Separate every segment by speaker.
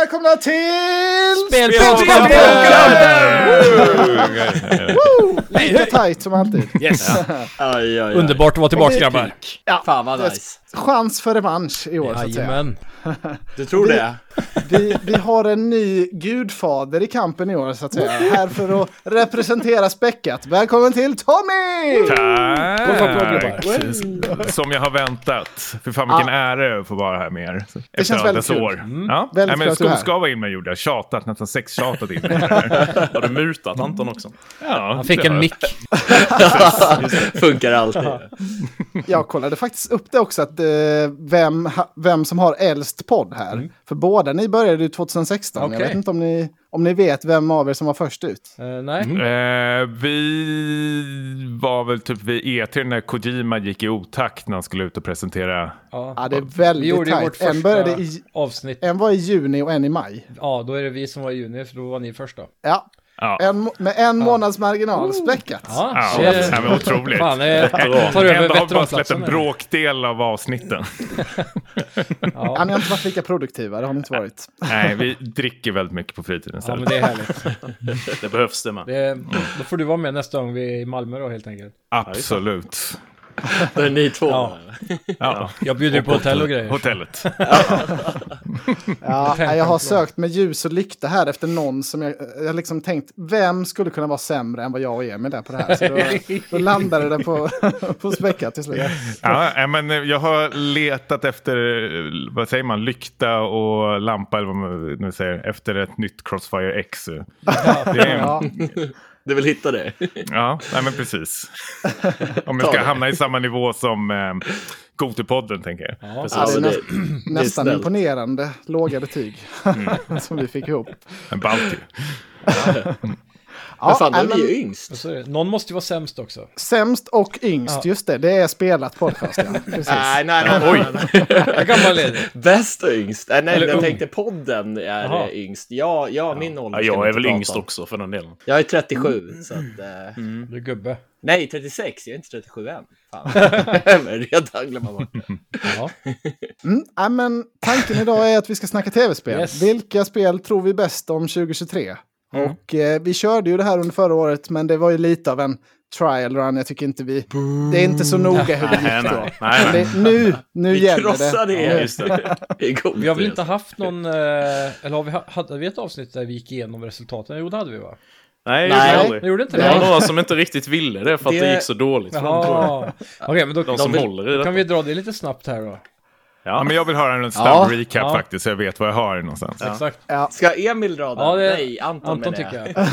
Speaker 1: välkomna till...
Speaker 2: Spelpodden!
Speaker 1: Lika tight som alltid.
Speaker 2: Yes!
Speaker 3: Aj, aj, aj.
Speaker 2: Underbart att vara tillbaka grabbar!
Speaker 3: Fan vad
Speaker 1: Det är
Speaker 3: nice.
Speaker 1: Chans för revansch i år, så att säga.
Speaker 2: Jajamän!
Speaker 3: Du tror det?
Speaker 1: Vi, vi har en ny gudfader i kampen i år, så att säga. Här för att representera späckat. Välkommen till Tommy!
Speaker 4: Tack! Som jag har väntat. För fan vilken ära att få vara här med er. Efter
Speaker 1: känns
Speaker 4: alla
Speaker 1: väldigt
Speaker 4: dessa
Speaker 1: kul. Mm.
Speaker 4: år. Ja?
Speaker 1: Väldigt kul
Speaker 4: Nej, men
Speaker 1: att du är här.
Speaker 4: skog ska vara in mig gjorde jag. Tjatat, nästan sextjatat in mig. här.
Speaker 5: Har du mutat Anton också?
Speaker 4: Ja,
Speaker 2: Han fick
Speaker 4: det
Speaker 2: en
Speaker 4: var-
Speaker 2: mick.
Speaker 3: Funkar alltid.
Speaker 1: Jag kollade faktiskt upp det också, att, eh, vem, ha, vem som har äldst podd här. För båda ni började ju 2016. Jag
Speaker 2: Mm. Okej.
Speaker 1: vet inte om ni, om ni vet vem av er som var först ut.
Speaker 2: nej.
Speaker 4: Eh, vi var väl typ vid E3 när Kojima gick i otakt när han skulle ut och presentera.
Speaker 1: Ja, det är väldigt
Speaker 2: Vi gjorde ju
Speaker 1: tajt.
Speaker 2: vårt
Speaker 1: en, började
Speaker 2: första
Speaker 1: i,
Speaker 2: avsnitt.
Speaker 1: en var i juni och en i maj.
Speaker 2: Ja, då är det vi som var i juni, för då var ni först då.
Speaker 1: Ja,
Speaker 4: Ja.
Speaker 1: en, må- med en månads marginal späckat.
Speaker 4: Ja,
Speaker 2: shit.
Speaker 4: nej, men otroligt.
Speaker 2: Fan, jag tar över
Speaker 4: Ändå har vi bara släppt
Speaker 2: veteranplatsen.
Speaker 4: en bråkdel av avsnitten.
Speaker 1: Ja,
Speaker 2: Ja.
Speaker 1: ni har inte varit lika produktiva, det har ni inte varit.
Speaker 4: Nej, vi dricker väldigt mycket på fritiden
Speaker 2: ja, men
Speaker 4: istället.
Speaker 2: det är härligt.
Speaker 5: Det behövs det med.
Speaker 2: Det, då får du vara med nästa gång vi är i Malmö då helt enkelt.
Speaker 4: Absolut.
Speaker 3: Det är ni två.
Speaker 2: Ja.
Speaker 4: Ja.
Speaker 2: Jag bjuder på hotell och grejer.
Speaker 4: Hotellet.
Speaker 1: Ja, nej, jag har
Speaker 2: Förlåt.
Speaker 1: sökt med ljus och lykta här efter någon som jag, jag har liksom tänkt, vem skulle kunna vara sämre än vad jag och Emil där på det här? Så då, då landade det på, på späckat till slut.
Speaker 4: Ja, nej, men eh, jag har letat efter, eh, vad säger man, lykta och lampa eller vad man nu säger, efter ett nytt Crossfire X. Det är, ja,
Speaker 1: Ja,
Speaker 3: Du vill hitta det?
Speaker 5: Alltså,
Speaker 4: nej, men precis. Om jag
Speaker 3: Ta
Speaker 4: ska
Speaker 3: det.
Speaker 4: hamna i samma nivå som eh, Gotepodden tänker jag.
Speaker 2: Ja.
Speaker 3: Precis. Alltså,
Speaker 1: det är
Speaker 3: det,
Speaker 1: nästan
Speaker 3: snällt.
Speaker 1: imponerande låga betyg som vi fick ihop.
Speaker 4: En Bounty.
Speaker 1: Ja, Alltså,
Speaker 3: fan,
Speaker 1: nej,
Speaker 3: du är
Speaker 1: men
Speaker 3: ju yngst.
Speaker 2: Så är det. Någon måste ju vara sämst också.
Speaker 1: sämst och yngst,
Speaker 2: Ja.
Speaker 1: just det, det är spelat podcast. Ja. Precis.
Speaker 3: Nej, nej, nej. nej, nej.
Speaker 2: Jag kan vara ledig.
Speaker 3: Bäst och yngst. Äh, nej,
Speaker 2: Eller
Speaker 3: jag
Speaker 2: ung.
Speaker 3: tänkte podden är
Speaker 2: Jaha.
Speaker 3: eh, yngst. Ja, ja min ålder.
Speaker 5: Ja,
Speaker 3: ska
Speaker 5: jag
Speaker 3: vi
Speaker 5: är
Speaker 3: inte
Speaker 5: väl
Speaker 3: prata
Speaker 5: yngst
Speaker 3: om.
Speaker 5: också för den delen.
Speaker 3: Jag är
Speaker 2: Mm.
Speaker 3: 37, så att... eh,
Speaker 2: Du är gubbe.
Speaker 3: Nej, 36. Jag är inte 37 än. Fan. Men redan glömmer bort det.
Speaker 2: Ja.
Speaker 1: Mm, nej, men tanken idag är att vi ska snacka tv-spel.
Speaker 2: Yes.
Speaker 1: Vilka spel tror vi bäst om 2023?
Speaker 5: Mm.
Speaker 1: Och eh, vi körde ju det här under förra året, men det var ju lite av en trial run. Jag tycker inte vi... Det är inte så noga hur det
Speaker 5: Nej,
Speaker 1: gick då.
Speaker 5: nej. nej,
Speaker 1: Men
Speaker 5: nej.
Speaker 1: det, nu nu
Speaker 3: Vi
Speaker 1: gäller det.
Speaker 3: krossar det.
Speaker 5: Ja, just det.
Speaker 3: Det är god
Speaker 2: Vi har väl inte haft någon, eh, eller har vi, ha- hade vi ett avsnitt där vi gick igenom resultaten? Jo, det hade vi va?
Speaker 5: Nej,
Speaker 3: Nej.
Speaker 5: nej.
Speaker 2: Vi gjorde inte
Speaker 5: Det var
Speaker 2: det?
Speaker 5: några som inte riktigt ville det för att det,
Speaker 3: Det-
Speaker 5: gick så dåligt för dem, tror jag.
Speaker 2: Jaha. Okej, men då
Speaker 5: De som
Speaker 2: då
Speaker 5: håller i
Speaker 2: kan
Speaker 5: detta.
Speaker 2: vi dra det lite snabbt här då.
Speaker 4: Ja, men jag vill höra en snabb
Speaker 3: Ja.
Speaker 4: recap
Speaker 2: Ja.
Speaker 4: faktiskt, så jag vet var jag har det någonstans.
Speaker 2: Exakt.
Speaker 3: Ska Emil dra den?
Speaker 2: Ja, det-
Speaker 3: Nej, Anton,
Speaker 2: Anton
Speaker 3: menar
Speaker 2: tycker jag.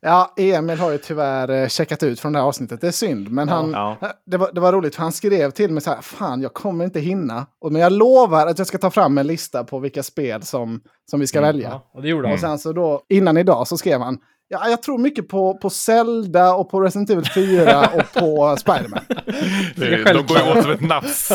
Speaker 1: Ja, Emil har ju tyvärr eh, checkat ut från det här avsnittet. Det är synd, men han,
Speaker 5: Ja.
Speaker 1: Det, var, det var roligt för han skrev till mig så här, fan jag kommer inte hinna. Och, men jag lovar att jag ska ta fram en lista på vilka spel som, som vi ska
Speaker 5: Mm,
Speaker 1: välja.
Speaker 2: Ja, och det gjorde
Speaker 1: Och
Speaker 2: han.
Speaker 1: sen så då, innan idag så skrev han, ja, jag tror mycket på, på Zelda och på Resident Evil 4 och på Spiderman.
Speaker 4: Det-
Speaker 2: själv-
Speaker 4: De går ju åt som ett nafs.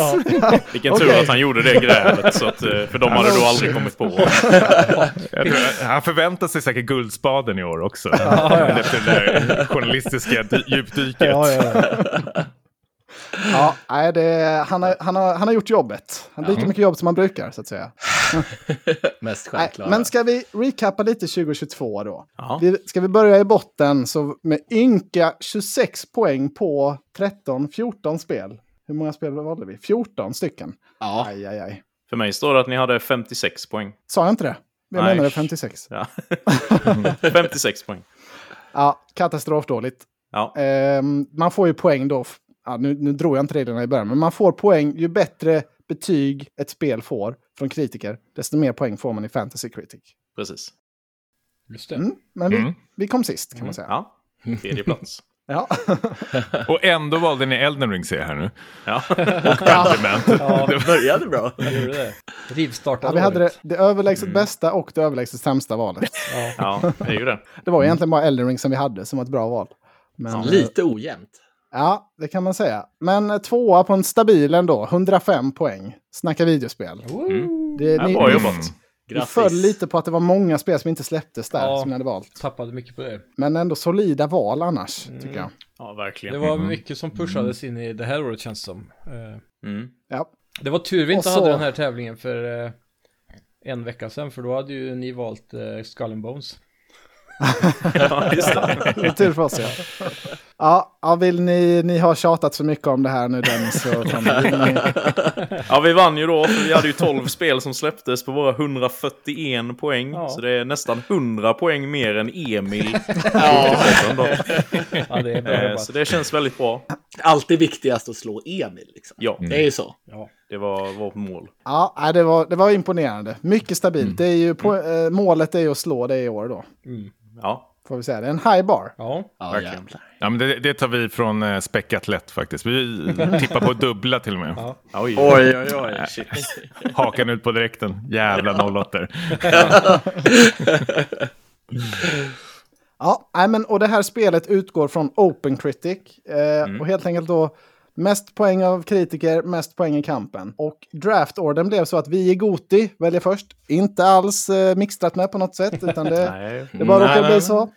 Speaker 5: Vilken tur att han gjorde det grälet, så att, eh, för de hade då aldrig kommit på.
Speaker 4: Jag tror, eh, han förväntar sig säkert Guldspaden i år också. Efter det där journalistiska dy- djupdyket.
Speaker 1: Ja, nej, det, han, har, han, har, han har gjort jobbet. Han har lika mycket jobb som han brukar så att säga.
Speaker 3: Mest
Speaker 1: Nej,
Speaker 3: självklara.
Speaker 1: men ska vi recappa lite 2022 då?
Speaker 5: Ja.
Speaker 1: Vi, ska vi börja i botten så med ynka 26 poäng på 13-14 spel. Hur många spel valde vi? 14 stycken.
Speaker 3: Ja.
Speaker 1: Aj, aj, aj.
Speaker 5: För mig står det att ni hade 56 poäng.
Speaker 1: Sa jag inte det? Jag
Speaker 5: Nej.
Speaker 1: menade 56.
Speaker 5: Ja. 56 poäng.
Speaker 1: Ja, katastrofdåligt.
Speaker 5: Ja.
Speaker 1: Ehm, man får ju poäng då. f- Ja, nu, nu drog jag inte reglerna i början, men man får poäng ju bättre betyg ett spel får från kritiker, desto mer poäng får man i Fantasy Critic.
Speaker 5: Precis.
Speaker 2: Just det.
Speaker 1: Mm, men vi,
Speaker 4: Mm.
Speaker 1: vi kom sist kan man säga.
Speaker 5: Ja. Tredje plats.
Speaker 1: Ja.
Speaker 4: Och ändå valde ni Elden Ring ser jag här nu.
Speaker 5: Ja.
Speaker 2: Ja,
Speaker 3: Började bra.
Speaker 2: det gjorde det.
Speaker 1: Ja,
Speaker 2: Rivstartade
Speaker 1: vi hade det,
Speaker 2: året.
Speaker 1: det överlägset bästa och det överlägset sämsta valet.
Speaker 2: Ja.
Speaker 5: ja, det är ju det.
Speaker 1: Det var egentligen bara Elden Ring som vi hade som var ett bra val. Men, eh,
Speaker 3: Lite ojämnt.
Speaker 1: Ja, det kan man säga. Men eh, tvåa på en stabil ändå, 105 poäng. Snacka videospel. Det,
Speaker 5: Ja, bra
Speaker 4: Mm.
Speaker 5: jobbat.
Speaker 1: Vi
Speaker 3: Grattis.
Speaker 1: föll lite på att det var många spel som inte släpptes där
Speaker 2: Ja.
Speaker 1: som ni hade valt.
Speaker 2: Tappade mycket på det.
Speaker 1: Men ändå solida val annars, tycker jag.
Speaker 5: Ja,
Speaker 2: Det
Speaker 5: verkligen.
Speaker 2: var
Speaker 1: Mm.
Speaker 2: mycket som pushades in i det här året känns det som. Eh,
Speaker 5: Mm.
Speaker 1: Ja.
Speaker 2: Det var tur vi
Speaker 1: Och
Speaker 2: inte
Speaker 1: så-
Speaker 2: hade den här tävlingen för eh, en vecka sedan för då hade ju ni valt eh, Skull and Bones.
Speaker 5: Ja, just det.
Speaker 1: Det är tur för oss ja. Ja, ja vill ni, ni har tjatat så mycket om det här nu Dennis och Tommy. Vill ni,
Speaker 5: Ja, vi vann ju då, för vi hade ju 12 spel som släpptes på våra 141 poäng.
Speaker 2: Ja.
Speaker 5: Så det är nästan 100 poäng mer än Emil.
Speaker 3: Ja.
Speaker 2: Ja, det är bra
Speaker 5: Eh,
Speaker 2: jobbat.
Speaker 5: Så det känns väldigt bra.
Speaker 3: Alltid viktigast att slå Emil. Liksom.
Speaker 5: Ja,
Speaker 3: Det är ju så.
Speaker 2: Ja.
Speaker 5: det var vårt mål.
Speaker 1: ja, nej, det var, det var imponerande. Mycket stabilt. Det är ju på, eh, målet är ju att slå det i år då.
Speaker 5: Ja,
Speaker 1: Får vi säga. Det är en high bar.
Speaker 2: Ja,
Speaker 3: Ja,
Speaker 5: Verkligen.
Speaker 3: jävlar.
Speaker 4: Ja, men det, det tar vi från eh, späckat lätt faktiskt. Vi tippar på dubbla till och med.
Speaker 2: Ja.
Speaker 5: oj.
Speaker 3: Oj, oj, oj. Shit.
Speaker 4: Hakan ut på direkten. Jävla 08
Speaker 1: Ja, nej, men, och det här spelet utgår från Open Critic. Eh, Och helt enkelt då mest poäng av kritiker, mest poäng i kampen. Och draftorden blev så att vi i Goti väljer först. Inte alls eh, mixtrat med på något sätt, utan det,
Speaker 5: Nej.
Speaker 1: det bara
Speaker 4: Nej,
Speaker 1: råkar
Speaker 4: nej,
Speaker 1: bli
Speaker 4: nej.
Speaker 1: så.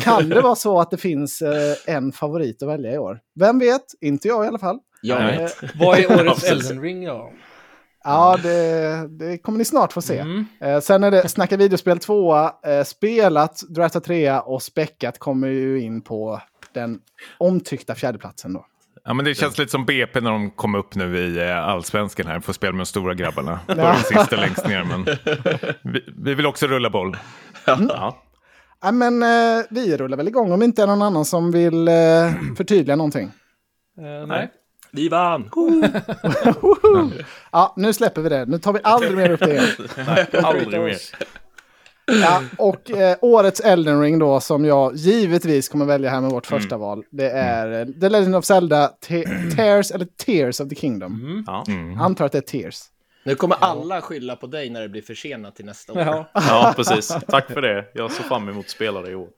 Speaker 1: kan det vara så att det finns eh, en favorit att välja i år? Vem vet? Inte jag i alla fall.
Speaker 3: Jag
Speaker 5: Nej.
Speaker 3: vet.
Speaker 2: Vad är årets
Speaker 5: Absolut.
Speaker 2: Elden Ring då? Eh,
Speaker 1: Ja, det, det kommer ni snart få se.
Speaker 2: Mm.
Speaker 1: Eh, sen är det Snacka videospel 2, eh, spelat, Drafta 3 och späckat kommer ju in på den omtyckta fjärdeplatsen då.
Speaker 4: Ja, men det känns lite som BP när de kom upp nu i eh, allsvenskan här. Får spela med de stora grabbarna. Då är de sista längst ner. Men vi, vi vill också rulla boll.
Speaker 5: Ja.
Speaker 1: Ja, men eh, vi rullar väl igång om inte är någon annan som vill eh, förtydliga någonting.
Speaker 2: Eh, nej.
Speaker 3: Vi vann!
Speaker 1: Ja, nu släpper vi det. Nu tar vi aldrig mer upp det igen.
Speaker 5: Aldrig mer.
Speaker 1: Ja, och eh, årets Elden Ring då, som jag givetvis kommer välja här med vårt första val, det är eh, The Legend of Zelda, Te- Tears eller Tears of the Kingdom.
Speaker 5: Ja.
Speaker 4: Mm.
Speaker 1: Antar att det är Tears.
Speaker 3: Nu kommer alla skylla på dig när det blir försenat till nästa år.
Speaker 2: Ja.
Speaker 5: ja, precis. Tack för det. Jag såg fram emot att spela det i år.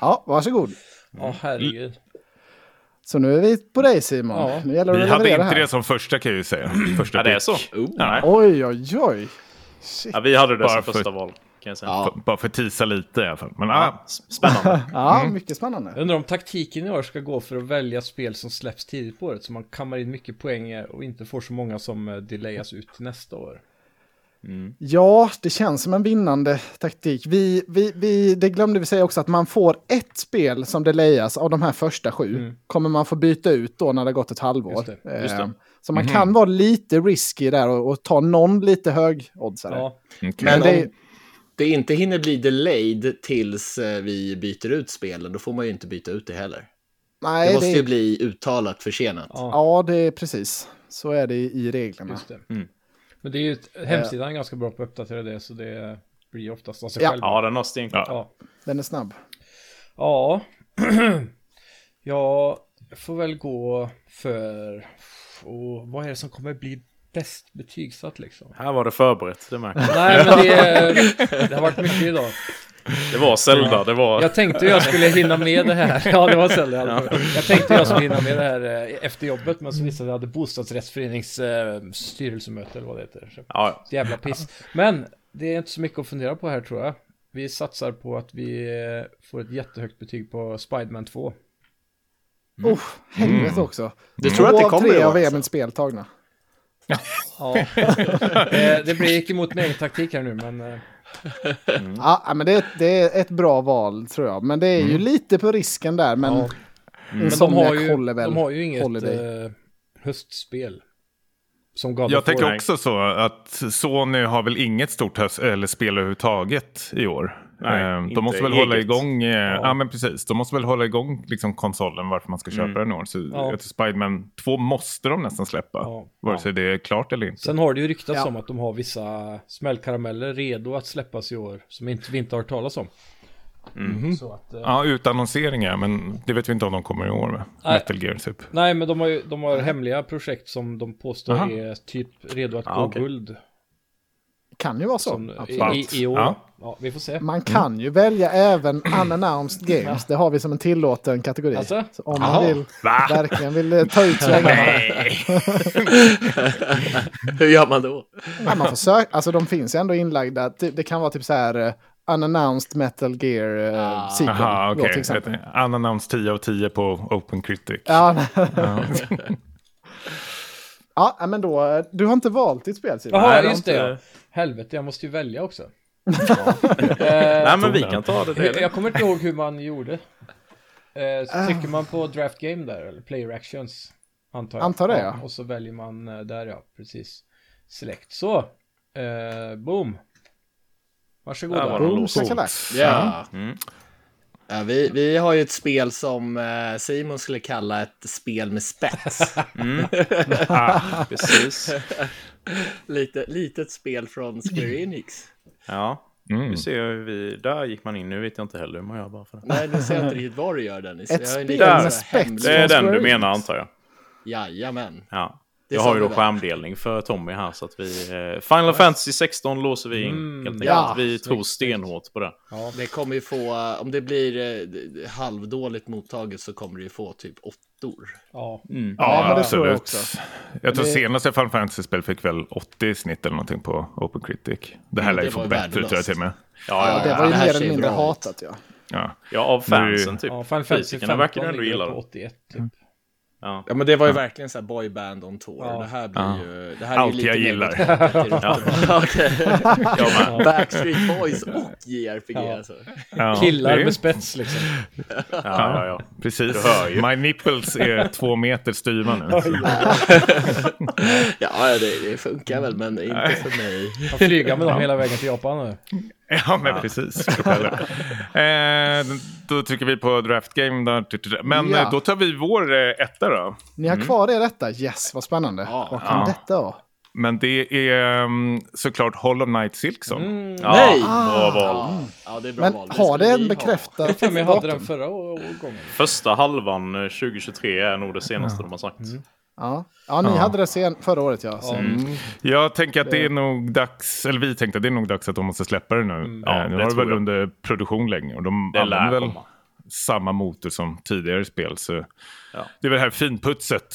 Speaker 1: Ja, varsågod.
Speaker 2: Ja,
Speaker 5: Mm.
Speaker 2: herregud.
Speaker 1: Så nu är vi på dig Simon.
Speaker 2: Ja.
Speaker 1: Nu gäller det
Speaker 4: Vi
Speaker 1: att
Speaker 4: hade
Speaker 1: leverera
Speaker 4: inte
Speaker 1: här.
Speaker 4: det som första kan jag ju säga. Första
Speaker 5: Ja, det är
Speaker 4: pick.
Speaker 5: så.
Speaker 3: Oh.
Speaker 5: Nej.
Speaker 1: Oj, oj, oj.
Speaker 5: Ja, vi hade det
Speaker 4: Bara
Speaker 5: som
Speaker 4: för-
Speaker 5: första val. Kan jag säga.
Speaker 3: Ja.
Speaker 4: B- Bara för att tisa lite i alla fall. Men, ah,
Speaker 5: S- Spännande.
Speaker 1: Ja, mycket spännande.
Speaker 2: Jag undrar om taktiken i år ska gå för att välja spel som släpps tidigt på året så man kammar in mycket poäng eh, och inte får så många som eh, delayas ut till nästa år.
Speaker 1: Ja, det känns som en vinnande taktik. Vi, vi, vi, det glömde vi säga också att man får ett spel som delayas av de här första sju. Kommer man få byta ut då när det har gått ett halvår.
Speaker 2: Just
Speaker 1: det.
Speaker 5: just det.
Speaker 1: Så man kan vara lite risky där och, och ta någon lite hög oddsare.
Speaker 2: Ja,
Speaker 3: Men
Speaker 1: det-
Speaker 3: om det inte hinner bli delayed tills eh, vi byter ut spelen, då får man ju inte byta ut det heller.
Speaker 1: Nej,
Speaker 3: Det måste
Speaker 1: det,
Speaker 3: ju bli uttalat försenat.
Speaker 2: Ja.
Speaker 1: Ja, det är precis. Så är det i reglerna.
Speaker 2: just det.
Speaker 5: Mm.
Speaker 2: Men det är ju, ett- hemsidan är ganska bra på att uppdatera det så det blir oftast av sig
Speaker 1: Ja.
Speaker 2: själv.
Speaker 5: Eh. Ja, den har stenkoll.
Speaker 4: Ja.
Speaker 2: Ja.
Speaker 1: Den är snabb.
Speaker 2: Ja. Jag får väl gå för... Och vad är det som kommer bli bäst betygsatt liksom?
Speaker 5: Här var det förberett, det märker jag.
Speaker 2: Nej, men det, är- det har varit mycket idag.
Speaker 5: Det var Zelda, det var...
Speaker 2: Jag tänkte jag skulle hinna med det här. Ja, det var Zelda. Ja. Jag tänkte jag skulle hinna med det här eh, efter jobbet, men så visade det sig att jag hade bostadsrättsförenings eh, styrelsemöte eller vad det heter. Så
Speaker 5: Ja, ja.
Speaker 2: jävla piss. Men det är inte så mycket att fundera på här tror jag. Vi satsar på att vi eh, får ett jättehögt betyg på Spiderman 2.
Speaker 1: Oh, helvete också.
Speaker 3: Du tror att det kommer
Speaker 1: Två av
Speaker 3: i
Speaker 1: tre
Speaker 3: år,
Speaker 1: av
Speaker 3: alltså?
Speaker 1: Emils spel tagna.
Speaker 2: Ja. Eh, det blir gick emot min egen taktik här nu, men...
Speaker 1: Mm.
Speaker 2: eh,
Speaker 1: Ja, ja, men det, är- det är ett bra val tror jag. Men det är ju lite på risken där. Men,
Speaker 2: Mm. Ja. Mm. Men de
Speaker 1: Insomniac
Speaker 2: har ju,
Speaker 1: håller väl.
Speaker 2: de har ju inget
Speaker 1: Holiday.
Speaker 2: eh, höstspel. Som God
Speaker 4: jag
Speaker 2: of War.
Speaker 4: tänker också så att Sony har väl inget stort höst, eller spel överhuvudtaget i år.
Speaker 5: Nej,
Speaker 4: Ehm,
Speaker 5: inte
Speaker 4: de måste väl hålla
Speaker 5: eget.
Speaker 4: igång, eh, ja. men precis. De måste väl hålla igång liksom, konsolen varför man ska köpa den i år. Så
Speaker 2: Ja.
Speaker 4: jag tror Spiderman 2 måste de nästan släppa.
Speaker 2: Ja.
Speaker 4: Vare sig det är klart eller inte.
Speaker 2: Sen har det ju ryktats
Speaker 1: Ja.
Speaker 2: om att de har vissa smällkarameller redo att släppas i år som inte, vi inte har hört talas om. Så att, eh,
Speaker 4: Ja, utannonseringar, men det vet vi inte om de kommer i år med.
Speaker 2: Nej.
Speaker 4: Metal Gear typ.
Speaker 2: Nej, men de har, ju, de har hemliga projekt som de påstår
Speaker 4: Aha.
Speaker 2: är typ redo att
Speaker 5: Ja,
Speaker 2: gå
Speaker 5: okej.
Speaker 2: guld.
Speaker 1: kan ju vara så.
Speaker 2: Som, i, Mm.
Speaker 1: Absolut.
Speaker 2: i, I år.
Speaker 4: Ja.
Speaker 2: Ja. vi får se.
Speaker 1: Man kan ju välja även unannounced games. Det har vi som en tillåten kategori.
Speaker 2: Alltså?
Speaker 1: Så om
Speaker 2: Jaha.
Speaker 1: man vill,
Speaker 4: Va?
Speaker 1: verkligen vill eh, ta ut svängarna.
Speaker 3: Hur gör man då?
Speaker 1: ja, man får söka. Alltså de finns ju ändå inlagda. Ty- Det kan vara typ så här eh, unannounced metal gear uh,
Speaker 2: Ah.
Speaker 1: sequel.
Speaker 4: Jaha,
Speaker 1: då, till
Speaker 4: okej.
Speaker 1: exempel.
Speaker 4: Okay. Unannounced 10 av 10 på Open Critic.
Speaker 1: Ja, Ja, men då. eh, Du har inte valt ditt spel, Simon.
Speaker 2: Jaha,
Speaker 5: Nej, det är
Speaker 2: just det.
Speaker 5: inte-
Speaker 2: ja. Helvete, jag måste ju välja också. Eh,
Speaker 5: Nej, men vi kan ta det.
Speaker 2: Jag,
Speaker 5: det.
Speaker 2: jag kommer inte ihåg hur man gjorde. Eh, så
Speaker 1: Ah.
Speaker 2: trycker man på draft game där, eller player actions. Antar jag.
Speaker 1: Antar det, ja.
Speaker 2: Och så väljer man eh, där, ja. Precis. Select. Så. Eh, boom.
Speaker 5: Där var
Speaker 2: Varsågoda.
Speaker 5: den.
Speaker 1: Boom,
Speaker 5: Coolt.
Speaker 1: shakalak.
Speaker 3: Ja.
Speaker 5: Mm.
Speaker 3: Ja, vi, vi har ju ett spel som eh, Simon skulle kalla ett spel med spets.
Speaker 5: Precis.
Speaker 3: Lite, litet spel från Square Enix.
Speaker 5: Ja.
Speaker 4: Mm.
Speaker 5: Vi ser hur vi... Där gick man in. Nu vet jag inte heller hur man gör bara för det.
Speaker 3: Nej, nu ser jag inte riktigt vad du gör Dennis.
Speaker 1: Ett
Speaker 3: Jag har en
Speaker 1: spel
Speaker 3: liten
Speaker 5: med
Speaker 3: så här
Speaker 1: spets.
Speaker 3: hemlig-
Speaker 5: Det är
Speaker 1: Från
Speaker 5: den du
Speaker 1: Square
Speaker 5: menar,
Speaker 1: Enix.
Speaker 5: antar jag.
Speaker 3: Jajamän.
Speaker 5: Ja.
Speaker 3: Det
Speaker 5: Jag
Speaker 3: sa
Speaker 5: har ju
Speaker 3: vi
Speaker 5: då
Speaker 3: där.
Speaker 5: skärmdelning för Tommy här, så att vi... Eh, Final Fantasy 16 låser vi in, helt enkelt.
Speaker 1: ja.
Speaker 5: vi tror
Speaker 2: Mm. Snyggt, snyggt.
Speaker 5: stenhårt på det.
Speaker 2: Ja.
Speaker 3: Det kommer ju få, eh, om det blir eh, d- d- halvdåligt mottaget så kommer det ju få typ åttor.
Speaker 2: ja.
Speaker 1: Ja, men det tror jag
Speaker 4: absolut.
Speaker 1: också.
Speaker 4: Jag tror
Speaker 1: Det-
Speaker 4: senaste Final Fantasy-spel fick väl 80 i snitt eller någonting på Open Critic. Det här lär ju
Speaker 3: det var
Speaker 4: få
Speaker 3: ju
Speaker 4: bättre tror jag
Speaker 3: värdelöst.
Speaker 4: till och med.
Speaker 5: Ja, ja,
Speaker 1: det
Speaker 5: ja.
Speaker 1: var ju
Speaker 3: det här
Speaker 1: mer
Speaker 3: ser
Speaker 1: eller mindre
Speaker 3: bra ut.
Speaker 1: hatat, ja.
Speaker 4: Ja.
Speaker 5: ja av fansen
Speaker 4: Nu-
Speaker 5: typ.
Speaker 2: ja Final Fantasy
Speaker 5: Kritikerna verkar
Speaker 2: 15
Speaker 5: ändå
Speaker 2: ligger
Speaker 5: gilla
Speaker 2: på
Speaker 5: det.
Speaker 2: 81
Speaker 1: Mm.
Speaker 2: typ.
Speaker 5: Ja.
Speaker 3: Ja men det var ju verkligen så här boyband on tour.
Speaker 2: Ja.
Speaker 3: Det här blir ju... Det här
Speaker 4: Allt
Speaker 3: är ju
Speaker 4: jag
Speaker 3: lite mer
Speaker 4: gillar.
Speaker 3: åt hatet i råttorna. Okej.
Speaker 5: Jag med.
Speaker 3: Backstreet Boys och JRPG
Speaker 2: Ja.
Speaker 3: alltså.
Speaker 4: Ja, det
Speaker 2: Killar
Speaker 4: är-
Speaker 2: med spets liksom.
Speaker 5: Ja, ja, ja.
Speaker 4: Precis.
Speaker 5: Du hör ju.
Speaker 4: My nipples är två meter styva nu. så-
Speaker 3: Ja, ja, det, det funkar väl men inte för mig.
Speaker 2: Man flyger med dem hela vägen till Japan nu.
Speaker 4: Ja, men precis. Propeller. eh, då trycker vi på draft game. Där. Men
Speaker 1: Ja.
Speaker 4: eh, då tar vi vår eh, etta då.
Speaker 1: Ni har kvar det detta? Yes, vad spännande.
Speaker 3: Ja.
Speaker 1: vad kan
Speaker 4: Ja.
Speaker 1: detta vara?
Speaker 4: Men det är mm, såklart Hollow Knight Silkson.
Speaker 5: Ja,
Speaker 3: Nej!
Speaker 5: Bra val.
Speaker 3: Ja, ja, det är bra
Speaker 1: Ah. Men
Speaker 3: val.
Speaker 1: har
Speaker 3: skulle
Speaker 1: det
Speaker 3: vi
Speaker 1: en
Speaker 3: ha.
Speaker 1: bekräftad
Speaker 2: För mig hade den
Speaker 1: datum?
Speaker 2: förra å- å- gången.
Speaker 5: Första halvan eh, 2023 är nog det senaste de har sagt.
Speaker 2: Mm.
Speaker 1: Ja, ja ni hade det sen, förra året ja. Mm. Så.
Speaker 4: Jag tänker att det
Speaker 5: Eh.
Speaker 4: är nog dags, eller vi tänkte att det är nog dags att de måste släppa det nu.
Speaker 5: Mm. Ja,
Speaker 4: eh,
Speaker 5: det
Speaker 4: nu har det
Speaker 5: tror
Speaker 4: väl
Speaker 5: jag.
Speaker 4: under produktion länge och de
Speaker 5: Det lär
Speaker 4: använder väl
Speaker 5: komma.
Speaker 4: samma motor som tidigare spel. Så
Speaker 5: Ja.
Speaker 4: Det är väl det här finputset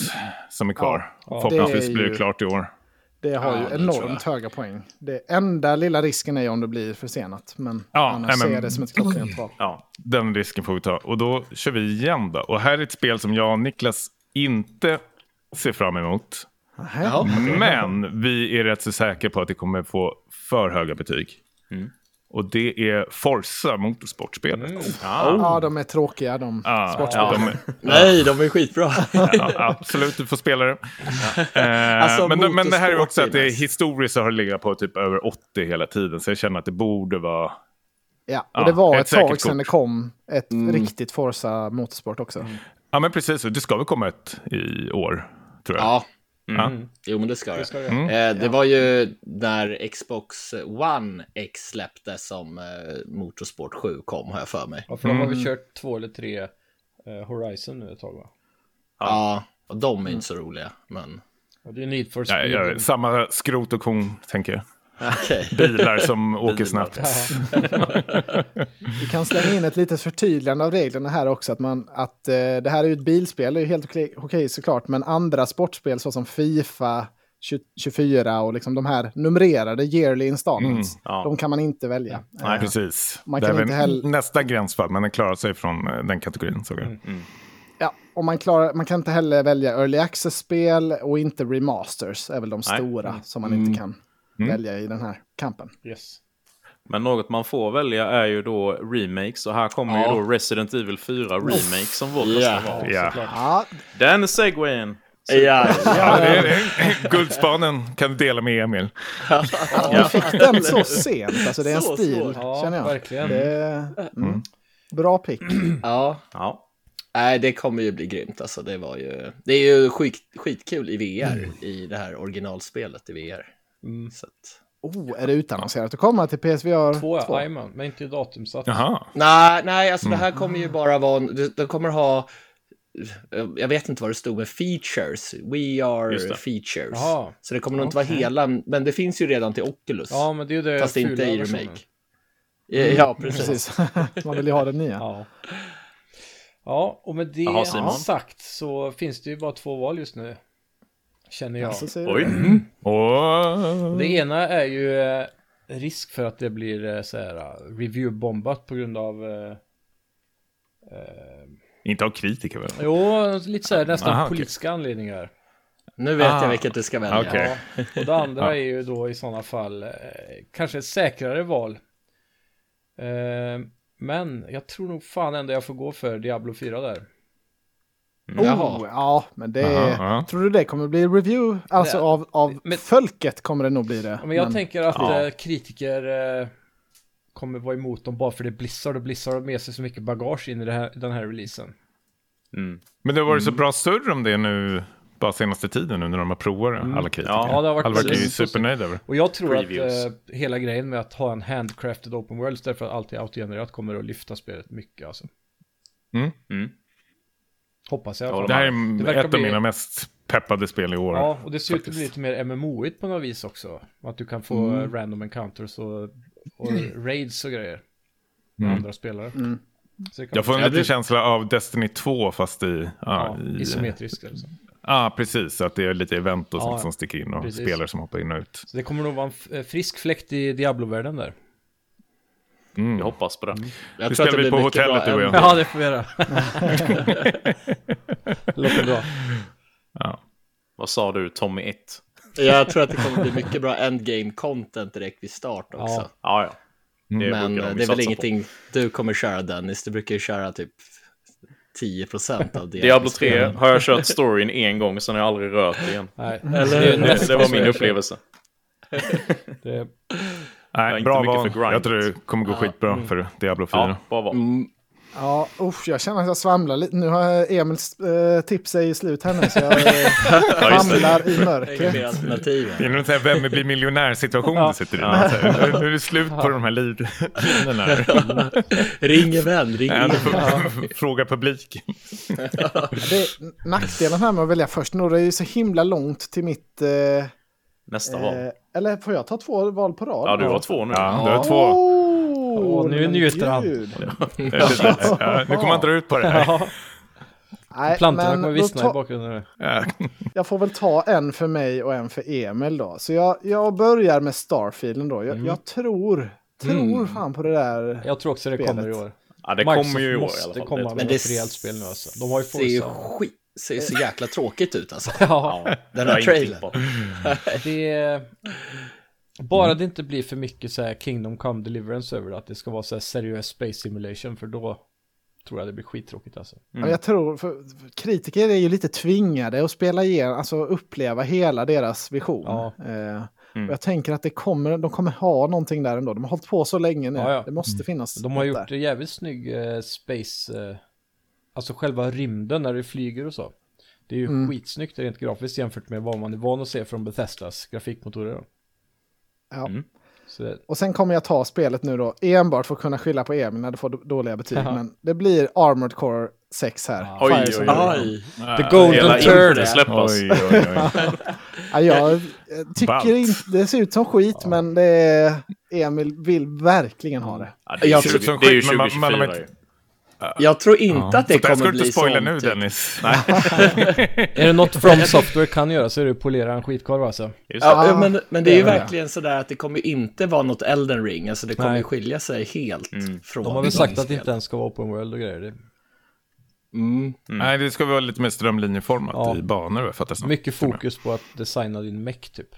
Speaker 4: som är kvar. Förhoppningsvis
Speaker 1: det är
Speaker 4: blir
Speaker 1: ju-
Speaker 4: det klart i år.
Speaker 1: Det har ju
Speaker 3: det tror
Speaker 1: enormt höga poäng. Det enda lilla risken är ju om det blir försenat. Men
Speaker 4: Ja,
Speaker 1: annars
Speaker 4: nej, men-
Speaker 1: ser jag det som ett klockrent val.
Speaker 5: Ja.
Speaker 4: Den risken får vi ta. Och då kör vi igen då. Och här är ett spel som jag och Niklas inte ser fram emot.
Speaker 1: Nähä.
Speaker 4: Men vi är rätt så säkra på att det kommer få för höga betyg.
Speaker 5: Mm.
Speaker 4: Och det är Forza Motorsportspelet.
Speaker 2: Mm.
Speaker 1: Ja, de är tråkiga de.
Speaker 4: Ja,
Speaker 1: Sportspel.
Speaker 4: de-
Speaker 3: Nej, de är skitbra.
Speaker 4: ja, absolut, du får spela det. Eh,
Speaker 3: Alltså,
Speaker 4: men, men det här är också att det är,
Speaker 3: motorsport,
Speaker 4: historiskt så har det legat på typ över 80 hela tiden. Så jag känner att det borde vara...
Speaker 1: Ja, och
Speaker 4: Ja,
Speaker 1: det var
Speaker 4: ett
Speaker 1: ett, tag
Speaker 4: säkert
Speaker 1: sedan
Speaker 4: kort.
Speaker 1: det kom ett riktigt Forza Motorsport också.
Speaker 4: Ja, men precis. Det ska väl komma ett i år, tror jag.
Speaker 3: Ja.
Speaker 4: Mm.
Speaker 3: Jo, men det ska det.
Speaker 2: ska det.
Speaker 3: Eh, det var ju när Xbox One X släpptes som eh, Motorsport 7 kom, har jag för mig.
Speaker 2: Ja, för de har
Speaker 1: Mm.
Speaker 2: väl kört två eller tre eh, Horizon nu ett tag va?
Speaker 3: Ja, och de är inte så roliga, men
Speaker 2: Och det är Need for
Speaker 4: Ja,
Speaker 2: Speed.
Speaker 4: ja, samma skrot och kon, tänker jag.
Speaker 3: okej.
Speaker 4: Bilar som åker snabbt.
Speaker 1: Vi kan slänga in ett litet förtydligande av reglerna här också. Att, man, att eh, det här är ju ett bilspel, det är ju helt okej okej såklart. Men andra sportspel såsom Fifa 20, 24 och liksom de här numrerade yearly installments.
Speaker 5: ja.
Speaker 1: De kan man inte välja.
Speaker 4: Nej, precis.
Speaker 1: Man
Speaker 4: det
Speaker 1: kan
Speaker 4: är väl
Speaker 1: inte heller-
Speaker 4: nästa gränsfall, men den klarar sig från eh, den kategorin. Såg jag.
Speaker 1: Ja, och man, klarar, man kan inte heller välja early access-spel och inte remasters. är väl de
Speaker 5: Nej.
Speaker 1: stora som man inte kan välja i den här kampen.
Speaker 2: Yes.
Speaker 5: Men något man får välja är ju då remakes och här kommer
Speaker 3: Ja.
Speaker 5: ju då Resident Evil 4 remake som vårt nästa
Speaker 3: Ja.
Speaker 5: val.
Speaker 4: Ja.
Speaker 1: Ja,
Speaker 5: Den segwayen!
Speaker 3: Ja,
Speaker 4: Ja, det är, det är- guldspanen kan du dela med Emil.
Speaker 1: du fick den så sent. Alltså det är en
Speaker 3: Så
Speaker 1: stil,
Speaker 3: svårt.
Speaker 2: Ja,
Speaker 1: känner jag.
Speaker 2: verkligen.
Speaker 1: Det är, mm. Bra pick.
Speaker 3: ja.
Speaker 5: Ja.
Speaker 3: Nej, det kommer ju bli grymt alltså. Det var ju, det är ju skit, skitkul i VR, i det här originalspelet i VR. Så att...
Speaker 1: Oh, är det utannonserat att komma till PSVR 2?
Speaker 2: Två, ja. Jajamän, men inte datumsatt.
Speaker 4: Jaha.
Speaker 3: Nej, nej, alltså
Speaker 5: Mm.
Speaker 3: det här kommer ju bara vara, en- det, det kommer ha, eh, jag vet inte vad det stod med features, we
Speaker 5: Just
Speaker 3: are
Speaker 5: det.
Speaker 3: features.
Speaker 2: Jaha.
Speaker 3: Så det kommer nog inte vara hela, men det finns ju redan till Oculus.
Speaker 2: Ja, men det är ju det
Speaker 3: fast inte
Speaker 2: fula Mm.
Speaker 3: i
Speaker 2: versionen.
Speaker 3: remake. Eh, Ja, precis.
Speaker 1: Precis, man vill ju ha den nya.
Speaker 2: Ja. Ja, och med det
Speaker 5: Jaha, Simon.
Speaker 2: sagt så finns det ju bara två val just nu. Känner jag.
Speaker 1: Så ser
Speaker 5: Oj.
Speaker 1: du.
Speaker 3: Mm.
Speaker 4: Och...
Speaker 2: Det ena är ju eh, risk för att det blir eh, så här eh, review-bombat på grund av eh,
Speaker 4: Inte av kritiker väl?
Speaker 2: Jo, lite så här nästan
Speaker 4: Aha, Ah, okej.
Speaker 2: politiska anledningar.
Speaker 3: Nu vet
Speaker 4: Ah.
Speaker 3: jag vilket du ska välja.
Speaker 4: Okej.
Speaker 2: Ja, och det andra
Speaker 4: Ja.
Speaker 2: är ju då i sådana fall eh, kanske ett säkrare val. Eh, men jag tror nog fan ändå jag får gå för Diablo 4 där.
Speaker 1: Oh,
Speaker 3: Jaha.
Speaker 1: ja, men det...
Speaker 4: Jaha, ja.
Speaker 1: Tror du det kommer bli review? Alltså
Speaker 2: Nej.
Speaker 1: av, av
Speaker 2: Men-
Speaker 1: folket kommer det nog bli det.
Speaker 2: Ja, Men jag
Speaker 1: Men-
Speaker 2: tänker att
Speaker 4: Ja.
Speaker 2: eh, kritiker eh, kommer vara emot dem bara för det är Blizzard och Blizzard har med sig så mycket bagage in i det här, den här releasen.
Speaker 5: Mm.
Speaker 4: Men det har varit så bra surr om det nu, bara senaste tiden nu när de har provat det, alla kritiker.
Speaker 5: Ja,
Speaker 2: det har varit
Speaker 4: Alla verkar ju
Speaker 2: precis så-
Speaker 4: supernöjda över det.
Speaker 2: Och jag tror
Speaker 5: Previews.
Speaker 2: att eh, hela grejen med att ha en handcrafted open world istället för att allt är autogenererat kommer att lyfta spelet mycket alltså.
Speaker 4: Mm.
Speaker 5: Mm.
Speaker 2: Hoppas jag. i
Speaker 5: Jag
Speaker 2: alla
Speaker 5: håller
Speaker 4: Det
Speaker 2: fall.
Speaker 4: här
Speaker 2: Det
Speaker 4: är
Speaker 2: verkar
Speaker 4: ett
Speaker 2: bli-
Speaker 4: av mina mest peppade spel i år.
Speaker 2: Ja, och det ser ut att bli
Speaker 4: faktiskt. Mm.
Speaker 2: lite mer MMO-igt på något vis också. Att du kan få eh, random encounters och, och raids och grejer. Med andra spelare. Så det kan
Speaker 4: Mm. Jag får en
Speaker 2: Ja,
Speaker 4: liten känsla av Destiny 2 fast i... Ja,
Speaker 2: ja,
Speaker 4: i,
Speaker 2: isometriskt. Alltså.
Speaker 4: ja precis. Att det är lite event och sånt
Speaker 2: Ja,
Speaker 4: som sticker in och
Speaker 2: precis.
Speaker 4: spelare som hoppar in och ut.
Speaker 2: Så det kommer nog vara en f- eh, frisk fläkt i Diablo-världen där.
Speaker 5: Jag hoppas på det.
Speaker 2: Mm.
Speaker 4: Det
Speaker 3: Jag tror
Speaker 4: ska
Speaker 3: att det
Speaker 4: bli
Speaker 3: blir
Speaker 4: på
Speaker 3: mycket
Speaker 4: hotellet
Speaker 3: bra
Speaker 4: du och
Speaker 3: ämne.
Speaker 4: jag.
Speaker 2: det får vi göra. Låter bra.
Speaker 5: Vad sa du, Tommy 1?
Speaker 3: Jag tror att det kommer bli mycket bra endgame content direkt vid start också.
Speaker 2: Ja.
Speaker 5: Ja, ja. Det
Speaker 3: Men
Speaker 5: brukar de
Speaker 3: eh,
Speaker 5: ju
Speaker 3: det är väl
Speaker 5: satsa på.
Speaker 3: ingenting du kommer köra Dennis, du brukar ju köra typ 10% av det.
Speaker 5: Diablo 3 har jag kört storyn en gång, sen har jag aldrig rört det igen.
Speaker 2: Nej,
Speaker 5: Det, det var min upplevelse.
Speaker 2: det,
Speaker 5: Jag är
Speaker 4: Nej,
Speaker 5: inte
Speaker 4: bra
Speaker 5: mycket
Speaker 4: val.
Speaker 5: för grind.
Speaker 4: Jag tror det kommer gå skitbra
Speaker 2: Mm.
Speaker 4: för Diablo 4.
Speaker 5: Ja, bra val.
Speaker 3: Mm.
Speaker 1: Ja, usch, jag känner att jag svamlar lite. Nu har Emils eh, tips är ju slut här nu, så jag eh, famlar i
Speaker 3: Inga mer
Speaker 1: mörkret.
Speaker 3: alternativ.
Speaker 4: Det är någon sån här vem blir miljonär-situation du sitter i. Så här, Nu är det slut på de här liv- linjerna. här.
Speaker 3: Ring en vän, ring
Speaker 4: Ja,
Speaker 3: en
Speaker 4: du
Speaker 3: vän.
Speaker 4: får Fråga publiken.
Speaker 1: Det, nackdelen här med att välja först nu, det är ju så himla långt till mitt... Eh,
Speaker 5: Nästa val.
Speaker 1: eh, eller får jag ta två val på rad?
Speaker 5: Ja, du har två nu.
Speaker 4: Ja, du har två.
Speaker 1: Åh,
Speaker 2: Åh, nu
Speaker 1: men
Speaker 2: njuter han.
Speaker 1: gud.
Speaker 4: Eh, Ja, nu kommer han dra ut på det här.
Speaker 2: ja,
Speaker 1: Nej,
Speaker 2: plantorna
Speaker 1: men
Speaker 2: kommer
Speaker 1: då
Speaker 2: vissna i
Speaker 1: ta-
Speaker 2: bakgrunden nu.
Speaker 4: Ja.
Speaker 1: Jag får väl ta en för mig och en för Emil då. Så jag, jag börjar med Starfielden då.
Speaker 2: Mm.
Speaker 1: Jag, jag tror, tror fan på det där.
Speaker 2: Jag tror också det
Speaker 1: Spelet.
Speaker 2: kommer i år.
Speaker 5: Ja, det
Speaker 2: Microsoft
Speaker 5: kommer ju i år i
Speaker 2: måste
Speaker 5: alla fall.
Speaker 2: komma
Speaker 5: Det-
Speaker 2: med
Speaker 3: det
Speaker 2: ett rejält spel nu alltså. De har ju
Speaker 3: ser ju
Speaker 2: Forza.
Speaker 3: skit, ser ju så jäkla tråkigt ut alltså.
Speaker 2: Ja,
Speaker 5: Ja,
Speaker 3: Den
Speaker 5: jag har
Speaker 3: här
Speaker 5: ingen
Speaker 3: trailern.
Speaker 5: tippar.
Speaker 2: det... Bara det inte blir för mycket så här Kingdom Come Deliverance över det, att det ska vara så här seriös space simulation, för då tror jag det blir skittråkigt alltså.
Speaker 1: Ja, Jag tror, för för kritiker är ju lite tvingade att spela igen, alltså uppleva hela deras vision.
Speaker 2: Ja. Mm.
Speaker 1: Eh, och jag tänker att det kommer, de kommer ha någonting där ändå. De har hållit på så länge nu.
Speaker 2: Ja, ja.
Speaker 1: Det måste finnas.
Speaker 2: De har
Speaker 1: något
Speaker 2: gjort
Speaker 1: där.
Speaker 2: det jävligt snygg eh, space, eh, alltså själva rymden när det flyger och så. Det är ju skitsnyggt rent grafiskt jämfört med vad man är van att se från Bethesdas grafikmotorer. då. Mm.
Speaker 1: Ja.
Speaker 2: Så det,
Speaker 1: Och sen kommer jag ta spelet nu då, enbart för att kunna skylla på Emil när det får d- dåliga betyg. Men det blir Armored Core 6 här.
Speaker 5: Oj,
Speaker 1: Fire
Speaker 5: oj,
Speaker 1: Emblem.
Speaker 3: Aj,
Speaker 2: The Golden
Speaker 5: Hela
Speaker 2: Turd.
Speaker 5: internet släppas.
Speaker 4: Oj, oj, oj.
Speaker 1: Ja, jag eh,
Speaker 4: Ballt.
Speaker 1: tycker inte, det ser ut som skit, men det är, Emil vill verkligen ha det.
Speaker 5: Ja, det är ju
Speaker 3: Jag
Speaker 5: 20
Speaker 4: tror-
Speaker 5: det är ju
Speaker 4: men man-
Speaker 5: 2024
Speaker 4: man- man-
Speaker 5: ju.
Speaker 3: jag tror inte att det
Speaker 4: Så där ska
Speaker 3: kommer
Speaker 4: du inte
Speaker 3: bli
Speaker 4: spoila
Speaker 3: sånt.
Speaker 4: nu
Speaker 3: typ.
Speaker 4: Dennis.
Speaker 2: är det något From Software kan göra så är det att polera en skitkorv alltså.
Speaker 5: Just det.
Speaker 3: Ja,
Speaker 1: Ah,
Speaker 3: men, men det är ju
Speaker 1: det är det.
Speaker 3: verkligen sådär att det kommer inte vara något Elden ring, alltså det kommer
Speaker 2: Nej.
Speaker 3: ju skilja sig helt från
Speaker 2: De har väl sagt att det
Speaker 3: spelen.
Speaker 2: inte ens ska vara open world och grejer. Det
Speaker 3: Mm.
Speaker 4: Nej, det ska vara lite mer strömlinjeformat
Speaker 2: Ja.
Speaker 4: i banor, jag fattar
Speaker 2: är
Speaker 4: som.
Speaker 2: mycket fokus på att designa din mech typ.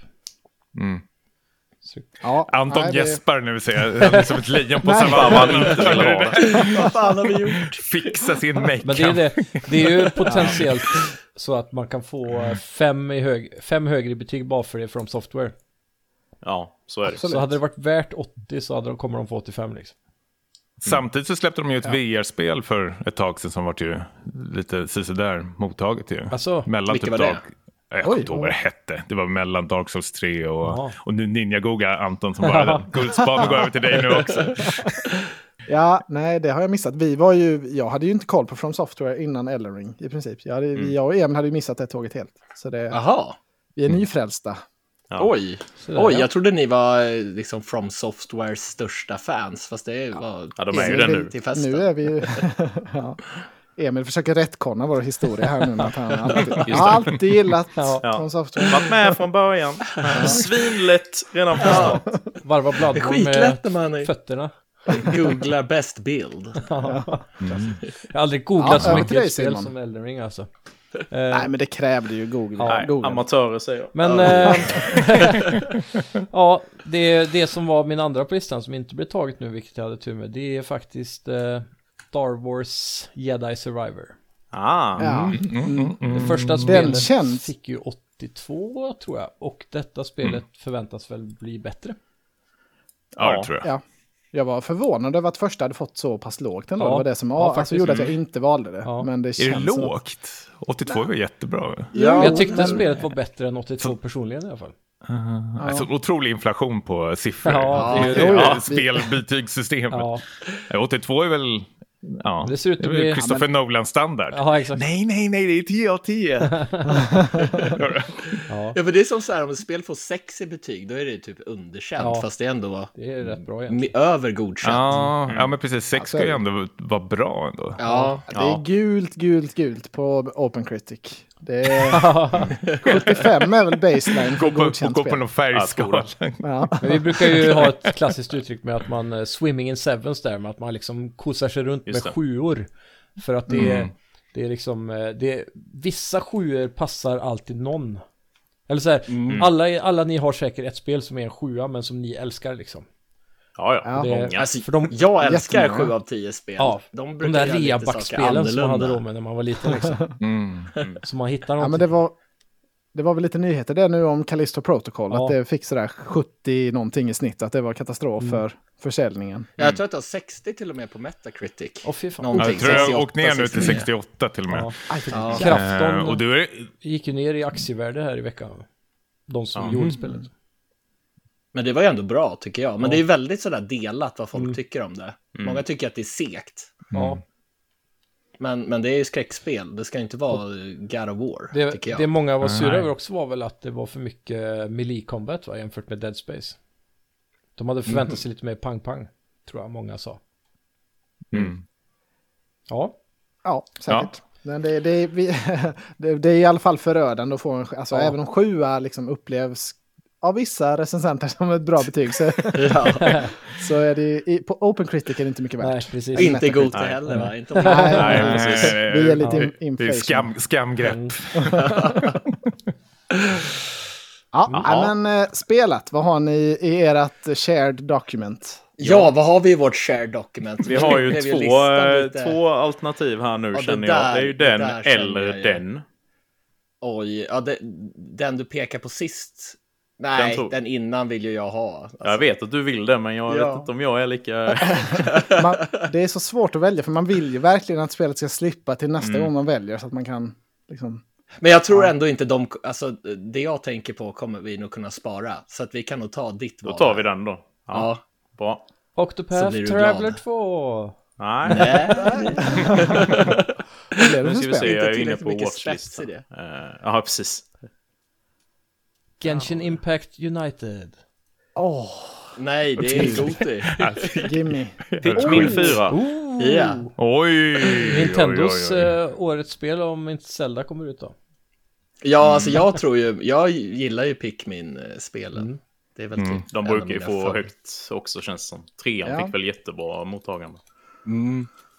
Speaker 2: Så,
Speaker 1: Ja,
Speaker 4: Anton
Speaker 1: nej, det-
Speaker 4: gäspar nu ser jag, han är som ett lejon på
Speaker 5: Fan vad han
Speaker 4: savannen.
Speaker 5: inte vill ha det.
Speaker 3: Vad fan har vi gjort?
Speaker 4: Fixa sin meck.
Speaker 2: Men det är, ju det, det är ju potentiellt så att man kan få eh, fem, i hög, fem högre i betyg bara för det från software.
Speaker 5: Ja, så är det.
Speaker 1: Absolut.
Speaker 2: Så hade det varit värt 80 så hade de, kommer de få 85 liksom.
Speaker 4: Samtidigt så släppte de ju ett VR-spel för ett tag sedan som vart ju lite sisådär mottaget ju.
Speaker 2: Alltså,
Speaker 4: mellan
Speaker 3: vilket
Speaker 4: typ
Speaker 3: var
Speaker 4: dag...
Speaker 3: det?
Speaker 4: Ja, Jag kommer
Speaker 1: Oj.
Speaker 4: inte ihåg vad det hette. Det var mellan Dark Souls 3 och,
Speaker 2: Jaha.
Speaker 4: och nu Ninja-googlar Anton som bara guldspaden går över till dig nu också.
Speaker 1: Ja, nej, det har jag missat. Vi var ju, jag hade ju inte koll på From Software innan Elden Ring i princip. Jag, hade,
Speaker 5: Mm.
Speaker 1: jag och Emil hade ju missat det tåget helt. Så det,
Speaker 3: Jaha,
Speaker 1: vi är nyfrälsta.
Speaker 3: oj.
Speaker 2: där,
Speaker 3: Oj,
Speaker 2: ja.
Speaker 3: jag trodde ni var eh, liksom From Softwares största fans, fast det var...
Speaker 5: Ja, de är ju
Speaker 1: Emil
Speaker 5: det
Speaker 1: vill-
Speaker 5: nu.
Speaker 3: Till festen.
Speaker 1: Nu är vi ju... ja. Emil försöker rättkonna vår historia här nu. med Att han alltid, jag har alltid gillat From Software.
Speaker 5: Varit med från början. Svinlätt redan från start.
Speaker 2: varva Bloodborne
Speaker 3: Skitlätt när
Speaker 2: med
Speaker 3: man är-
Speaker 2: fötterna.
Speaker 3: googlar best bild.
Speaker 2: Jag har aldrig googlat
Speaker 1: Ja,
Speaker 2: så
Speaker 1: över
Speaker 2: mycket
Speaker 1: till dig,
Speaker 2: ett spel
Speaker 1: Simon.
Speaker 2: som Elden Ring alltså.
Speaker 1: Nej, men det krävde ju Google.
Speaker 2: Ja,
Speaker 1: Google.
Speaker 5: Amatörer säger jag.
Speaker 2: Men eh, ja, det, det som var min andra på listan som inte blev taget nu, vilket jag hade tur med, det är faktiskt eh, Star Wars Jedi Survivor.
Speaker 5: Ah,
Speaker 1: Ja.
Speaker 2: Det första
Speaker 1: Den
Speaker 2: spelet
Speaker 1: känns-
Speaker 2: fick ju 82 tror jag och detta spelet
Speaker 1: Mm.
Speaker 2: förväntas väl bli bättre.
Speaker 4: Ja,
Speaker 5: Ja.
Speaker 4: det tror jag.
Speaker 1: Ja. Jag var förvånad över att första hade fått så pass lågt ändå.
Speaker 2: Ja,
Speaker 1: det var det som
Speaker 2: ja,
Speaker 1: ja, alltså,
Speaker 2: faktiskt.
Speaker 1: gjorde att jag inte valde det.
Speaker 2: Ja.
Speaker 1: Men det
Speaker 4: Är
Speaker 1: känns
Speaker 4: det
Speaker 1: som-
Speaker 4: lågt? 82 är väl jättebra?
Speaker 1: Ja,
Speaker 2: jag tyckte
Speaker 1: men-
Speaker 2: spelet var bättre än 82 personligen i alla fall.
Speaker 4: Alltså, otrolig inflation på siffror.
Speaker 2: Ja,
Speaker 4: Ja,
Speaker 1: det är-
Speaker 4: ja,
Speaker 1: vi-
Speaker 4: Spelbetygssystemet.
Speaker 2: Ja,
Speaker 4: 82 är väl... Ja,
Speaker 2: Det ser ut att
Speaker 4: är väl
Speaker 2: bli-
Speaker 4: Christopher Nolan-standard.
Speaker 2: ja exakt.
Speaker 4: Nej, nej, nej, det är 10 av 10.
Speaker 2: Ja,
Speaker 3: Ja, för det är som så här, om ett spel får 6 i betyg, då är det typ underkänt,
Speaker 2: Ja.
Speaker 3: fast det ändå var
Speaker 2: det är rätt bra egentligen.
Speaker 3: mi- över godkänt.
Speaker 4: ja, ja, men precis. 6
Speaker 1: Alltså,
Speaker 4: ska ju ändå vara bra ändå.
Speaker 3: Ja.
Speaker 1: Det är gult, gult, gult på OpenCritic. Det är
Speaker 2: Mm.
Speaker 1: 75 är väl baseline för
Speaker 4: Gå på,
Speaker 1: godkänt
Speaker 4: gå på
Speaker 1: spel.
Speaker 4: någon färgskala.
Speaker 1: Ja.
Speaker 2: Men vi brukar ju ha ett klassiskt uttryck med att man eh, swimming in sevens där, med att man liksom kosar sig runt
Speaker 5: Just
Speaker 2: med
Speaker 5: det.
Speaker 2: sjuor. För att det, är, det är liksom, eh, det är, vissa sjuor passar alltid någon. Eller så här, alla, alla ni har säkert ett spel som är en sjua men som ni älskar liksom.
Speaker 5: ja,
Speaker 1: Ja.
Speaker 5: ja.
Speaker 2: Det-
Speaker 5: Många.
Speaker 3: Alltså,
Speaker 2: För de-
Speaker 3: jag älskar
Speaker 1: Jättemånga.
Speaker 3: 7 av 10 spel.
Speaker 2: Ja,
Speaker 3: de
Speaker 2: De
Speaker 3: brukar
Speaker 2: där
Speaker 3: göra lite saker
Speaker 2: reabackspelen som man hade
Speaker 3: annorlunda.
Speaker 2: då med när man var liten liksom.
Speaker 4: Mm.
Speaker 2: Så man hittar
Speaker 1: ja, men
Speaker 2: någonting.
Speaker 1: det var... Det var väl lite nyheter det nu om Callisto Protocol,
Speaker 2: Ja.
Speaker 1: att det fick sådär 70 någonting i snitt, att det var katastrof för försäljningen.
Speaker 3: Jag tror att det har 60 till och med på Metacritic.
Speaker 2: Åh fy fan.
Speaker 3: Någonting.
Speaker 4: Ja, jag tror jag har
Speaker 3: 68,
Speaker 4: åkt ner nu till
Speaker 3: 69.
Speaker 4: 68 till och med.
Speaker 2: Ja.
Speaker 3: Ja.
Speaker 2: Krafton
Speaker 4: Eh, och du är,
Speaker 2: gick ju ner i aktievärde här i veckan. De som
Speaker 3: Mm.
Speaker 2: gjorde spelet.
Speaker 3: Men det var ju ändå bra tycker jag. Men det är väldigt sådär delat vad folk tycker om det. Många tycker att det är segt.
Speaker 2: Ja,
Speaker 3: Men, men det är ju skräckspel. Det ska inte vara God of War, tycker
Speaker 2: Det,
Speaker 3: jag.
Speaker 2: det många var sura
Speaker 4: Nej.
Speaker 2: över också var väl att det var för mycket melee combat va, jämfört med Dead Space. De hade förväntat sig lite mer pang-pang, tror jag många sa.
Speaker 4: Mm.
Speaker 2: Ja,
Speaker 1: Ja, säkert. Men det, det, vi, det, det är i alla fall förödande att få en... Alltså,
Speaker 2: Ja.
Speaker 1: Även om sjua liksom upplevs av vissa recensenter som ett bra betyg så,
Speaker 3: Ja.
Speaker 1: så är det ju... i- På Open Critic är det inte mycket värt.
Speaker 2: nej precis.
Speaker 3: Inte Gota
Speaker 4: Nej.
Speaker 3: heller va? Inte om-
Speaker 1: Nej,
Speaker 4: Nej,
Speaker 1: nej,
Speaker 4: nej,
Speaker 1: precis.
Speaker 4: nej,
Speaker 1: Vi är
Speaker 4: nej.
Speaker 1: lite in-
Speaker 2: Ja.
Speaker 4: eh, det är
Speaker 1: inflation.
Speaker 4: skam, skamgrepp.
Speaker 1: Ja, nej, men eh, spelat, vad har ni i ert shared document?
Speaker 3: Ja, vad har vi i vårt share document?
Speaker 5: Vi har ju
Speaker 3: Nu blev
Speaker 5: två,
Speaker 3: listan
Speaker 5: eh,
Speaker 3: lite-
Speaker 5: två alternativ här nu
Speaker 3: Ja, det
Speaker 5: känner
Speaker 3: där-
Speaker 5: jag. Det är ju
Speaker 3: det
Speaker 5: den
Speaker 3: där känner
Speaker 5: eller
Speaker 3: jag ju.
Speaker 5: den.
Speaker 3: Oj, ja, det, den du pekar på sist. Nej,
Speaker 5: Den
Speaker 3: den,
Speaker 5: tog-
Speaker 3: innan vill ju jag ha. Alltså,
Speaker 5: Jag vet att du vill det, men jag
Speaker 3: Ja.
Speaker 5: vet inte om jag är lika...
Speaker 1: Man, det är så svårt att välja, för man vill ju verkligen att spelet ska slippa till nästa gång man väljer, så att man kan... Liksom,
Speaker 3: Men jag tror ändå inte de, alltså det jag tänker på kommer vi nog kunna spara. Så att vi kan nog ta ditt val.
Speaker 5: Då tar vi den då. Ja,
Speaker 3: Ja.
Speaker 5: bra.
Speaker 2: Octopath
Speaker 3: Så blir du
Speaker 2: Traveler
Speaker 3: glad.
Speaker 2: 2.
Speaker 5: Nej,
Speaker 1: det är
Speaker 5: nu
Speaker 1: det
Speaker 5: ska
Speaker 1: för
Speaker 5: vi se.
Speaker 1: spel?
Speaker 5: Jag är inne
Speaker 3: tillräckligt
Speaker 5: på
Speaker 3: mycket spets i
Speaker 5: watchlistan.
Speaker 3: det.
Speaker 5: Eh, Ja, precis.
Speaker 2: Genshin Impact United.
Speaker 1: Åh,
Speaker 3: Nej, det är Goti.
Speaker 1: gimme.
Speaker 5: Hitmin 4.
Speaker 2: Ooh.
Speaker 3: Ja.
Speaker 4: Oj!
Speaker 2: Nintendos
Speaker 4: oj, oj, oj.
Speaker 2: eh, årets spel om inte Zelda kommer ut då.
Speaker 3: Ja, alltså jag tror ju, jag gillar ju Pikmin-spelen. Det är väl typ
Speaker 5: Mm.
Speaker 3: en
Speaker 5: De
Speaker 3: av
Speaker 5: brukar ju
Speaker 3: mina
Speaker 5: få
Speaker 3: favoriter.
Speaker 5: högt också känns det som. Trean
Speaker 1: Ja.
Speaker 5: fick väl jättebra mottagande.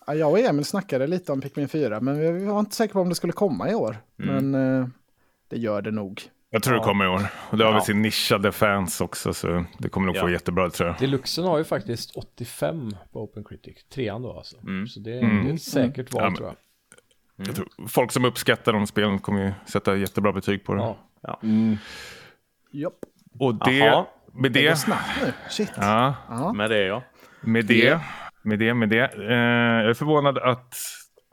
Speaker 1: Ja, jag och Emil snackade lite om Pikmin 4, men vi vi var inte säkra på om det skulle komma i år.
Speaker 4: Mm.
Speaker 1: Men eh, det gör det nog.
Speaker 4: Jag tror det kommer i år. Och det har väl sin nischade fans också, så det kommer nog få
Speaker 5: Ja.
Speaker 4: jättebra tror jag.
Speaker 2: Deluxen har ju faktiskt 85 på Open Critic. Trean då alltså. Så det, det är ett säkert val
Speaker 4: Ja, men-
Speaker 2: tror jag.
Speaker 4: jag tror, folk som uppskattar de spelen kommer ju sätta jättebra betyg på det.
Speaker 2: Ja.
Speaker 1: Japp.
Speaker 4: Och det,
Speaker 5: Jaha.
Speaker 4: med det,
Speaker 1: Shit.
Speaker 4: ja,
Speaker 5: Med det ja.
Speaker 4: med det, med det, med det. Eh, jag är förvånad att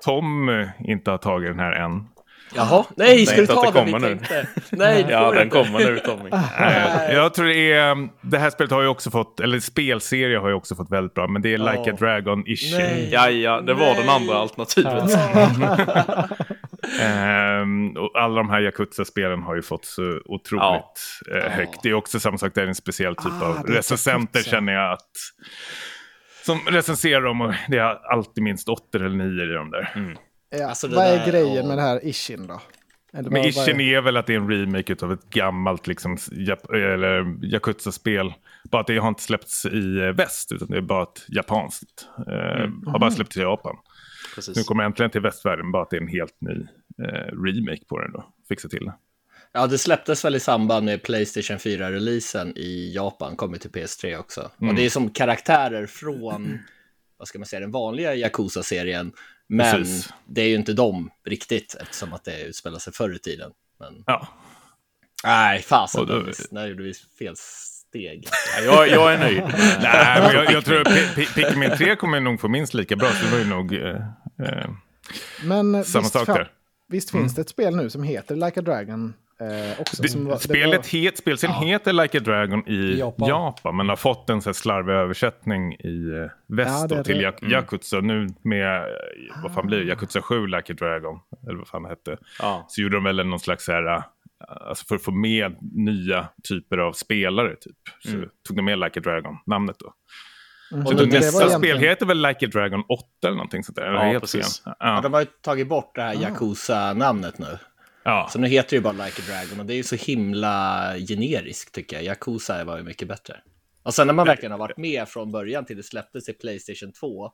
Speaker 4: Tom inte har tagit den här än.
Speaker 3: Jaha, nej, ska
Speaker 5: Tänkte
Speaker 3: du
Speaker 5: att
Speaker 3: ta
Speaker 5: det
Speaker 3: den vi
Speaker 5: kommer nu.
Speaker 3: tänkte? Nej, du
Speaker 5: Ja,
Speaker 3: får
Speaker 5: den
Speaker 3: inte.
Speaker 5: kommer nu Tommy.
Speaker 4: Eh, Jag tror det är, det här spelet har ju också fått, eller spelserie har ju också fått väldigt bra, men det är Like a Dragon-ish.
Speaker 3: Nej.
Speaker 5: Ja, ja, det var den andra alternativet.
Speaker 4: Ehm, och alla de här Yakuza-spelen har ju fått så otroligt eh, högt. Det är också samma sak, det är en speciell typ av recensenter känner jag att... Som recenserar dem och det är alltid minst åttor eller nior i de där.
Speaker 1: Ja,
Speaker 3: Alltså, det
Speaker 1: vad är
Speaker 3: där-
Speaker 1: grejen
Speaker 3: ja.
Speaker 1: med det här Ishin då? Eller vad-
Speaker 4: Men
Speaker 1: vad
Speaker 4: ischen
Speaker 1: är...
Speaker 4: är väl att det är en remake av ett gammalt liksom, jap- eller Yakuza-spel. Bara att det har inte släppts i eh, väst, utan det är bara ett japanskt. Eh, Har bara släppts i Japan. Nu
Speaker 5: Precis.
Speaker 4: kommer jag äntligen till västvärlden, bara att det är en helt ny eh, remake på den då. Fixa till det.
Speaker 3: Ja, det släpptes väl i samband med Playstation 4-releasen i Japan, kommer till PS3 också.
Speaker 4: Mm.
Speaker 3: Och det är som karaktärer från, vad ska man säga, den vanliga Yakuza-serien. Men
Speaker 4: Precis.
Speaker 3: det är ju inte dem riktigt, eftersom att det utspelar sig förr i tiden. Men
Speaker 4: Ja,
Speaker 3: nej, fasen,
Speaker 4: Och då-
Speaker 3: Dennis, när gjorde vi fel steg?
Speaker 5: Ja, jag, jag är nöjd.
Speaker 4: Nej, men jag, jag tror att Pi- Pi- Pikmin 3 kommer nog få minst lika bra, så det var ju nog... Eh, eh,
Speaker 1: Men eh,
Speaker 4: Samma
Speaker 1: visst,
Speaker 4: sak
Speaker 1: fan-
Speaker 4: där. Mm.
Speaker 1: visst finns det ett spel nu som heter Like a Dragon eh, också? som var-
Speaker 4: det,
Speaker 1: det
Speaker 4: spelet
Speaker 1: var-
Speaker 4: het, spelserien heter Like a Dragon i
Speaker 2: Japan.
Speaker 4: Japan, men har fått en så här slarvig översättning i eh,
Speaker 1: Ja,
Speaker 4: väst
Speaker 1: det är
Speaker 4: då, till
Speaker 1: det. Ah.
Speaker 4: Jak-
Speaker 5: Mm.
Speaker 4: Yakuza. Nu med, eh, vad fan blir det, Yakuza 7 Like a Dragon, eller vad fan det hette.
Speaker 5: Ja.
Speaker 4: Så gjorde de väl någon slags så här, eh, alltså för att få med nya typer av spelare typ. Så
Speaker 5: Mm.
Speaker 4: tog de med Like a Dragon, namnet då. Så
Speaker 1: Mhm.
Speaker 4: det
Speaker 1: Men det var
Speaker 4: nästa
Speaker 1: egentligen-
Speaker 4: spel heter väl Like a Dragon 8 eller någonting sånt där. eller
Speaker 5: Ja,
Speaker 4: helt fel.
Speaker 5: precis.
Speaker 3: Ja,
Speaker 4: Ja, Ah.
Speaker 3: de har ju tagit bort det här Yakuza-namnet nu.
Speaker 4: ja.
Speaker 3: Så nu heter det ju bara Like a Dragon och det är ju så himla generiskt tycker jag. Yakuza var ju mycket bättre. Och sen när man verkligen har varit med från början till det släpptes i Playstation 2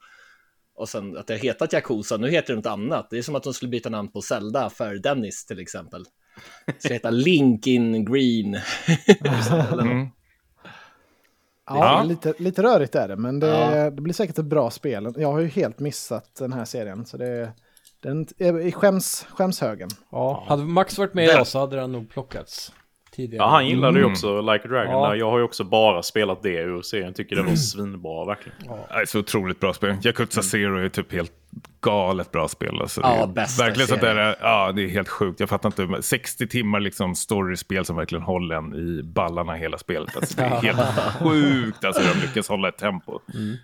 Speaker 3: och sen att det har hetat Yakuza, nu heter det något annat. Det är som att de skulle byta namn på Zelda för Dennis till exempel. Så heta Link in Green.
Speaker 4: Mm.
Speaker 1: Ja,
Speaker 4: Ja.
Speaker 1: Lite, lite rörigt är det, men det,
Speaker 3: Ja.
Speaker 1: det blir säkert ett bra spel. Jag har ju helt missat den här serien, så det, den är i skäms, skämshögen.
Speaker 2: Ja, hade Max varit med idag så hade den nog plockats tidigare.
Speaker 5: Ja, han gillade ju också Like a Dragon.
Speaker 2: Ja.
Speaker 5: Där. Jag har ju också bara spelat det ur serien. Tycker det var svinbra verkligen.
Speaker 4: Ja, Det är så otroligt bra spel. Yakuza Zero är typ helt galet bra spel. Alltså,
Speaker 3: Mm. Ja,
Speaker 4: det är
Speaker 3: bästa
Speaker 4: verkligen sånt
Speaker 3: serien.
Speaker 4: där, ja, det är helt sjukt. Jag fattar inte. men 60 timmar liksom storyspel som verkligen håller en i ballarna hela spelet. Alltså, det är helt sjukt alltså, hur de lyckas hålla ett tempo.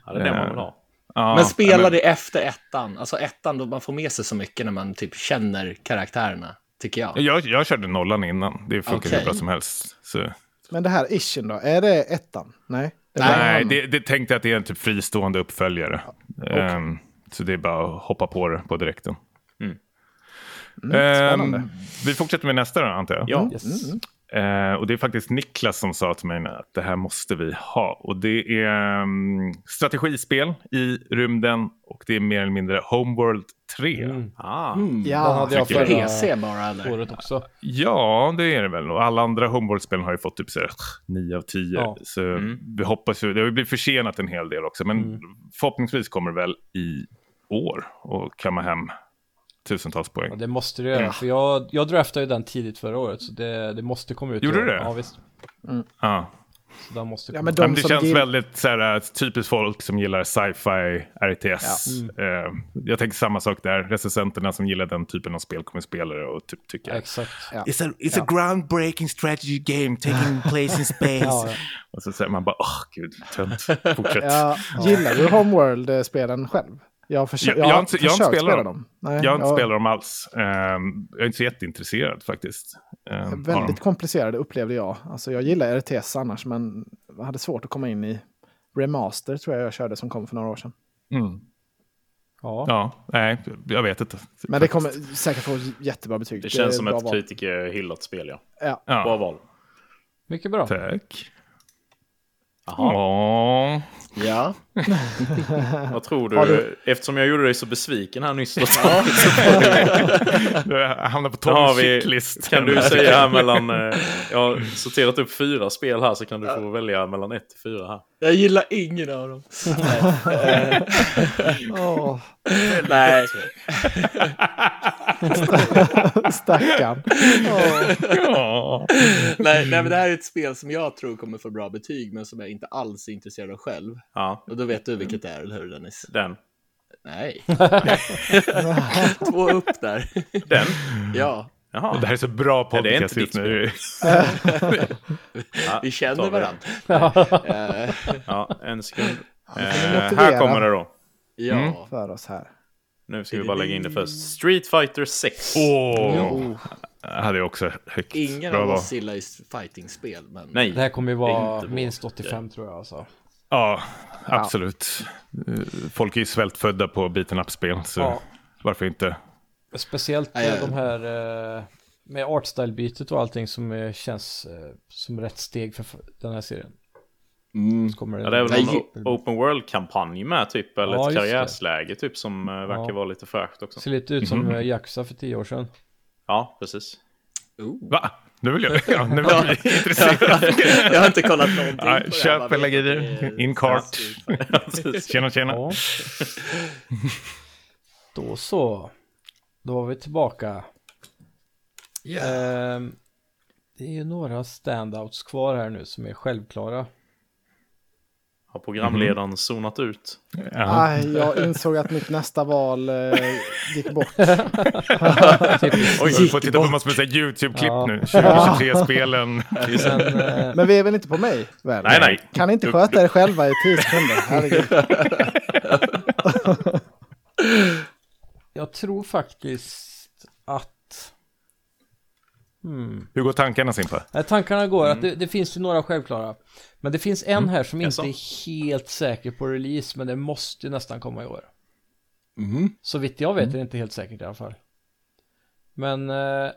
Speaker 5: Ja, det
Speaker 2: Mm.
Speaker 5: är det man vill ha.
Speaker 4: Ja,
Speaker 3: Mm. Men spela
Speaker 4: men-
Speaker 3: det efter ettan. Alltså ettan, då man får med sig så mycket när man typ känner karaktärerna, tycker jag.
Speaker 4: Jag, jag körde nollan innan. Det funkar
Speaker 3: Okej.
Speaker 4: hur bra som helst. Så.
Speaker 1: Men det här Ishin då, är det ettan? Nej? Det är bara-
Speaker 4: Nej, det, det tänkte jag att det är en typ fristående uppföljare. Ehm, så det är bara att hoppa på det på direkten. Ehm,
Speaker 1: spännande.
Speaker 4: vi fortsätter med nästa då, antar jag.
Speaker 5: Ja.
Speaker 2: Yes.
Speaker 4: Eh, och det är faktiskt Niklas som sa till mig nu att det här måste vi ha. Och det är mm, strategispel i rymden och det är mer eller mindre Homeworld 3.
Speaker 2: Mm.
Speaker 5: Ah.
Speaker 3: Mm.
Speaker 2: Den
Speaker 1: Ja,
Speaker 2: hade jag
Speaker 4: tycker
Speaker 2: förra
Speaker 3: PC bara eller?
Speaker 2: året också.
Speaker 4: Ja, det är det väl. Och alla andra Homeworld-spel har ju fått typ så här, 9 av 10.
Speaker 2: Ja.
Speaker 4: Så
Speaker 6: Mm.
Speaker 4: vi hoppas ju, det har ju blivit försenat en hel del också. Men
Speaker 2: Mm.
Speaker 4: förhoppningsvis kommer det väl i år och kamma hem tusentals poäng.
Speaker 2: Ja, det måste det göra, för jag, jag draftade ju den tidigt förra året, så det, det måste komma ut. i
Speaker 4: Gjorde
Speaker 2: år.
Speaker 4: du det?
Speaker 2: Ja, visst.
Speaker 4: Ja.
Speaker 2: Så den måste
Speaker 1: Ja, men
Speaker 2: komma ut.
Speaker 1: de
Speaker 4: Ja, men det
Speaker 1: som
Speaker 4: känns
Speaker 1: gill-
Speaker 4: väldigt så här, äh, typiskt folk som gillar sci-fi, RTS.
Speaker 2: Mm.
Speaker 4: Eh, jag tänker samma sak där. Recensenterna som gillar den typen av spel kommer spela det och typ tycka.
Speaker 2: Ja, Exakt.
Speaker 6: It's a it's a groundbreaking strategy game taking place in space.
Speaker 2: Ja, ja.
Speaker 4: Och så säger man bara, åh gud, tönt, fortsätt.
Speaker 1: Jag gillar du Homeworld-spelen själv? Jag har, försö-
Speaker 4: Jag-
Speaker 1: jag
Speaker 4: jag
Speaker 1: har
Speaker 4: har
Speaker 1: inte,
Speaker 4: inte-
Speaker 1: försökt
Speaker 4: jag har inte spelat
Speaker 1: spela
Speaker 4: dem.
Speaker 1: dem. Nej,
Speaker 4: jag har inte spelat dem alls. Eh, jag är inte så jätteintresserad faktiskt. Eh, av dem.
Speaker 1: Väldigt komplicerade upplevde jag. Alltså, jag gillar RTS annars, men jag hade svårt att komma in i Remaster tror jag jag körde som kom för några år sedan.
Speaker 2: Ja.
Speaker 4: Mm. Ja, nej, jag vet inte.
Speaker 1: Men det kommer säkert få jättebra betyg.
Speaker 5: Det känns
Speaker 1: är
Speaker 5: som
Speaker 1: bra
Speaker 5: ett
Speaker 1: val.
Speaker 5: kritikerhyllat spel, ja.
Speaker 1: Ja.
Speaker 5: Bra
Speaker 4: Ja,
Speaker 5: val.
Speaker 2: Mycket bra.
Speaker 4: tack.
Speaker 5: Jaha.
Speaker 4: Åh.
Speaker 3: Ja.
Speaker 5: Vad tror
Speaker 1: Har
Speaker 5: du?
Speaker 1: du-
Speaker 5: Eftersom jag gjorde dig så besviken här nyss. Då,
Speaker 4: Jag hamnar på
Speaker 5: då har
Speaker 4: Toms
Speaker 5: vi,
Speaker 4: checklist.
Speaker 5: kan du säga här mellan... eh, Jag har sorterat upp fyra spel här så kan du få välja mellan ett till fyra här.
Speaker 3: Jag gillar ingen av dem.
Speaker 1: Åh,
Speaker 3: Nej.
Speaker 1: stackarn. Åh.
Speaker 4: Ja.
Speaker 3: Nej, nej, men det här är ett spel som jag tror kommer få bra betyg, men som jag inte alls är intresserad av själv.
Speaker 5: Ja,
Speaker 3: Och då vet du vilket det är, eller hur Dennis?
Speaker 5: den.
Speaker 3: Nej. Två upp där.
Speaker 5: Den?
Speaker 3: Ja,
Speaker 4: Och
Speaker 5: Jaha.
Speaker 4: det här är så bra
Speaker 5: Ja, det är inte
Speaker 4: podcast just
Speaker 5: ditt
Speaker 4: nu.
Speaker 3: vi
Speaker 5: tar
Speaker 3: känner
Speaker 5: vi.
Speaker 3: varandra. Eh,
Speaker 5: Ja, en sekund. Eh,
Speaker 1: motivera.
Speaker 5: här kommer det då.
Speaker 3: ja.
Speaker 1: För oss här.
Speaker 5: Nu ska vi bara lägga in det först. Street Fighter 6.
Speaker 4: Åh, hade jag också högt.
Speaker 3: Ingen
Speaker 4: Bra
Speaker 3: av
Speaker 4: val.
Speaker 3: oss gillar ju fightingspel, men...
Speaker 5: Nej.
Speaker 2: Det här kommer ju
Speaker 5: Inte
Speaker 2: vara
Speaker 5: bra.
Speaker 2: minst 85 tror jag alltså.
Speaker 4: Ja, absolut. Eh, Folk är ju svältfödda på beaten up-spel, så
Speaker 2: Ja.
Speaker 4: varför inte?
Speaker 2: Speciellt
Speaker 3: Nej,
Speaker 2: eh,
Speaker 3: jag-
Speaker 2: de här eh, med artstyle-bytet och allting som eh, känns eh, som rätt steg för f- den här serien.
Speaker 1: Mm.
Speaker 2: Så kommer det,
Speaker 5: Ja, det är väl
Speaker 3: Nej,
Speaker 5: någon o- open world-kampanj med typ, eller
Speaker 2: Ja,
Speaker 5: ett
Speaker 2: just det.
Speaker 5: karriärsläge typ som eh, verkar
Speaker 2: Ja.
Speaker 5: vara lite fräscht också.
Speaker 2: ser lite ut
Speaker 5: Mhm.
Speaker 2: som mm. Yakuza för tio år sedan.
Speaker 5: Ja, precis.
Speaker 3: Oh.
Speaker 4: Va? Nu vill jag... Ja, nu vill jag bli intresserad.
Speaker 3: Jag har inte kollat någonting. på det
Speaker 4: Nej,
Speaker 3: här,
Speaker 4: köp
Speaker 3: bara vet
Speaker 4: eller
Speaker 3: att det
Speaker 4: grejer.
Speaker 3: är
Speaker 4: In cart.
Speaker 3: fantastiskt.
Speaker 5: Ja, precis.
Speaker 4: Tjena, tjena.
Speaker 2: Ja. Då så. Då var vi tillbaka. Ehm, det är ju några standouts kvar här nu som är självklara.
Speaker 5: Har programledaren zonat ut?
Speaker 4: Ja.
Speaker 1: Aj, jag insåg att mitt nästa val eh, gick bort.
Speaker 4: Oj, vi får titta på massor med YouTube-klipp
Speaker 2: Ja.
Speaker 4: nu. 2023-spelen.
Speaker 2: Men, eh,
Speaker 1: Men vi är väl inte på mig? Väl?
Speaker 4: Nej, nej.
Speaker 1: Kan ni inte sköta er själva i tio sekunder? Herregud.
Speaker 2: jag tror faktiskt att... Hmm.
Speaker 4: Hur går tankarna, Simpa?
Speaker 2: Nej, tankarna går att det, det finns ju några självklara. Men det finns en här som inte
Speaker 5: Jaså?
Speaker 2: är helt säker på release, men det måste ju nästan komma i år. Så vitt jag vet är det inte helt säkert i alla fall. Men eh,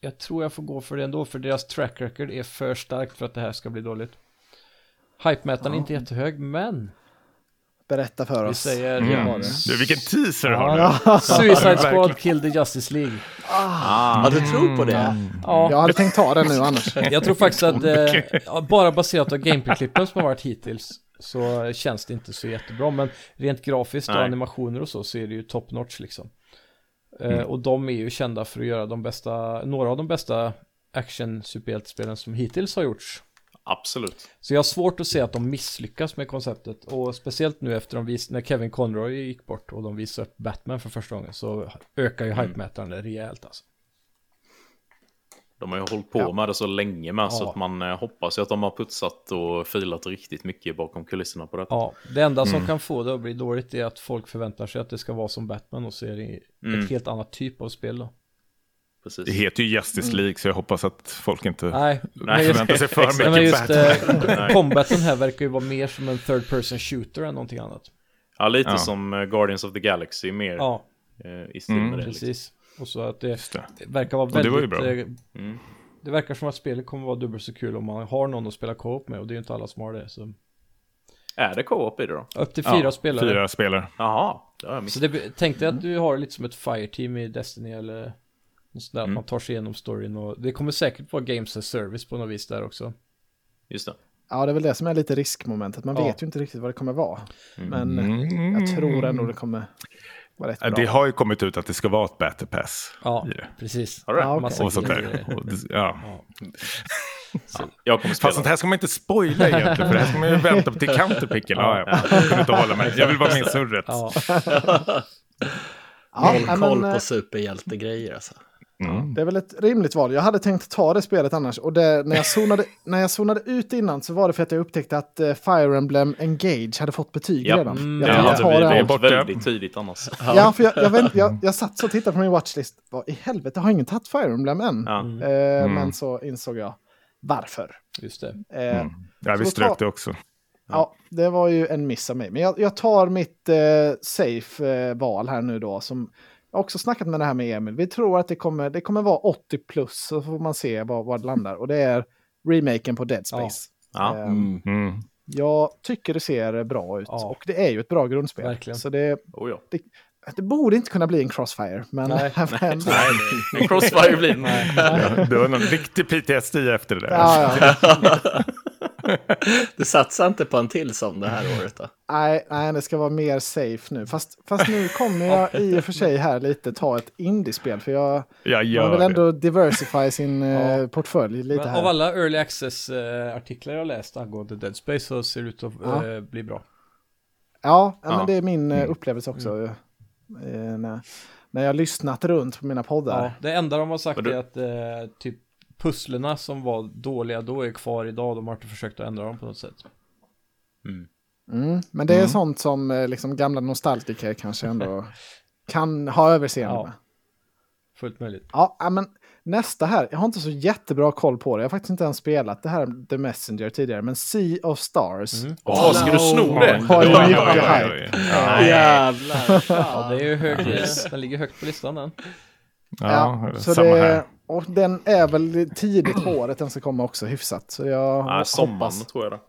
Speaker 2: jag tror jag får gå för det ändå, för deras track record är för starkt för att det här ska bli dåligt. Hype-mätaren är inte jättehög, men
Speaker 1: Berätta för
Speaker 2: vi
Speaker 1: oss.
Speaker 2: säger
Speaker 4: Mm. Du, vilken teaser du har nu.
Speaker 1: Ja,
Speaker 2: Suicide Squad Kill the Justice League.
Speaker 3: Ja, du tror på det?
Speaker 1: Mm.
Speaker 2: Ja,
Speaker 1: jag hade tänkt ta den nu annars.
Speaker 2: jag tror faktiskt att eh, ja, bara baserat av gameplay-klippen som har varit hittills så känns det inte så jättebra. Men rent grafiskt och
Speaker 5: Nej.
Speaker 2: animationer och så så är det ju top notch liksom. Eh, Och de är ju kända för att göra de bästa, några av de bästa action superhjältespelen som hittills har gjorts.
Speaker 5: Absolut.
Speaker 2: Så jag har svårt att se att de misslyckas med konceptet. Och speciellt nu efter de vis- när Kevin Conroy gick bort och de visade upp Batman för första gången så ökar ju hype-mätaren rejält alltså.
Speaker 5: De har ju hållit på med det så länge med, så att man eh, hoppas ju att de har putsat och filat riktigt mycket bakom kulisserna på detta.
Speaker 2: Ja, det enda som kan få det att bli dåligt är att folk förväntar sig att det ska vara som Batman och så är det ett helt annat typ av spel då.
Speaker 4: Det
Speaker 5: Precis.
Speaker 4: heter ju Justice League, så jag hoppas att folk inte
Speaker 2: Nej, Ah, men just,
Speaker 4: förväntar sig för mycket
Speaker 2: nej, men just
Speaker 4: Batman.
Speaker 2: eh, combaten här verkar ju vara mer som en third person shooter än någonting annat.
Speaker 5: Ja, lite
Speaker 4: Ja.
Speaker 5: som eh, Guardians of the Galaxy mer
Speaker 2: Ja,
Speaker 5: eh, i stil
Speaker 4: Mm.
Speaker 5: med det. Liksom.
Speaker 2: precis. Och så att det
Speaker 4: Just det.
Speaker 2: verkar vara
Speaker 4: det var ju
Speaker 2: väldigt...
Speaker 4: bra.
Speaker 2: eh, Det verkar som att spelet kommer vara dubbelt så kul om man har någon att spela co-op med och det är ju inte alla som har det. Så.
Speaker 5: Är det co-op i det då?
Speaker 2: Upp till fyra spelare.
Speaker 4: Fyra spelare.
Speaker 5: Jaha, det har jag
Speaker 2: Så
Speaker 5: missat.
Speaker 2: det, be- tänk dig att du har lite som ett fireteam i Destiny eller något sånt där,
Speaker 5: Mm.
Speaker 2: att man tar sig igenom storyn och det kommer säkert vara games as service på något vis där också.
Speaker 5: Just det.
Speaker 1: Ja, det är väl det som är lite riskmomentet. Man
Speaker 2: Ja. Mm.
Speaker 1: vet ju inte riktigt vad det kommer vara. Men jag tror ändå det kommer vara rätt bra.
Speaker 4: Ja, Det har ju kommit ut att det ska vara ett battle pass.
Speaker 2: Ja,
Speaker 4: i det.
Speaker 2: precis.
Speaker 5: Har du det?
Speaker 1: Ja, okej.
Speaker 2: Massa
Speaker 4: Och sånt där.
Speaker 2: grejer.
Speaker 4: Och det, ja.
Speaker 5: Jag kommer spela.
Speaker 4: Fast sånt här ska man inte spoila egentligen, för det här ska man ju vänta på till counterpicken. Ja, ja. Jag kunde inte hålla mig. Jag vill vara med i surret.
Speaker 2: Ja,
Speaker 1: Ja,
Speaker 3: Noll
Speaker 1: nej, men,
Speaker 3: koll
Speaker 1: eh,
Speaker 3: på superhjältegrejer alltså.
Speaker 1: Det är väl ett rimligt val. Jag hade tänkt ta det spelet annars. Och det, när, jag zonade, när jag zonade ut innan så var det för att jag upptäckte att eh, Fire Emblem Engage hade fått betyg
Speaker 5: Japp.
Speaker 1: redan.
Speaker 5: Mm,
Speaker 1: jag
Speaker 5: det
Speaker 1: tänkte
Speaker 5: hade
Speaker 1: ta
Speaker 5: vi
Speaker 1: det.
Speaker 4: är
Speaker 1: här.
Speaker 5: det
Speaker 4: bort-
Speaker 5: är
Speaker 4: borta.
Speaker 5: väldigt tidigt annars.
Speaker 1: Ja, för jag, jag, vänt, jag, jag satt så och tittade på min watchlist. Vad i helvete, har ingen tagit Fire Emblem än?
Speaker 5: Ja.
Speaker 1: Eh, Men så insåg jag varför.
Speaker 2: just det.
Speaker 1: Eh,
Speaker 4: Ja,
Speaker 1: Så
Speaker 4: vi
Speaker 1: ta-
Speaker 4: strök det också.
Speaker 1: Ja, det var ju en miss av mig. Men jag, jag tar mitt eh, safe-val här nu då. Som jag har också snackat med det här med Emil. Vi tror att det kommer, det kommer vara 80 plus. Så får man se var, var det landar. Och det är remaken på Dead Space.
Speaker 5: Ja.
Speaker 1: Eh,
Speaker 4: Mm.
Speaker 1: Jag tycker det ser bra ut.
Speaker 2: Ja.
Speaker 1: Och det är ju ett bra grundspel.
Speaker 2: Verkligen.
Speaker 1: Så det,
Speaker 5: Oh, ja.
Speaker 1: det borde inte kunna bli en crossfire. Men,
Speaker 2: Nej.
Speaker 1: men
Speaker 5: Nej, en crossfire blir det.
Speaker 4: Ja, det var någon riktig PTSD efter det där.
Speaker 1: ja, ja.
Speaker 3: Du satsar inte på en till som det här året då?
Speaker 1: Nej, nej, det ska vara mer safe nu. Fast, fast nu kommer jag i och för sig här lite ta ett indiespel. För jag...
Speaker 4: Jag
Speaker 1: Man vill
Speaker 4: gör det.
Speaker 1: ändå diversify sin eh, portfölj lite
Speaker 2: Men
Speaker 1: här.
Speaker 2: av alla early access-artiklar jag läst angående Dead Space så ser det ut att
Speaker 1: Ja.
Speaker 2: eh, bli bra.
Speaker 1: Ja, ja,
Speaker 5: Ja.
Speaker 1: men det är min eh, upplevelse också. Eh, när, när jag har lyssnat runt på mina poddar.
Speaker 2: Ja, det enda de har sagt
Speaker 5: Och du-
Speaker 2: är att eh, typ pusslerna som var dåliga då är kvar idag. De har inte försökt att ändra dem på något sätt.
Speaker 1: Mm. Men det är sånt som eh, liksom, gamla nostalgiker kanske ändå kan ha överseende
Speaker 2: Ja.
Speaker 1: med.
Speaker 2: Fullt möjligt.
Speaker 1: Ja, ja, men nästa här. Jag har inte så jättebra koll på det. Jag har faktiskt inte ens spelat det här The Messenger tidigare. Men Sea of Stars.
Speaker 5: Åh, ska du sno det?
Speaker 1: Har ju
Speaker 4: Oj, oj,
Speaker 1: mycket
Speaker 4: oj, oj,
Speaker 1: hype.
Speaker 4: oj.
Speaker 3: Jävlar.
Speaker 2: Ja, det är ju hög, den ligger högt på listan den.
Speaker 4: Ja,
Speaker 1: så
Speaker 4: samma
Speaker 1: det,
Speaker 4: här.
Speaker 1: Och den är väl tidigt på året den ska komma också hyfsat. Så jag
Speaker 5: Nej, sommaren
Speaker 1: hoppas.
Speaker 5: tror jag det.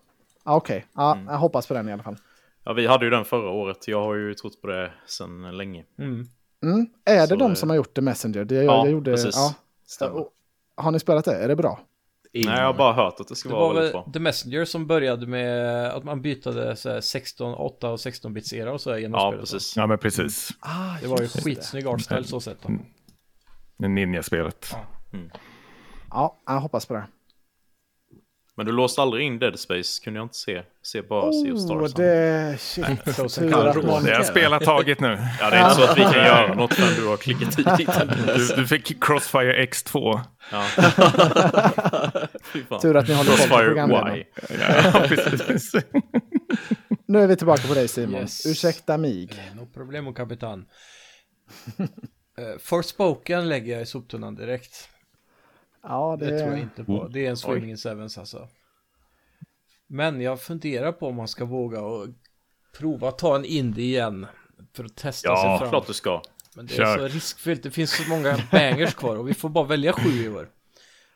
Speaker 1: Ah, Okej, ah,
Speaker 2: Mm.
Speaker 1: jag hoppas på den i alla fall.
Speaker 5: Ja, vi hade ju den förra året. Jag har ju trott på det sedan länge.
Speaker 1: Mm. Är det
Speaker 5: Så,
Speaker 1: de
Speaker 5: eh,
Speaker 1: som har gjort The Messenger? Det, jag,
Speaker 5: ja,
Speaker 1: jag gjorde,
Speaker 5: precis.
Speaker 1: Ja.
Speaker 5: Stämmer.
Speaker 1: Och Har ni spelat det? Är det bra?
Speaker 5: Nej, jag har bara hört att det ska
Speaker 2: Det
Speaker 5: vara
Speaker 2: var
Speaker 5: väldigt
Speaker 2: väl
Speaker 5: bra.
Speaker 2: The Messenger som började med att man bytade så här 16, 8 och 16 bits era och så här genom
Speaker 5: Ja,
Speaker 2: spelet.
Speaker 5: precis.
Speaker 4: Ja, men precis.
Speaker 2: Det Mm. var ju skitsnygg artstyle så sett. då.
Speaker 4: Ninja-spelet.
Speaker 1: Ja, jag hoppas på det.
Speaker 5: Men du låste aldrig in Dead Space, kunde jag inte se. Se bara Sea of
Speaker 1: Oh,
Speaker 5: Stars.
Speaker 2: liksom.
Speaker 1: det... Shit, tur att någon...
Speaker 4: Jag spelar taget nu.
Speaker 5: Ja, det är inte så att vi kan göra något förrän du har klickat i den.
Speaker 4: Du, du fick Crossfire X2.
Speaker 5: Fy fan.
Speaker 1: Tur att ni håller koll på
Speaker 5: Crossfire
Speaker 1: programledaren.
Speaker 5: Y.
Speaker 4: Ja, precis.
Speaker 1: Nu är vi tillbaka på dig Simon.
Speaker 2: Yes.
Speaker 1: Ursäkta mig.
Speaker 2: No problem, kapitan. Eh, Forspoken lägger jag i soptunnan direkt.
Speaker 1: Ja, det,
Speaker 2: Det tror jag inte på. Det är en Swimming in Sevens alltså. Men jag funderar på om man ska våga och prova att ta en indie igen. För att testa
Speaker 4: Ja,
Speaker 2: sig fram.
Speaker 5: Klart du ska.
Speaker 2: Men det är
Speaker 4: Kör.
Speaker 2: så riskfyllt. Det finns så många bangers kvar och vi får bara välja sju i år.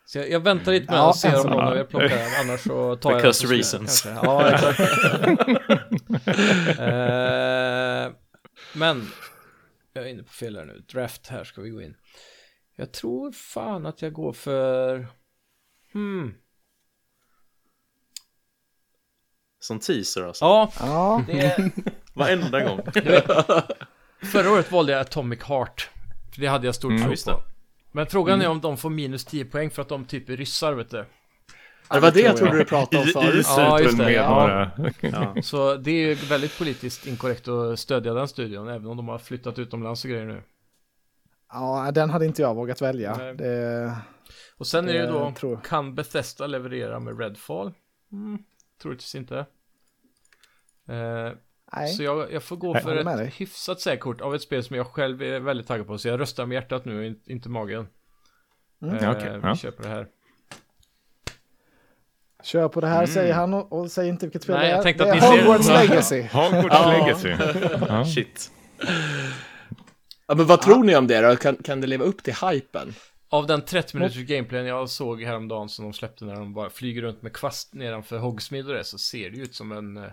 Speaker 2: Så jag, jag väntar lite med
Speaker 1: Ja,
Speaker 2: och ser om
Speaker 1: ensam.
Speaker 2: någon av er plockar den. Annars så tar jag den.
Speaker 5: Because
Speaker 2: på slutet,
Speaker 5: reasons.
Speaker 2: kanske. Ja, exakt. Eh, men jag är inne på fel här nu. Draft här ska vi gå in. Jag tror fan att jag går för... Hmm.
Speaker 5: Som teaser alltså.
Speaker 2: Ja,
Speaker 1: Ja,
Speaker 2: det är...
Speaker 5: Varenda gång.
Speaker 2: Förra året valde jag Atomic Heart. För det hade jag stort tro
Speaker 5: Mm. just
Speaker 2: på.
Speaker 5: det. Mm.
Speaker 2: Men frågan är om de får minus 10 poäng för att de typ är ryssar vet du.
Speaker 3: Det var det jag trodde du pratade om
Speaker 4: I, i
Speaker 3: förut.
Speaker 2: Ja, just
Speaker 4: Cypern
Speaker 2: det,
Speaker 4: med
Speaker 2: ja.
Speaker 4: några...
Speaker 2: Så det är ju väldigt politiskt inkorrekt att stödja den studion, även om de har flyttat utomlands och grejer nu.
Speaker 1: ja, den hade inte jag vågat välja.
Speaker 2: Nej.
Speaker 1: Det...
Speaker 2: Och sen är det ju då,
Speaker 1: Eh, Jag tror-
Speaker 2: kan Bethesda leverera med Redfall? Mm, troligtvis inte. Eh,
Speaker 1: Nej.
Speaker 2: så jag, jag får gå
Speaker 1: Nej,
Speaker 2: för
Speaker 1: håller med
Speaker 2: ett
Speaker 1: dig.
Speaker 2: hyfsat säkert kort av ett spel som jag själv är väldigt taggad på, så jag röstar med hjärtat nu, in- inte magen.
Speaker 1: Mm.
Speaker 2: Eh, vi
Speaker 4: okej, ja.
Speaker 2: köper det här.
Speaker 1: Kör på det här säger han och, och säger inte vilket spel
Speaker 2: Mm. Nej,
Speaker 1: det är.
Speaker 2: jag tänkte
Speaker 1: det
Speaker 2: att
Speaker 1: är
Speaker 2: ni ser-
Speaker 1: Hogwarts Legacy.
Speaker 4: Hogwarts Legacy.
Speaker 5: Shit.
Speaker 3: Ja, men vad tror ni om det då? Kan, kan det leva upp till hypen?
Speaker 2: Av den 30 minuters gameplayen jag såg häromdagen som de släppte när de bara flyger runt med kvast nedanför Hogsmeade och det så ser det ju ut som en eh,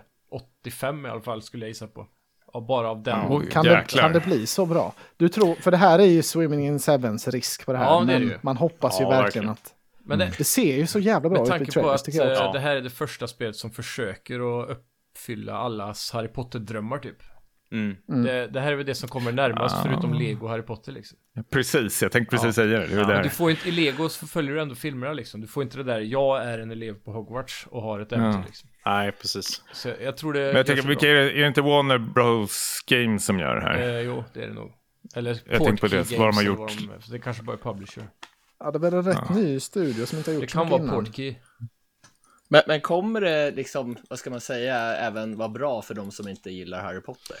Speaker 2: 85 i alla fall skulle jag gissa på. Ja, bara av den.
Speaker 4: Oj,
Speaker 1: Kan det,
Speaker 4: jäklar.
Speaker 1: kan det bli så bra? Du tror, för det här är ju Swimming in Sevens risk på det här.
Speaker 2: Ja, det är
Speaker 1: men
Speaker 2: det ju.
Speaker 1: man hoppas ju
Speaker 5: Ja,
Speaker 1: verkligen
Speaker 5: verkligen.
Speaker 1: att...
Speaker 2: Men det,
Speaker 1: Det ser ju så jävla bra
Speaker 2: med
Speaker 1: ut i
Speaker 2: tanke på
Speaker 1: trailers
Speaker 2: att
Speaker 1: tycker jag. också.
Speaker 2: eh, det här är det första spelet som försöker att uppfylla allas Harry Potter-drömmar typ.
Speaker 5: Mm.
Speaker 2: Det, det här är väl det som kommer närmast förutom Lego och Harry Potter liksom.
Speaker 4: Precis, jag tänkte precis säga det. det, var
Speaker 2: Men du
Speaker 4: där.
Speaker 2: får ju inte, i Lego så följer du ändå filmerna liksom. Du får inte det där, jag är en elev på Hogwarts och har ett äventyr liksom.
Speaker 5: Nej, precis.
Speaker 2: Så jag, jag tror det...
Speaker 4: Men jag tänker,
Speaker 2: sig
Speaker 4: vilka är, det, är det inte Warner Bros Game som gör det här?
Speaker 2: Eh, jo, det är det nog. Eller
Speaker 4: Jag
Speaker 2: Port
Speaker 4: tänkte på
Speaker 2: Key
Speaker 4: det, vad de har
Speaker 2: Games, eller
Speaker 4: gjort.
Speaker 2: vad de- för det kanske bara är publisher.
Speaker 1: Ja, det är väl en rätt ny studio som inte har gjort
Speaker 2: Det
Speaker 1: så
Speaker 2: kan
Speaker 1: mycket
Speaker 2: vara
Speaker 1: innan.
Speaker 2: Portkey.
Speaker 3: Men, men kommer det liksom, vad ska man säga, även vara bra för de som inte gillar Harry Potter?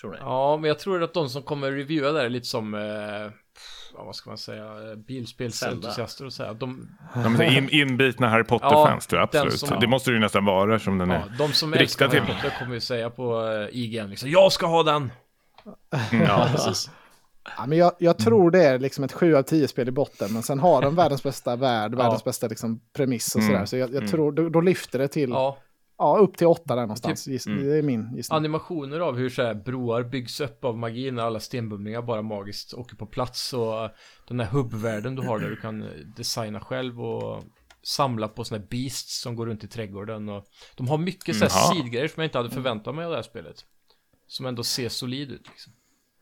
Speaker 3: Tror ni?
Speaker 2: Ja, men jag tror att de som kommer reviewa där är lite som, eh, ja, vad ska man säga, eh, bilspelsentusiaster och så här. De,
Speaker 4: Ja, men in, inbitna Harry Potter-fans
Speaker 2: Ja,
Speaker 4: tror jag
Speaker 2: den
Speaker 4: absolut.
Speaker 2: som-
Speaker 4: det måste det ju nästan vara som den
Speaker 2: ja,
Speaker 4: är.
Speaker 2: de som
Speaker 4: Rikta
Speaker 2: älskar Harry
Speaker 4: till.
Speaker 2: Potter kommer ju säga på eh, IGN liksom, jag ska ha den!
Speaker 3: Mm.
Speaker 5: Ja, precis.
Speaker 1: Ja, men jag, jag tror det är liksom ett 7 av 10 spel i botten, men sen har de världens bästa värld, världens bästa liksom premiss och sådär. Så jag, jag tror, då, då lyfter det till, ja.
Speaker 2: Ja, Typ-
Speaker 1: upp till 8 där någonstans. Giss, Det är min gissning.
Speaker 2: animationer av hur så här broar byggs upp av magi när alla stenbumlingar bara magiskt åker på plats och eh, den här hubbvärlden du har där du kan eh, designa själv och samla på såna här beasts som går runt i trädgården och de har mycket så här
Speaker 4: Jaha.
Speaker 2: sidgrejer som jag inte hade förväntat mig av det här spelet. Som ändå ser solid ut liksom.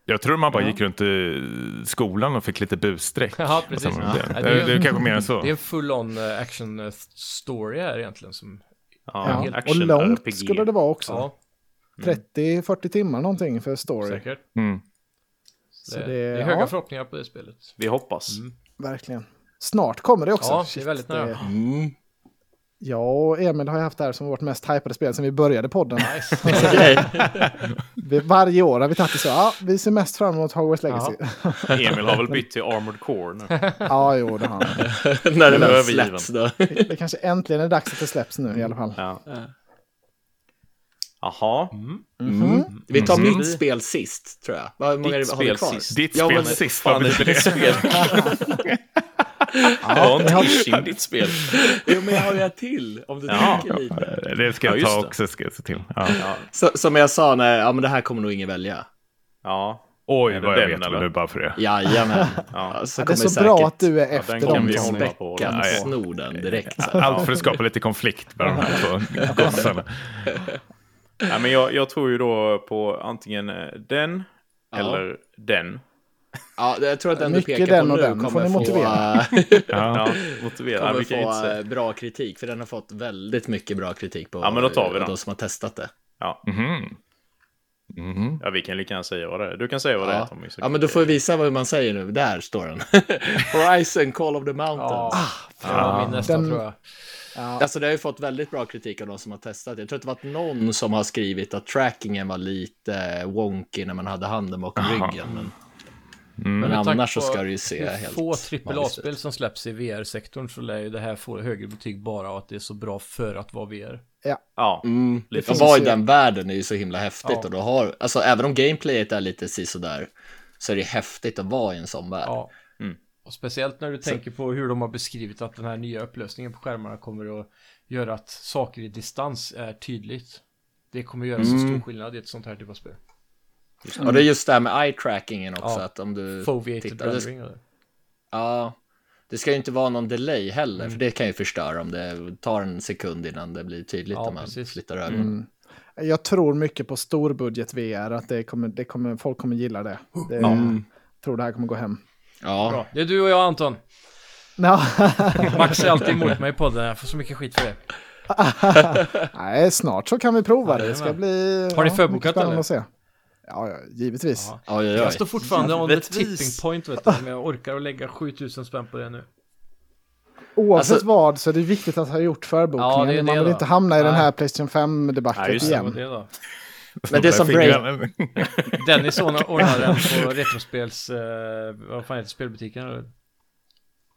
Speaker 4: Jag tror man bara gick runt i skolan och fick lite busstreck.
Speaker 2: Ja,
Speaker 4: Och sen
Speaker 2: precis.
Speaker 4: var det.
Speaker 2: Ja.
Speaker 4: Det, är- det är kanske mer än
Speaker 2: Det är
Speaker 4: så.
Speaker 2: en full-on eh, action eh, story här egentligen som...
Speaker 5: Ja,
Speaker 1: ja. Och
Speaker 5: action
Speaker 1: långt
Speaker 5: RPG.
Speaker 1: skulle det vara också.
Speaker 2: Ja,
Speaker 1: 30-40 timmar någonting för story.
Speaker 2: säkert.
Speaker 4: Mm.
Speaker 2: Det, det,
Speaker 1: det-
Speaker 2: är höga
Speaker 1: ja.
Speaker 2: förhoppningar på det spelet.
Speaker 5: Vi hoppas.
Speaker 3: Mm.
Speaker 1: Verkligen. Snart kommer det också.
Speaker 2: Ja, det
Speaker 1: Shit,
Speaker 2: är väldigt nära.
Speaker 3: Mm.
Speaker 1: Jag och Emil har ju haft det här som vårt mest hypade spel sedan vi började podden.
Speaker 2: Nice.
Speaker 1: Vi, varje år har vi tagit det så. Ja, vi ser mest fram emot Hogwarts Legacy. Ja,
Speaker 5: Emil har väl bytt till Armored Core nu.
Speaker 1: ja jo, det har han.
Speaker 3: När det
Speaker 5: Nu är
Speaker 3: väl
Speaker 5: vi
Speaker 3: släpps då.
Speaker 1: Det kanske äntligen är dags att det släpps nu i alla fall.
Speaker 5: Ja. Jaha,
Speaker 3: Mm. Vi tar
Speaker 5: Mm.
Speaker 3: mitt spel sist, tror jag. Vad- Hur många
Speaker 5: ditt
Speaker 3: har vi
Speaker 5: spel
Speaker 3: kvar?
Speaker 5: sist.
Speaker 4: Ditt
Speaker 3: Ja,
Speaker 4: spel
Speaker 3: men-
Speaker 4: sist,
Speaker 5: Fan,
Speaker 4: vad
Speaker 5: det
Speaker 4: blir
Speaker 5: är ditt
Speaker 4: det?
Speaker 5: spel. Det var inte Ishin ditt spel.
Speaker 3: Jo, men jag har ju ett till om du
Speaker 5: Ja.
Speaker 3: tänker lite.
Speaker 4: Det ska jag
Speaker 5: Ja, just
Speaker 4: ta
Speaker 5: det.
Speaker 4: också, ska jag se till. Ja.
Speaker 5: Ja,
Speaker 3: Så, som jag sa, nej, ja, men det här kommer nog ingen välja.
Speaker 5: ja.
Speaker 4: Oj,
Speaker 5: Är det
Speaker 4: vad jag
Speaker 5: den,
Speaker 4: vet
Speaker 5: eller?
Speaker 4: nu bara för det.
Speaker 3: Jajamän.
Speaker 5: Ja.
Speaker 3: Ja,
Speaker 1: Ja, det är så bra att du är efter
Speaker 5: den kan
Speaker 1: dem,
Speaker 5: vi
Speaker 1: Tommy.
Speaker 5: hålla på.
Speaker 3: Kan
Speaker 4: Nej.
Speaker 3: sno den direkt. Så.
Speaker 4: Allt för att skapa lite konflikt mellan de här två gossarna.
Speaker 5: Nej, men jag, jag tror ju då på antingen eh, den eller den.
Speaker 3: Ja, jag tror att den du
Speaker 1: Mycket
Speaker 3: pekar
Speaker 1: den
Speaker 3: på
Speaker 1: och
Speaker 3: nu
Speaker 1: den. Får
Speaker 3: kommer
Speaker 1: ni
Speaker 3: få,
Speaker 1: motivera?
Speaker 3: eh,
Speaker 5: Ja, motivera. Nej,
Speaker 3: kommer
Speaker 5: vi kan ju inte
Speaker 3: få
Speaker 5: säga.
Speaker 3: eh, bra kritik, för den har fått väldigt mycket bra kritik på
Speaker 5: Ja, men då tar vi
Speaker 3: eh,
Speaker 5: den.
Speaker 3: de som har testat det.
Speaker 5: Ja.
Speaker 4: Mhm. Mhm.
Speaker 5: ja, vi kan lika gärna säga vad det är. Du kan säga vad det är
Speaker 3: Ja.
Speaker 5: Tommy. så
Speaker 3: ja,
Speaker 5: kan
Speaker 3: men då får vi visa vad man säger nu. Där står den. Horizon Call of the
Speaker 2: Ja,
Speaker 3: Mountains.
Speaker 2: det var min nästa
Speaker 1: Den-
Speaker 2: tror jag.
Speaker 3: Alltså det har ju fått väldigt bra kritik av de som har testat. Jag tror att det varit någon som har skrivit att trackingen var lite wonky när man hade handen bakom ryggen. Men, men
Speaker 2: Med tanke
Speaker 3: annars så
Speaker 2: på
Speaker 3: ska det ju se
Speaker 2: hur
Speaker 3: helt
Speaker 2: få AAA-spel
Speaker 3: magiskt
Speaker 2: som släpps i VR-sektorn så lär ju det här få högre betyg bara av att det är så bra för att vara VR.
Speaker 5: Ja,
Speaker 3: Mm.
Speaker 5: Lite
Speaker 3: Att
Speaker 5: finns
Speaker 3: vara i
Speaker 1: ju-
Speaker 3: den världen är ju så himla häftigt.
Speaker 2: Ja.
Speaker 3: Och då har, alltså, även om gameplayet är lite sisådär så är det häftigt att vara i en sån värld.
Speaker 2: Ja.
Speaker 5: Mm.
Speaker 2: Och speciellt när du tänker på hur de har beskrivit att den här nya upplösningen på skärmarna kommer att göra att saker i distans är tydligt. Det kommer göra
Speaker 3: Mm.
Speaker 2: så stor skillnad i ett sånt här typ av spel.
Speaker 3: Eh, Och det är just det här med eye-trackingen också.
Speaker 2: Ja.
Speaker 3: Att om du
Speaker 2: Foveated
Speaker 3: tittar, det,
Speaker 2: rendering. eller?
Speaker 3: ja, det ska ju inte vara någon delay heller,
Speaker 2: Mm.
Speaker 3: för det kan ju förstöra om det tar en sekund innan det blir tydligt
Speaker 2: Ja,
Speaker 3: när man
Speaker 2: precis.
Speaker 3: flyttar ögonen.
Speaker 1: Jag tror mycket på storbudget VR, att det kommer, det kommer, folk kommer gilla det. det
Speaker 2: Mm.
Speaker 1: Jag tror det här kommer gå hem.
Speaker 3: Ja,
Speaker 2: Bra. Det är du och jag Anton.
Speaker 1: Ja.
Speaker 2: Max är alltid emot mig i podden. Jag får så mycket skit för det.
Speaker 1: Nej, snart så kan vi prova det. Det ska
Speaker 2: Jajamän.
Speaker 1: bli
Speaker 2: Har ni
Speaker 1: ja,
Speaker 2: förbokat
Speaker 1: mycket spännande
Speaker 2: eller?
Speaker 1: att se. Ja, ja, givetvis.
Speaker 2: Ja.
Speaker 3: Oj, oj, oj.
Speaker 2: Jag står fortfarande on the
Speaker 5: Jävligt
Speaker 2: tipping
Speaker 5: vis.
Speaker 2: point vet du. Men jag orkar att lägga 7000 spänn på det nu.
Speaker 1: Oavsett
Speaker 3: Alltså-
Speaker 1: vad så är det viktigt att ha gjort förbokningen.
Speaker 2: Ja, det är
Speaker 1: Man
Speaker 2: det
Speaker 1: vill
Speaker 2: då.
Speaker 1: inte hamna i den här
Speaker 2: Nej.
Speaker 1: Playstation 5-debaclet
Speaker 5: Nej, just det.
Speaker 2: Det var
Speaker 1: igen.
Speaker 2: det då.
Speaker 3: Men det
Speaker 4: De
Speaker 3: är
Speaker 4: där
Speaker 3: som Brave,
Speaker 4: fingrarna.
Speaker 2: Dennis ordnar- ordnar den på Retrospels... Eh, vad fan heter spelbutiken? eller?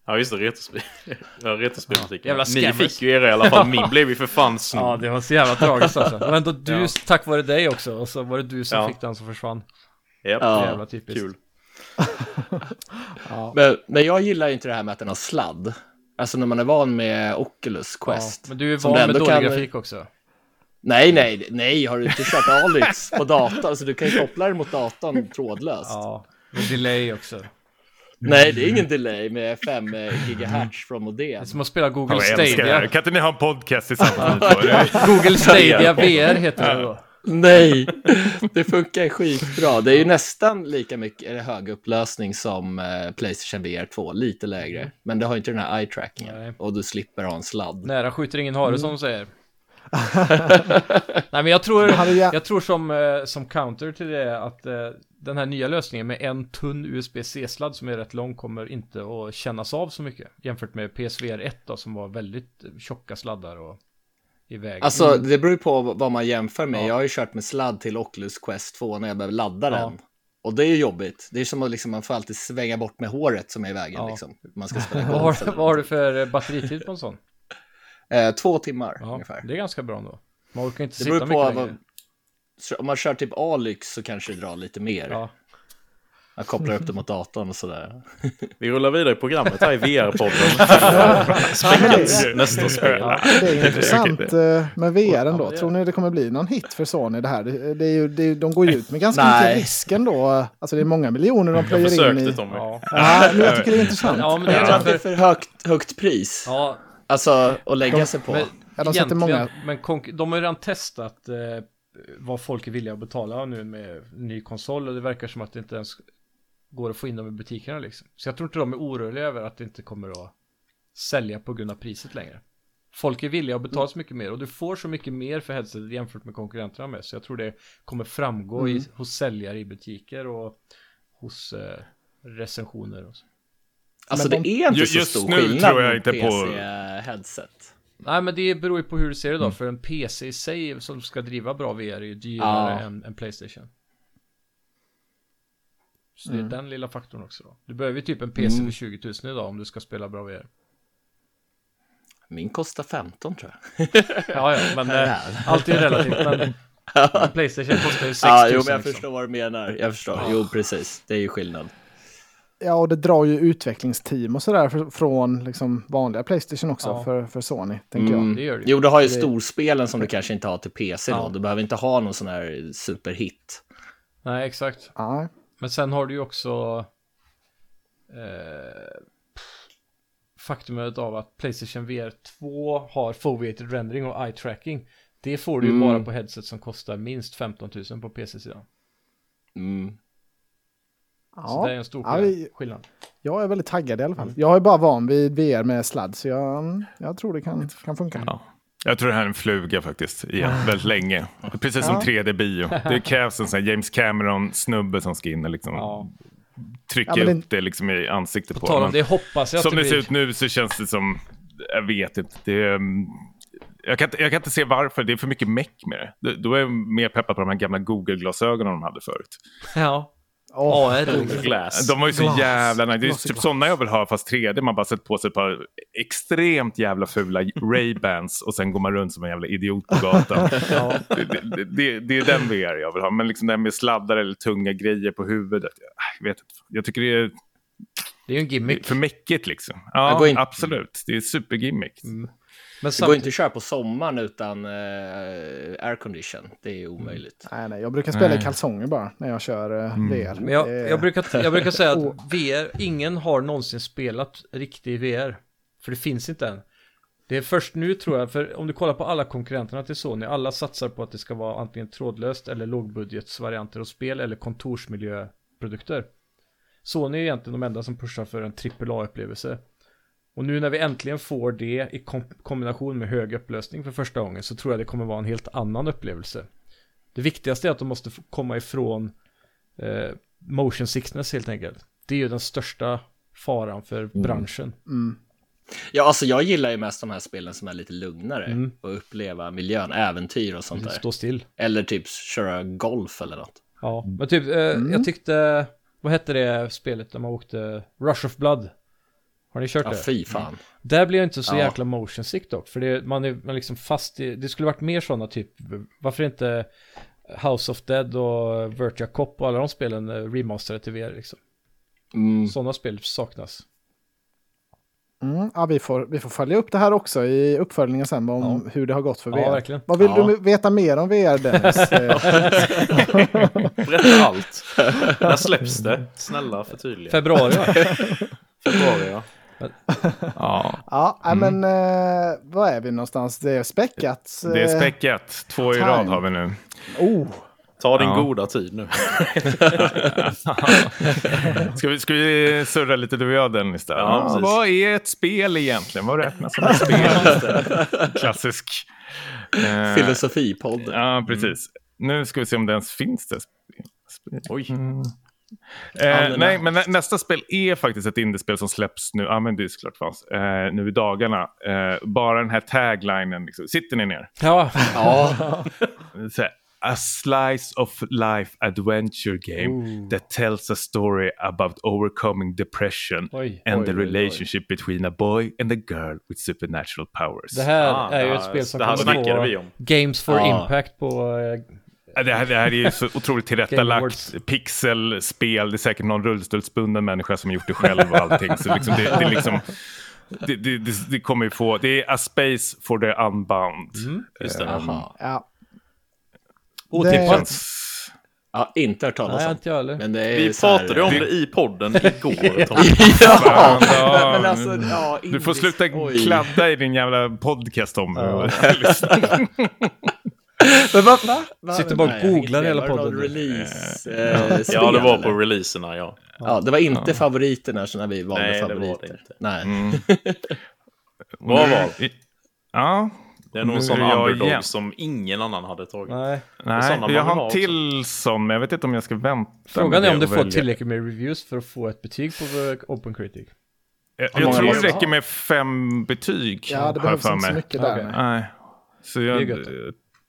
Speaker 5: ja just det. Retrospel. Ja, retrospelbutiken.
Speaker 2: Jävla
Speaker 5: Ni
Speaker 2: scammers.
Speaker 5: fick ju era i alla fall. Min blev ju för fan snodd.
Speaker 2: Ja, det var så jävla tragiskt alltså. Mm. Men då du,
Speaker 5: Ja.
Speaker 2: tack vare dig också, och så var det du som
Speaker 5: Ja.
Speaker 2: fick den som försvann.
Speaker 5: Japp,
Speaker 3: Ja.
Speaker 2: Jävla typiskt.
Speaker 5: Kul.
Speaker 3: men, men jag gillar ju inte det här med att den har sladd. Alltså när man är van med Oculus
Speaker 2: Ja,
Speaker 3: Quest.
Speaker 2: men du är
Speaker 3: Som
Speaker 2: van
Speaker 3: det
Speaker 2: med
Speaker 3: ändå
Speaker 2: dålig
Speaker 3: kan-
Speaker 2: grafik också.
Speaker 3: Nej, nej, nej, har du inte kört Alix på datorn? Så du kan ju koppla den mot datorn trådlöst.
Speaker 2: Ja, med delay också. Det
Speaker 3: Nej, det är ingen delay med 5 gigahertz från modem.
Speaker 2: är som att spela Google
Speaker 4: Jag älskar det här.
Speaker 2: Stadia.
Speaker 4: Kan inte ni ha en podcast tillsammans? ni två? Det-
Speaker 2: Google Stadia VR heter det då.
Speaker 3: Nej, det funkar ju skitbra. Det är ju nästan lika mycket eller hög upplösning som eh, Playstation VR 2, lite lägre. Men det har ju inte den här
Speaker 2: Mm. Nej.
Speaker 3: eye-trackingen och du slipper ha en sladd.
Speaker 2: Nära skjuter ingen hare som de säger. Nej men jag tror,
Speaker 1: hade jag-
Speaker 2: jag tror som, eh, som counter till det att eh, den här nya lösningen med en tunn USB-C-sladd som är rätt lång kommer inte att kännas av så mycket jämfört med PSVR 1 då som var väldigt eh, tjocka sladdar och i Mm. vägen.
Speaker 3: Alltså, det beror ju på vad man jämför med. Jag har ju kört med sladd till Oculus Quest 2 när jag behöver ladda den. Och det är ju jobbigt. Det är som att liksom, man får alltid svänga bort med håret som är i vägen.
Speaker 2: Ja.
Speaker 3: Liksom. Man ska spela
Speaker 2: vad,
Speaker 3: golf
Speaker 2: har,
Speaker 3: eller
Speaker 2: vad har du för eh, batteritid på en sån?
Speaker 3: Eh, två timmar
Speaker 2: Ja,
Speaker 3: ungefär.
Speaker 2: det är ganska bra ändå. Man orkar inte
Speaker 3: Det
Speaker 2: sitta
Speaker 3: beror
Speaker 2: mycket
Speaker 3: på
Speaker 2: längre.
Speaker 3: vad, så om man kör typ Alyx så kanske det drar lite mer.
Speaker 2: Ja.
Speaker 3: Man kopplar upp det mot datorn och sådär.
Speaker 5: Vi rullar vidare i programmet här i VR-podden. Späckats nästa spel.
Speaker 1: Det är intressant eh, med VR ändå.
Speaker 2: Ja, det är-
Speaker 1: Tror ni det kommer bli någon hit för Sony det här? Det, det är ju, det, är- de går ju ut med ganska
Speaker 3: Nej.
Speaker 1: mycket risk ändå. Alltså det är många miljoner de
Speaker 5: Jag
Speaker 1: plöjer in
Speaker 5: försökte
Speaker 1: i.
Speaker 5: Tommy.
Speaker 2: Ja.
Speaker 1: Ja, men jag tycker det är intressant.
Speaker 2: ja, men det är
Speaker 3: Jag tror att det är
Speaker 2: därför...
Speaker 3: för högt, högt pris.
Speaker 2: Ja,
Speaker 3: Alltså att lägga sig på.
Speaker 2: Men
Speaker 1: Ja, de sätter
Speaker 2: egentligen,
Speaker 1: många-
Speaker 2: men konk- de har ju redan testat eh, vad folk är villiga att betala nu med ny konsol och det verkar som att det inte ens går att få in dem i butikerna liksom. Så jag tror inte de är oroliga över att det inte kommer att sälja på grund av priset längre. Folk är villiga att betala så mycket mer och du får så mycket mer för headsetet jämfört med konkurrenterna med. Så jag tror det kommer framgå
Speaker 1: Mm.
Speaker 2: i, hos säljare i butiker och hos eh, recensioner och så.
Speaker 3: Alltså
Speaker 1: men
Speaker 3: det är inte
Speaker 4: Ju-
Speaker 3: så
Speaker 4: just
Speaker 3: stor
Speaker 4: nu
Speaker 3: skillnad
Speaker 4: tror jag
Speaker 3: mot
Speaker 4: inte på-
Speaker 3: PC-headset.
Speaker 2: Nej men det beror ju på hur du ser det då,
Speaker 3: Mm.
Speaker 2: för en PC i sig som ska driva bra VR är ju dyrare
Speaker 3: Ja.
Speaker 2: än, än Playstation. Så
Speaker 3: Mm.
Speaker 2: det är den lilla faktorn också då. Du behöver ju typ en PC för 20 000 idag om du ska spela bra VR.
Speaker 3: Min kostar 15 tror jag.
Speaker 2: Ja, ja, men eh,
Speaker 3: Jävlar.
Speaker 2: allt är ju relativt. Men, men Playstation kostar ju 6 000.
Speaker 3: Ja, Ah, jo, men jag
Speaker 2: liksom.
Speaker 3: förstår vad du menar. Jag förstår. Jo, precis. Det är ju skillnad.
Speaker 1: Ja, och det drar ju utvecklingsteam och sådär för- från liksom vanliga Playstation också
Speaker 2: Ja. Mm.
Speaker 1: för, för Sony, tänker
Speaker 2: Det
Speaker 1: jag.
Speaker 2: gör det ju.
Speaker 3: Jo, du har ju
Speaker 1: Det-
Speaker 3: storspelen som du kanske inte har till PC då.
Speaker 2: Ja.
Speaker 3: Du behöver inte ha någon sån här superhit.
Speaker 2: Nej, exakt.
Speaker 1: Ja,
Speaker 2: Men sen har du ju också eh, faktumet av att Playstation VR 2 har foveated rendering och eye tracking. Det får du ju bara på headset som kostar minst 15 000 på PC-sidan.
Speaker 3: Mm.
Speaker 2: Så
Speaker 1: ja.
Speaker 2: det är en stor
Speaker 1: Ja, vi-
Speaker 2: skillnad.
Speaker 1: jag är väldigt taggad i alla fall. Jag är bara van vid VR med sladd, så jag, jag tror det kan, kan funka.
Speaker 4: Ja. Jag tror det här är en fluga faktiskt, igen, väldigt länge. Precis som 3D-bio. Det krävs en sån här James Cameron-snubbe som ska in och liksom
Speaker 2: Ja.
Speaker 4: trycka
Speaker 1: Ja, men det-
Speaker 4: upp det liksom i ansiktet på,
Speaker 2: På tal
Speaker 4: Men
Speaker 2: om det hoppas jag att
Speaker 4: Som
Speaker 2: det
Speaker 4: det ser
Speaker 2: blir.
Speaker 4: ut nu så känns det som, jag vet inte. Det, är, mm, jag, kan, inte- jag kan inte se varför, det är för mycket meck med det. det. Då är jag mer peppad på de här gamla Google-glasögonen de hade förut.
Speaker 2: Ja.
Speaker 1: Åh,
Speaker 5: Google Glass.
Speaker 4: De var ju så
Speaker 1: Glas.
Speaker 4: jävla nice. Det är
Speaker 1: Glas i
Speaker 4: typ
Speaker 1: glas.
Speaker 4: sådana jag vill ha fast 3D. Man bara sätter på sig ett par extremt jävla fula Ray-Bans och sen går man runt som en jävla idiot på gatan. det, det, det, det är den VR jag vill ha. Men liksom den med sladdar eller tunga grejer på huvudet. Jag vet inte. Jag tycker det är
Speaker 2: Det är ju en gimmick.
Speaker 4: för
Speaker 2: Men
Speaker 4: mäckigt liksom.
Speaker 3: Jag
Speaker 4: Ja,
Speaker 3: går inte-
Speaker 4: absolut. Det är supergimmick.
Speaker 3: Det går
Speaker 2: samtidigt-
Speaker 3: inte att köra på sommaren utan eh, aircondition. Det är ju omöjligt.
Speaker 2: Mm.
Speaker 1: Nej, nej, jag brukar spela i kalsonger bara när jag kör eh, VR.
Speaker 2: Men jag,
Speaker 1: Det-
Speaker 2: jag, brukar, jag brukar säga att VR, ingen har någonsin spelat riktig VR. För det finns inte än. Det är först nu tror jag, för om du kollar på alla konkurrenterna till Sony, alla satsar på att det ska vara antingen trådlöst eller lågbudgetsvarianter av spel eller kontorsmiljöprodukter. Sony är egentligen de enda som pushar för en AAA-upplevelse. Och nu när vi äntligen får det i kom- kombination med hög upplösning för första gången så tror jag det kommer vara en helt annan upplevelse. Det viktigaste är att de måste f- komma ifrån eh, motion sickness helt enkelt. Det är ju den största faran för branschen.
Speaker 3: Ja, alltså jag gillar ju mest de här spelen som är lite lugnare och uppleva miljön, äventyr och sånt där.
Speaker 2: Mm. Stå still.
Speaker 3: Eller typ köra golf eller något.
Speaker 2: Ja, men typ, eh,
Speaker 3: Mm.
Speaker 2: jag tyckte, vad hette det spelet där man åkte, Rush of Blood? Har ni kört
Speaker 3: Ja,
Speaker 2: det?
Speaker 3: fy fan.
Speaker 2: Där blir jag inte så
Speaker 3: Ja.
Speaker 2: jäkla motion sick dock, för det, man är man är liksom fast i, det skulle varit mer sådana typ, varför inte House of Dead och Virtua Cop och alla de spelen eh, remasterade till VR liksom.
Speaker 3: Mm.
Speaker 2: Sådana spel saknas.
Speaker 1: Mm, ja, vi, får, vi får följa upp det här också i uppföljningen sen om hur det har gått för VR.
Speaker 2: Ja, verkligen.
Speaker 1: Vad vill
Speaker 3: Ja.
Speaker 1: du veta mer om VR Dennis? Eh,
Speaker 5: Berätta allt. När släpps det? Snälla förtydliga.
Speaker 2: Februari va?
Speaker 5: Februari, ja.
Speaker 4: Ja.
Speaker 1: ja, nej, men eh, var är vi någonstans? Det är späckat.
Speaker 4: Det är
Speaker 1: eh,
Speaker 4: späckat. Två i
Speaker 1: time.
Speaker 4: rad har vi nu.
Speaker 1: Oh,
Speaker 5: Ta din
Speaker 4: Ja.
Speaker 5: goda tid nu.
Speaker 4: Ska vi, ska vi surra lite du och jag Dennis? Där?
Speaker 5: Ja, precis.
Speaker 4: vad är ett spel egentligen? Vad räknas som ett spel? Klassisk. eh,
Speaker 3: Filosofipodden.
Speaker 4: Ja, precis.
Speaker 5: Mm.
Speaker 4: Nu ska vi se om det ens finns det. Sp-
Speaker 5: Oj.
Speaker 4: Eh,
Speaker 3: Alldeles.
Speaker 4: nej, men nä nästa spel är faktiskt ett indiespel som släpps nu. Ja, men det är såklart fanns. Eh, nu i dagarna. Eh, bara den här taglinen. Liksom. Sitter ni ner?
Speaker 2: Ja,
Speaker 3: Ja,
Speaker 4: Så här, A slice of life adventure game that tells a story about overcoming depression
Speaker 2: Oj,
Speaker 4: and
Speaker 2: oj,
Speaker 4: the
Speaker 2: oj, oj.
Speaker 4: relationship between a boy and a girl with supernatural powers.
Speaker 2: det här
Speaker 5: Ah,
Speaker 2: är ju
Speaker 5: ja,
Speaker 2: ett spel som
Speaker 5: det här
Speaker 2: kommer
Speaker 5: snackade
Speaker 2: få
Speaker 5: vi om.
Speaker 2: Games for
Speaker 3: Ja.
Speaker 2: Impact på eh,
Speaker 4: Ja, Det här, det här är ju så otroligt
Speaker 2: Game Awards.
Speaker 4: tillrättalagt pixelspel. Det är säkert någon rullstolsbunden människa som gjort det själv och allting. Så liksom det, det, är liksom, det, det, det, det kommer ju få... Det är A Space for the Unbound.
Speaker 2: Mm.
Speaker 5: Just det.
Speaker 3: aha.
Speaker 1: ja.
Speaker 4: Det
Speaker 1: Otippat.
Speaker 4: känns-
Speaker 3: Ja, inte hört talas
Speaker 2: Nej,
Speaker 3: om.
Speaker 2: inte jag heller.
Speaker 3: Men det är
Speaker 5: Vi
Speaker 3: så här-
Speaker 5: pratade om det i podden igår, Tom.
Speaker 4: Fan, ja.
Speaker 3: Men alltså, ja,
Speaker 4: Du får
Speaker 3: indisk-
Speaker 4: sluta
Speaker 3: Oj.
Speaker 4: kladda i din jävla podcast om ja.
Speaker 3: Men vad- va? Va?
Speaker 2: Sitter bara och
Speaker 3: Nej, jag
Speaker 2: googlar
Speaker 3: hänger inte med.
Speaker 2: hela
Speaker 3: Var det någon
Speaker 2: podden.
Speaker 3: Release, eh, spel,
Speaker 5: Ja, det var på
Speaker 3: eller?
Speaker 5: releaserna, ja.
Speaker 3: Ja, det var inte favoriterna så när vi valde
Speaker 5: Nej, det var det
Speaker 3: favoriter.
Speaker 5: inte.
Speaker 3: Nej,
Speaker 5: Mm. Bra val.
Speaker 4: Ja.
Speaker 5: Det är nog
Speaker 4: Nu
Speaker 5: en sån
Speaker 4: är jag
Speaker 5: underdog
Speaker 4: igen.
Speaker 5: som ingen annan hade tagit.
Speaker 2: Nej.
Speaker 4: Nej,
Speaker 5: såna man
Speaker 4: jag
Speaker 5: vill
Speaker 4: har
Speaker 5: ha
Speaker 4: en
Speaker 5: också.
Speaker 4: till sån, men jag vet inte om jag ska vänta. med
Speaker 2: Frågan
Speaker 4: det
Speaker 2: är om du
Speaker 4: och
Speaker 2: får
Speaker 4: välja.
Speaker 2: tillräckligt med reviews för att få ett betyg på eh, Open Critic.
Speaker 4: Jag,
Speaker 3: många
Speaker 4: jag tror det
Speaker 3: måste
Speaker 4: räcker med fem betyg.
Speaker 1: ja, det
Speaker 4: har jag
Speaker 1: behövs
Speaker 4: för
Speaker 1: inte så
Speaker 4: mig.
Speaker 1: mycket där.
Speaker 2: Okej.
Speaker 1: nej.
Speaker 4: Nej, så
Speaker 2: Det
Speaker 4: jag
Speaker 2: är gött.
Speaker 4: eh,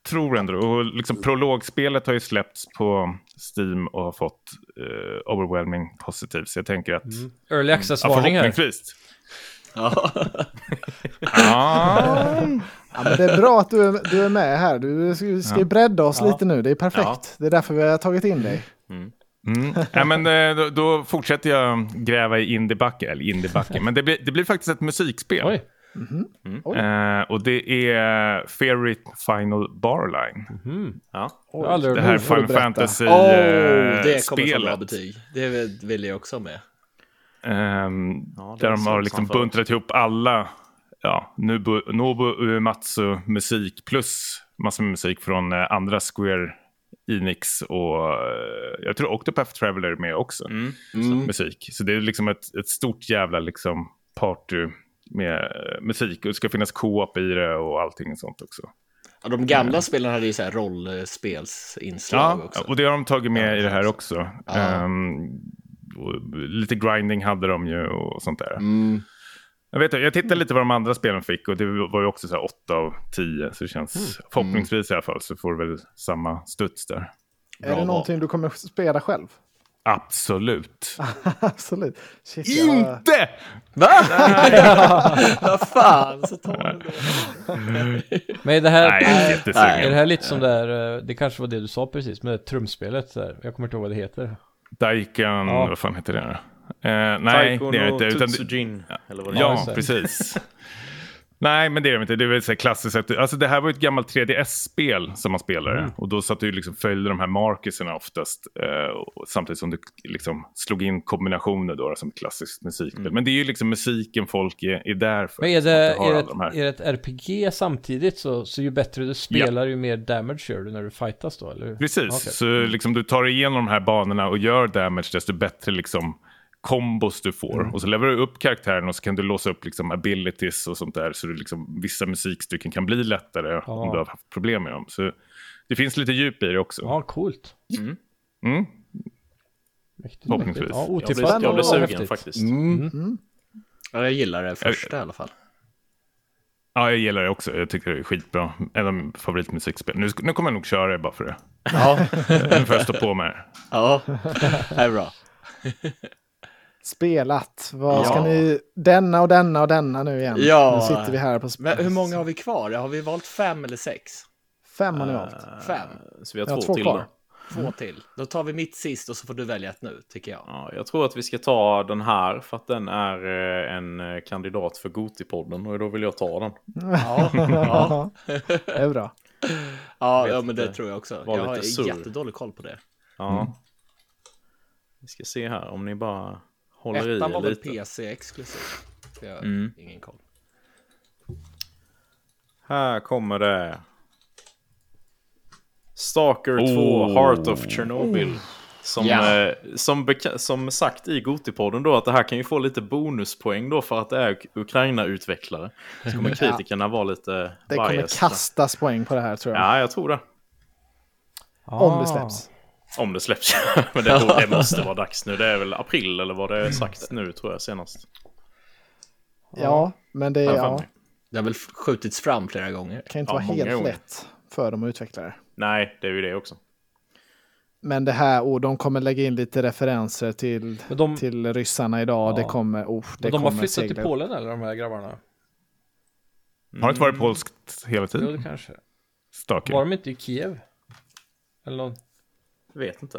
Speaker 4: tror ändå Och liksom prologspelet har ju släppts på Steam och har fått eh, overwhelming positivt. Så jag tänker att... Mm.
Speaker 2: Early access-varning här.
Speaker 4: förhoppningsvis. Ja.
Speaker 1: Ja, men det är bra att du, är- du är med här. Du ska, vi ska ju bredda oss lite nu. Det är perfekt. Det är därför vi har tagit in dig.
Speaker 4: Mm. Ja, men, eh, då, då fortsätter jag gräva i indiebacke, eller indiebacke, men det blir, det blir faktiskt ett musikspel.
Speaker 2: Oj.
Speaker 4: Eh, och det är Fairy Final Barline.
Speaker 5: Ja.
Speaker 2: Jag har aldrig
Speaker 4: Det
Speaker 2: hört
Speaker 4: här
Speaker 2: om.
Speaker 1: får du
Speaker 4: Final eh,
Speaker 1: berätta.
Speaker 4: Fantasy-spelet.
Speaker 3: Oh, det kommer få bra betyg. Det vill- vill jag också ha med.
Speaker 4: Ehm,
Speaker 5: Ja, det
Speaker 4: där
Speaker 5: är
Speaker 4: de har
Speaker 5: sånt
Speaker 4: liksom
Speaker 5: som förut.
Speaker 4: buntrat ihop alla ja, Nubu, Nobu Uematsu-musik plus massor med musik från eh, andra Square Enix och eh, jag tror Octopath Traveler är med också.
Speaker 5: Mm.
Speaker 4: Musik. Så det är liksom ett, ett stort jävla liksom party med eh, musik och det ska finnas co-op i det och allting sånt också.
Speaker 3: Ja, de gamla spelen hade ju så här rollspelsinslag
Speaker 4: Ja,
Speaker 3: också.
Speaker 4: och det har de tagit med
Speaker 3: Ja,
Speaker 4: i det här
Speaker 3: precis.
Speaker 4: också.
Speaker 3: Ja.
Speaker 4: Ehm, och lite grinding hade de ju och sånt där. Jag, vet, inte, jag tittade lite vad de andra spelen fick och det var ju också så här 8 av 10. Så det känns, förhoppningsvis i alla fall, så får du väl samma studs där.
Speaker 1: Är det någonting du kommer spela själv?
Speaker 4: Absolut.
Speaker 1: Absolut. Shit, jag har-
Speaker 4: Inte!
Speaker 3: Vad fan, så tar de det.
Speaker 2: Men är det här...
Speaker 4: Nej, jag är
Speaker 2: Är det
Speaker 4: jättesugen.
Speaker 2: här lite som det här, eh, det kanske var det du sa precis, med trumspelet där. Jag kommer inte ihåg vad det heter.
Speaker 4: Daikan,
Speaker 2: Ja.
Speaker 4: vad fan heter det? nu? Eh, nej, det är det inte. Utan, det-
Speaker 5: Tutsujin, eller vad det
Speaker 4: Ja,
Speaker 2: just det.
Speaker 4: precis. Nej, men det är det inte. Det är väl så här klassiskt. Att, alltså, det här var ju ett gammalt 3DS-spel som man spelade.
Speaker 2: Mm.
Speaker 4: Och då satt du ju liksom följde de här markerserna oftast. Eh, och, samtidigt som du liksom slog in kombinationer då, som ett klassiskt musikspel. Men det är ju liksom musiken folk är, är där för.
Speaker 2: Mm. Men är det,
Speaker 4: Att du har
Speaker 2: är det,
Speaker 4: alla
Speaker 2: ett,
Speaker 4: de här.
Speaker 2: är det ett RPG samtidigt så, så ju bättre du spelar ju mer damage gör du när du fightas då, eller hur?
Speaker 4: Precis,
Speaker 2: Okej. Mm.
Speaker 4: så liksom, du tar dig igenom de här banorna och gör damage desto bättre liksom kombos du får.
Speaker 2: Mm.
Speaker 4: Och så leverar du upp karaktären och så kan du låsa upp liksom abilities och sånt där. Så du liksom, vissa musikstycken kan bli lättare om du har haft problem med dem. Så det finns lite djup i det också.
Speaker 2: Ja, coolt.
Speaker 4: Mm.
Speaker 2: Mäktigt,
Speaker 4: Förhoppningsvis.
Speaker 2: mäktigt. Ja,
Speaker 4: Jag
Speaker 5: Jag
Speaker 2: otippat.
Speaker 5: blir, jag blir
Speaker 2: och
Speaker 5: sugen
Speaker 2: häftigt.
Speaker 5: faktiskt.
Speaker 3: Ja, jag gillar det första i alla fall.
Speaker 4: Ja, jag gillar det också. Jag tycker det är skitbra. En av mina favoritmusikspel. Nu, sk- nu kommer jag nog köra det bara för det.
Speaker 3: Ja,
Speaker 4: Nu får jag stå på med det.
Speaker 3: ja. det här är bra.
Speaker 1: Spelat. Vad
Speaker 3: Ja.
Speaker 1: ska ni... Denna och denna och denna nu igen.
Speaker 3: Ja.
Speaker 1: Nu sitter vi här på... sp-
Speaker 3: Men hur många har vi kvar? Har vi valt fem eller sex?
Speaker 1: Fem har ni valt.
Speaker 3: Fem?
Speaker 5: Eh, Så vi har
Speaker 1: Jag har
Speaker 5: två,
Speaker 1: två
Speaker 5: till
Speaker 1: kvar.
Speaker 5: då.
Speaker 3: Två till. Då tar vi mitt sist och så får du välja ett nu, tycker jag.
Speaker 5: Ja, jag tror att vi ska ta den här för att den är eh, en eh, kandidat för Gotipodden och då vill jag ta den.
Speaker 3: Ja, ja.
Speaker 1: Det är bra.
Speaker 3: ja,
Speaker 5: Vet
Speaker 3: ja men det
Speaker 5: inte.
Speaker 3: tror jag också.
Speaker 5: Var
Speaker 3: Jag
Speaker 5: lite sur.
Speaker 3: har jättedålig koll på det.
Speaker 5: Ja. Vi ska se här om ni bara håller
Speaker 3: Ettan
Speaker 5: i
Speaker 3: var
Speaker 5: er
Speaker 3: väl
Speaker 5: lite. Mm.
Speaker 3: PC-exklusiv? Så Jag har ingen koll.
Speaker 5: Här kommer det. Stalker
Speaker 1: Oh.
Speaker 5: 2, Heart of Chernobyl. Som,
Speaker 3: Ja.
Speaker 5: eh, som, beka- som sagt i Gotipodden då att det här kan ju få lite bonuspoäng då för att det är Uk- Ukraina-utvecklare. Så kommer kritikerna vara lite
Speaker 1: Det kommer
Speaker 5: biased.
Speaker 1: kastas poäng på det här tror jag.
Speaker 5: Ja, jag tror det.
Speaker 1: Om det släpps.
Speaker 5: Om det släpps. Men det, borde- det måste vara dags nu. Det är väl april eller vad det är sagt nu tror jag senast.
Speaker 1: Ja, men det är,
Speaker 5: Har jag för
Speaker 1: ja,
Speaker 5: mig.
Speaker 3: Det har väl skjutits fram flera gånger.
Speaker 1: kan inte
Speaker 5: Ja,
Speaker 1: vara
Speaker 5: många
Speaker 1: helt
Speaker 5: år.
Speaker 1: lätt för dem att utveckla det.
Speaker 5: Nej, det är ju det också.
Speaker 1: Men det här, och de kommer lägga in lite referenser till,
Speaker 2: Men de-
Speaker 1: till ryssarna idag. Det kommer, oh, det
Speaker 2: Men de har
Speaker 1: kommer
Speaker 2: flyttat till
Speaker 1: segla upp.
Speaker 2: Polen eller de här grabbarna?
Speaker 4: Har det inte varit polskt hela
Speaker 2: Jo, Mm. det
Speaker 4: tiden?
Speaker 2: kanske.
Speaker 4: Stalker.
Speaker 2: Var de inte i Kiev? Eller någon?
Speaker 5: Vet inte.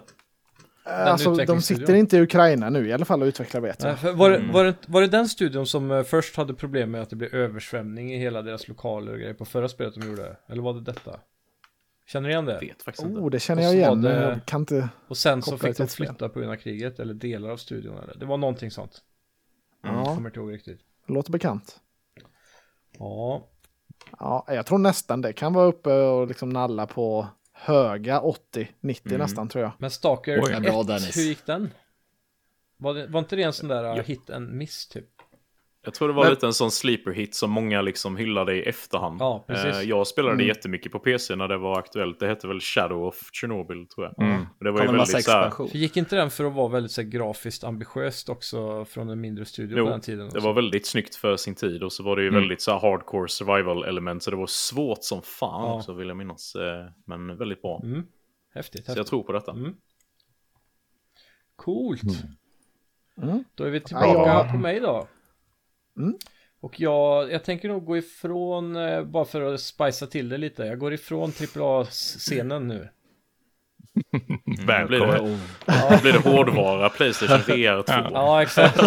Speaker 1: Eh, Alltså, de
Speaker 2: utvecklingsstudion?
Speaker 1: sitter inte i Ukraina nu i alla fall och utvecklar vet
Speaker 2: Nej,
Speaker 1: jag.
Speaker 2: för var, det, var, det, var det den studion som eh, först hade problem med att det blev översvämning i hela deras lokaler och grejer på förra spelet de gjorde? Eller var det detta? Känner ni igen det?
Speaker 5: Vet faktiskt inte.
Speaker 1: Oh, det känner
Speaker 2: Och
Speaker 1: jag
Speaker 2: så var
Speaker 1: igen. men
Speaker 2: det- Mm.
Speaker 1: Jag kan inte...
Speaker 2: Och sen så
Speaker 1: Kopplat
Speaker 2: fick
Speaker 1: till
Speaker 2: de
Speaker 1: ett spel.
Speaker 2: flytta på grund av kriget, eller delar av studion eller? Det var någonting sånt. Jag
Speaker 1: Ja,
Speaker 2: kommer inte ihåg riktigt.
Speaker 1: låter bekant.
Speaker 2: Ja,
Speaker 1: Ja, jag tror nästan det kan vara uppe och liksom nalla på höga 80-90
Speaker 2: Mm.
Speaker 1: nästan tror jag.
Speaker 2: men Stalker
Speaker 4: Oj.
Speaker 2: 1,
Speaker 3: Bra, Dennis.
Speaker 2: hur gick den? Var, det, var inte det en sån där uh, hit and miss typ?
Speaker 5: Jag tror det var lite en sån sleeper hit som många liksom hyllade i efterhand.
Speaker 2: Ja, precis.
Speaker 5: Eh, Jag spelade jättemycket på PC när det var aktuellt. Det hette väl Shadow of Chernobyl tror jag. Och Det var
Speaker 3: Kom
Speaker 5: ju
Speaker 3: en massa
Speaker 5: väldigt så här,
Speaker 3: expansion.
Speaker 2: För gick inte den för att vara väldigt så här, grafiskt ambitiöst också från en mindre studio på
Speaker 5: Jo,
Speaker 2: den tiden?
Speaker 5: det var väldigt snyggt för sin tid och så var det ju väldigt så här hardcore survival element så det var svårt som fan
Speaker 2: Ja. Mm.
Speaker 5: också vill jag minnas. Eh, Men väldigt bra.
Speaker 2: Häftigt,
Speaker 5: Så
Speaker 2: häftigt.
Speaker 5: jag tror Mm. på
Speaker 2: Mm.
Speaker 5: detta.
Speaker 2: Coolt.
Speaker 1: Mm.
Speaker 2: Då är vi
Speaker 1: Ja,
Speaker 2: tillbaka
Speaker 1: ja. Mm.
Speaker 2: på mig då. Och jag, jag tänker nog gå ifrån, eh, bara för att spicea till det lite, jag går ifrån AAA-scenen nu.
Speaker 5: Då blir det,
Speaker 4: Mm. Välkommen.
Speaker 5: då blir det hårdvara, Playstation VR 2.
Speaker 2: Ja, exakt.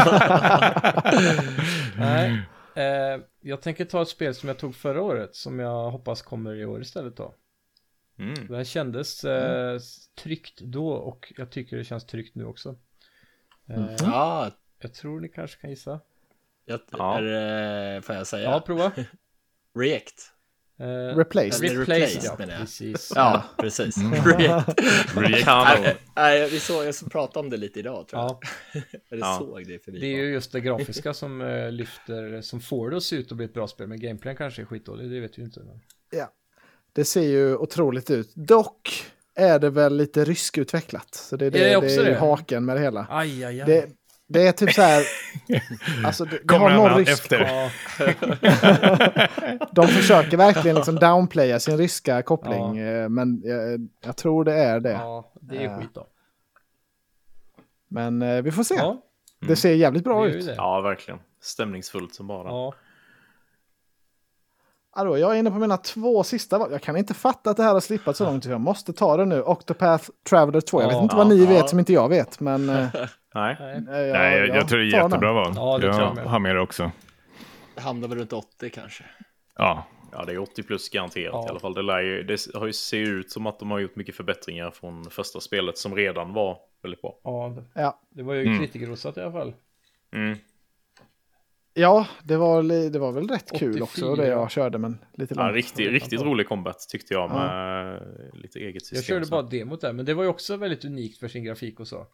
Speaker 2: Nej. Eh, jag tänker ta ett spel som jag tog förra året som jag hoppas kommer i år istället då.
Speaker 5: Mm.
Speaker 2: Det här kändes
Speaker 3: Mm.
Speaker 2: eh, tryggt då och jag tycker det känns tryggt nu också. Eh,
Speaker 3: Ja,
Speaker 2: jag tror ni kanske kan gissa.
Speaker 3: jag,
Speaker 5: Ja.
Speaker 3: Är, det- får jag säga?
Speaker 2: Ja, prova.
Speaker 3: React.
Speaker 2: Eh,
Speaker 1: Replaced.
Speaker 3: Eller
Speaker 2: Replaced,
Speaker 3: replaced,
Speaker 2: ja,
Speaker 3: menar jag.
Speaker 2: precis.
Speaker 3: Ja, precis. React.
Speaker 5: Mm. Kanon.
Speaker 3: Nej, nej, vi såg, jag pratade om det lite idag tror jag.
Speaker 2: Ja,
Speaker 3: Eller
Speaker 5: Ja.
Speaker 3: såg det förbi.
Speaker 2: det är ju just det grafiska som eh, lyfter, som får det att se ut att bli ett bra spel, men gameplayen kanske är skitdålig, det vet vi ju inte. Men...
Speaker 1: Det ser ju otroligt ut. Dock är det väl lite ryskutvecklat. Så det är, det,
Speaker 2: Är det
Speaker 1: det
Speaker 2: också
Speaker 1: är ju
Speaker 2: det?
Speaker 1: haken med det hela.
Speaker 2: Aj, aj, aj.
Speaker 1: Det, det är typ så här... Alltså, det, det har
Speaker 4: Kommer han
Speaker 1: någon rysk
Speaker 4: efter?
Speaker 2: Ja,
Speaker 1: De försöker verkligen liksom downplaya sin ryska koppling,
Speaker 2: Ja.
Speaker 1: eh, men jag, jag tror det är det.
Speaker 2: ja, det är
Speaker 1: Ja.
Speaker 2: skit då.
Speaker 1: Men eh, vi får se.
Speaker 2: Ja,
Speaker 1: Det
Speaker 4: Mm.
Speaker 1: ser jävligt
Speaker 2: det
Speaker 1: bra
Speaker 2: är ju
Speaker 1: ut.
Speaker 2: det.
Speaker 5: Ja, verkligen. Stämningsfullt som bara.
Speaker 2: Ja,
Speaker 1: Alltså, jag är inne på mina två sista val. Jag kan inte fatta att det här har slippat så långt. så Jag måste ta det nu. Octopath Traveler 2. Jag vet
Speaker 2: Ja.
Speaker 1: inte vad ni
Speaker 3: Ja.
Speaker 1: vet som inte jag vet, men... eh,
Speaker 5: Nej.
Speaker 2: nej.
Speaker 1: jag,
Speaker 4: Nej, jag, jag tror det är
Speaker 1: tar den.
Speaker 4: jättebra val.
Speaker 2: Ja, det
Speaker 4: jag
Speaker 2: tror jag med.
Speaker 4: har med det också.
Speaker 3: Hamnar väl runt 80 kanske.
Speaker 4: Ja.
Speaker 5: Ja, det är 80 plus garanterat
Speaker 2: Ja.
Speaker 5: i alla fall. Det, lär ju, det har ju ser ut som att de har gjort mycket förbättringar från första spelet som redan var väldigt bra.
Speaker 2: Ja,
Speaker 1: Ja.
Speaker 2: det var ju
Speaker 4: Mm.
Speaker 2: kritikerrosat i alla fall.
Speaker 1: Mm. Ja, det var, li- det var väl rätt kul också det
Speaker 2: 84.
Speaker 1: jag körde, men lite
Speaker 5: Ja,
Speaker 1: långt.
Speaker 5: riktigt, riktigt rolig combat tyckte jag med eh, lite eget system.
Speaker 2: Jag körde
Speaker 5: så.
Speaker 2: bara demot där, men det var ju också väldigt unikt för sin grafik och så.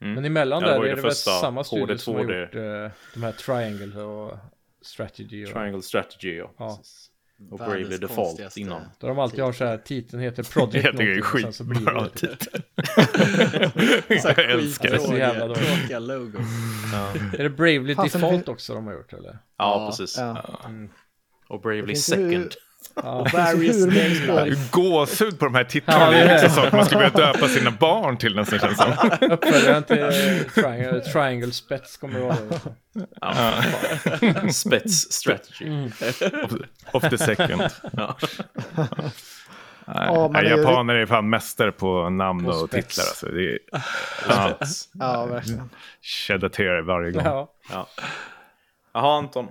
Speaker 5: Mm.
Speaker 2: Men emellan
Speaker 5: Ja, det
Speaker 2: där
Speaker 5: var ju
Speaker 2: är
Speaker 5: det
Speaker 2: det väl
Speaker 5: första
Speaker 2: samma studio
Speaker 5: 2D,
Speaker 2: som har
Speaker 5: 2D.
Speaker 2: gjort eh, de här Triangle och Strategy. Och,
Speaker 5: Triangle Strategy ja.
Speaker 2: Ja.
Speaker 5: precis. Och Bravely
Speaker 3: Världens
Speaker 5: Default
Speaker 3: konstigaste.
Speaker 5: innan.
Speaker 2: Där de alltid har så här, titeln heter Project
Speaker 4: Jag tycker det är
Speaker 2: någonting, och sen så blir det
Speaker 4: skitbra
Speaker 2: det.
Speaker 4: titel.
Speaker 3: Så här
Speaker 4: Jag älskar
Speaker 2: det.
Speaker 4: det.
Speaker 2: är så jävla dåligt.
Speaker 3: Tråkiga logos.
Speaker 2: Är det Bravely
Speaker 1: Fan, sen det
Speaker 2: Default
Speaker 1: fin-
Speaker 2: också de har gjort eller?
Speaker 5: Ja,
Speaker 3: Ja.
Speaker 5: precis.
Speaker 1: Ja. Mm.
Speaker 5: Och Bravely
Speaker 1: finns ju-
Speaker 5: Second.
Speaker 2: Ja,
Speaker 3: Various
Speaker 1: Hur mycket
Speaker 3: things.
Speaker 1: spel-
Speaker 4: Gåshud på de här titlarna.
Speaker 2: Ja, det
Speaker 4: det
Speaker 2: är
Speaker 4: är
Speaker 2: det.
Speaker 4: liksom saker man skulle vilja döpa sina barn till nästan känns som.
Speaker 2: uppföljaren till eh, Triangle, triangle Spets kommer det vara. då också.
Speaker 5: Spets Strategy.
Speaker 2: Mm.
Speaker 4: Of the second.
Speaker 5: Ja.
Speaker 4: Nej,
Speaker 1: Ja, men
Speaker 4: nej,
Speaker 1: det är-
Speaker 4: japaner är fan mästare på namn
Speaker 2: På
Speaker 4: och
Speaker 2: spets.
Speaker 4: titlar. Alltså. Det är
Speaker 5: Spets.
Speaker 1: Ja,
Speaker 4: Mm.
Speaker 1: verkligen.
Speaker 4: cheddar tear varje gång.
Speaker 2: Ja.
Speaker 5: Ja. Jaha, Anton.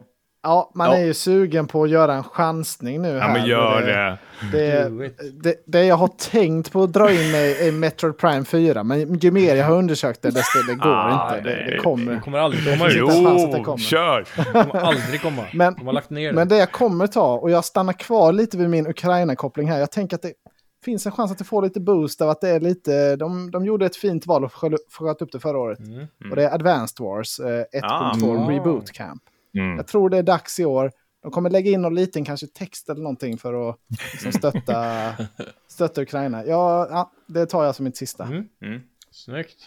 Speaker 1: Ja, man
Speaker 5: Ja.
Speaker 1: är ju sugen på att göra en chansning nu.
Speaker 4: Ja,
Speaker 1: här,
Speaker 4: men
Speaker 1: och
Speaker 4: gör det.
Speaker 1: Det,
Speaker 2: Do it.
Speaker 1: det, det jag har tänkt på att dra in mig är Metroid Prime 4, men ju mer jag har undersökt det, desto det går
Speaker 4: Ah,
Speaker 1: inte. Det,
Speaker 4: det-
Speaker 1: det
Speaker 2: Det
Speaker 1: kommer.
Speaker 2: kommer aldrig komma
Speaker 1: finns
Speaker 2: ut.
Speaker 1: inte en chans att det
Speaker 4: Jo,
Speaker 1: kommer.
Speaker 4: kör!
Speaker 2: Det kommer aldrig komma.
Speaker 1: Men-
Speaker 2: de har lagt ner det.
Speaker 1: Men det jag kommer ta, och jag stannar kvar lite vid min Ukraina-koppling här, jag tänker att det finns en chans att det får lite boost av att det är lite, de, de gjorde ett fint val och sköl- sköt upp det förra året. Och det är Advanced Wars eh, 1.2
Speaker 2: Ah.
Speaker 1: Reboot Camp.
Speaker 4: Mm.
Speaker 1: Jag tror det är dags i år. De kommer lägga in någon liten kanske text eller någonting för att liksom stötta, stötta Ukraina. Ja, ja, det tar jag som mitt sista.
Speaker 2: Snyggt.